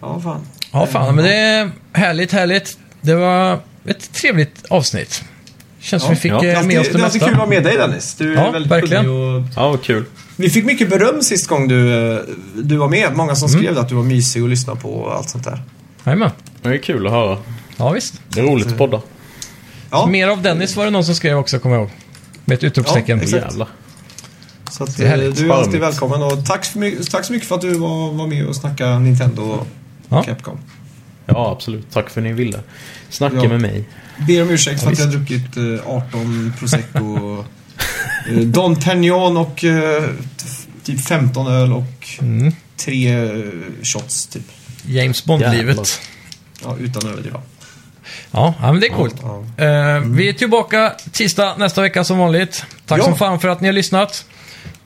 [SPEAKER 1] ja, fan.
[SPEAKER 2] ja fan. Men det är härligt, härligt. Det var ett trevligt avsnitt. Känns som vi fick
[SPEAKER 3] ja.
[SPEAKER 2] eh,
[SPEAKER 1] alltid,
[SPEAKER 2] med oss det,
[SPEAKER 1] det är alltid kul att
[SPEAKER 2] mesta.
[SPEAKER 1] vara med dig Dennis. Du är
[SPEAKER 2] Ja,
[SPEAKER 1] väldigt
[SPEAKER 2] verkligen.
[SPEAKER 1] kunnig och...
[SPEAKER 3] Ja, vad kul.
[SPEAKER 1] Vi fick mycket beröm sist gång du, eh, du var med. Många
[SPEAKER 2] Mm.
[SPEAKER 1] som skrev att du var mysig att lyssna på och allt sånt där.
[SPEAKER 2] Jajamän.
[SPEAKER 3] Det är kul att höra.
[SPEAKER 2] Ja, visst.
[SPEAKER 3] Det är roligt att podda.
[SPEAKER 1] Ja,
[SPEAKER 2] Mer av Dennis var det någon som skrev också, kommer jag ihåg. Med ett utropstecken.
[SPEAKER 1] Ja,
[SPEAKER 3] Åh
[SPEAKER 1] exakt.
[SPEAKER 3] jävlar.
[SPEAKER 1] så att,
[SPEAKER 2] det är
[SPEAKER 1] eh,
[SPEAKER 2] härligt.
[SPEAKER 1] du är alltid
[SPEAKER 3] Charmigt.
[SPEAKER 1] välkommen och tack, för my- tack så mycket för att du var, var med och snackade Nintendo och
[SPEAKER 2] Ja.
[SPEAKER 1] Capcom.
[SPEAKER 3] Ja, absolut. Tack för att ni ville snacka
[SPEAKER 1] Ja.
[SPEAKER 3] med mig.
[SPEAKER 1] Ber om ursäkt för att jag har druckit eh, 18 prosecco, och, eh, Don Perignon och eh, t- typ 15 öl och
[SPEAKER 2] Mm.
[SPEAKER 1] tre eh, shots typ.
[SPEAKER 2] James Bond-livet.
[SPEAKER 3] Jävlar.
[SPEAKER 1] Ja, utan att överdriva.
[SPEAKER 2] Ja, ja, men det är coolt.
[SPEAKER 1] Ja.
[SPEAKER 2] Eh, Vi är tillbaka tisdag nästa vecka som vanligt. Tack
[SPEAKER 1] Mm. Ja.
[SPEAKER 2] som fan för att ni har lyssnat.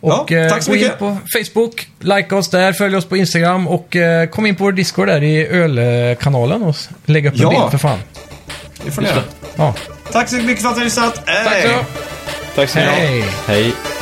[SPEAKER 1] Ja,
[SPEAKER 2] Och eh,
[SPEAKER 1] tack så
[SPEAKER 2] gå in
[SPEAKER 1] mycket.
[SPEAKER 2] på Facebook, like oss där, följ oss på Instagram och eh, kom in på vår Discord där i ölkanalen och s- lägg upp en
[SPEAKER 1] Ja.
[SPEAKER 2] bild för fan.
[SPEAKER 1] Det får ni göra.
[SPEAKER 2] Ja.
[SPEAKER 1] Tack så mycket för att ni har lyssnat.
[SPEAKER 2] Tack så
[SPEAKER 1] Hej!
[SPEAKER 2] mycket.
[SPEAKER 3] Tack så mycket.
[SPEAKER 2] Hej!
[SPEAKER 3] Hej.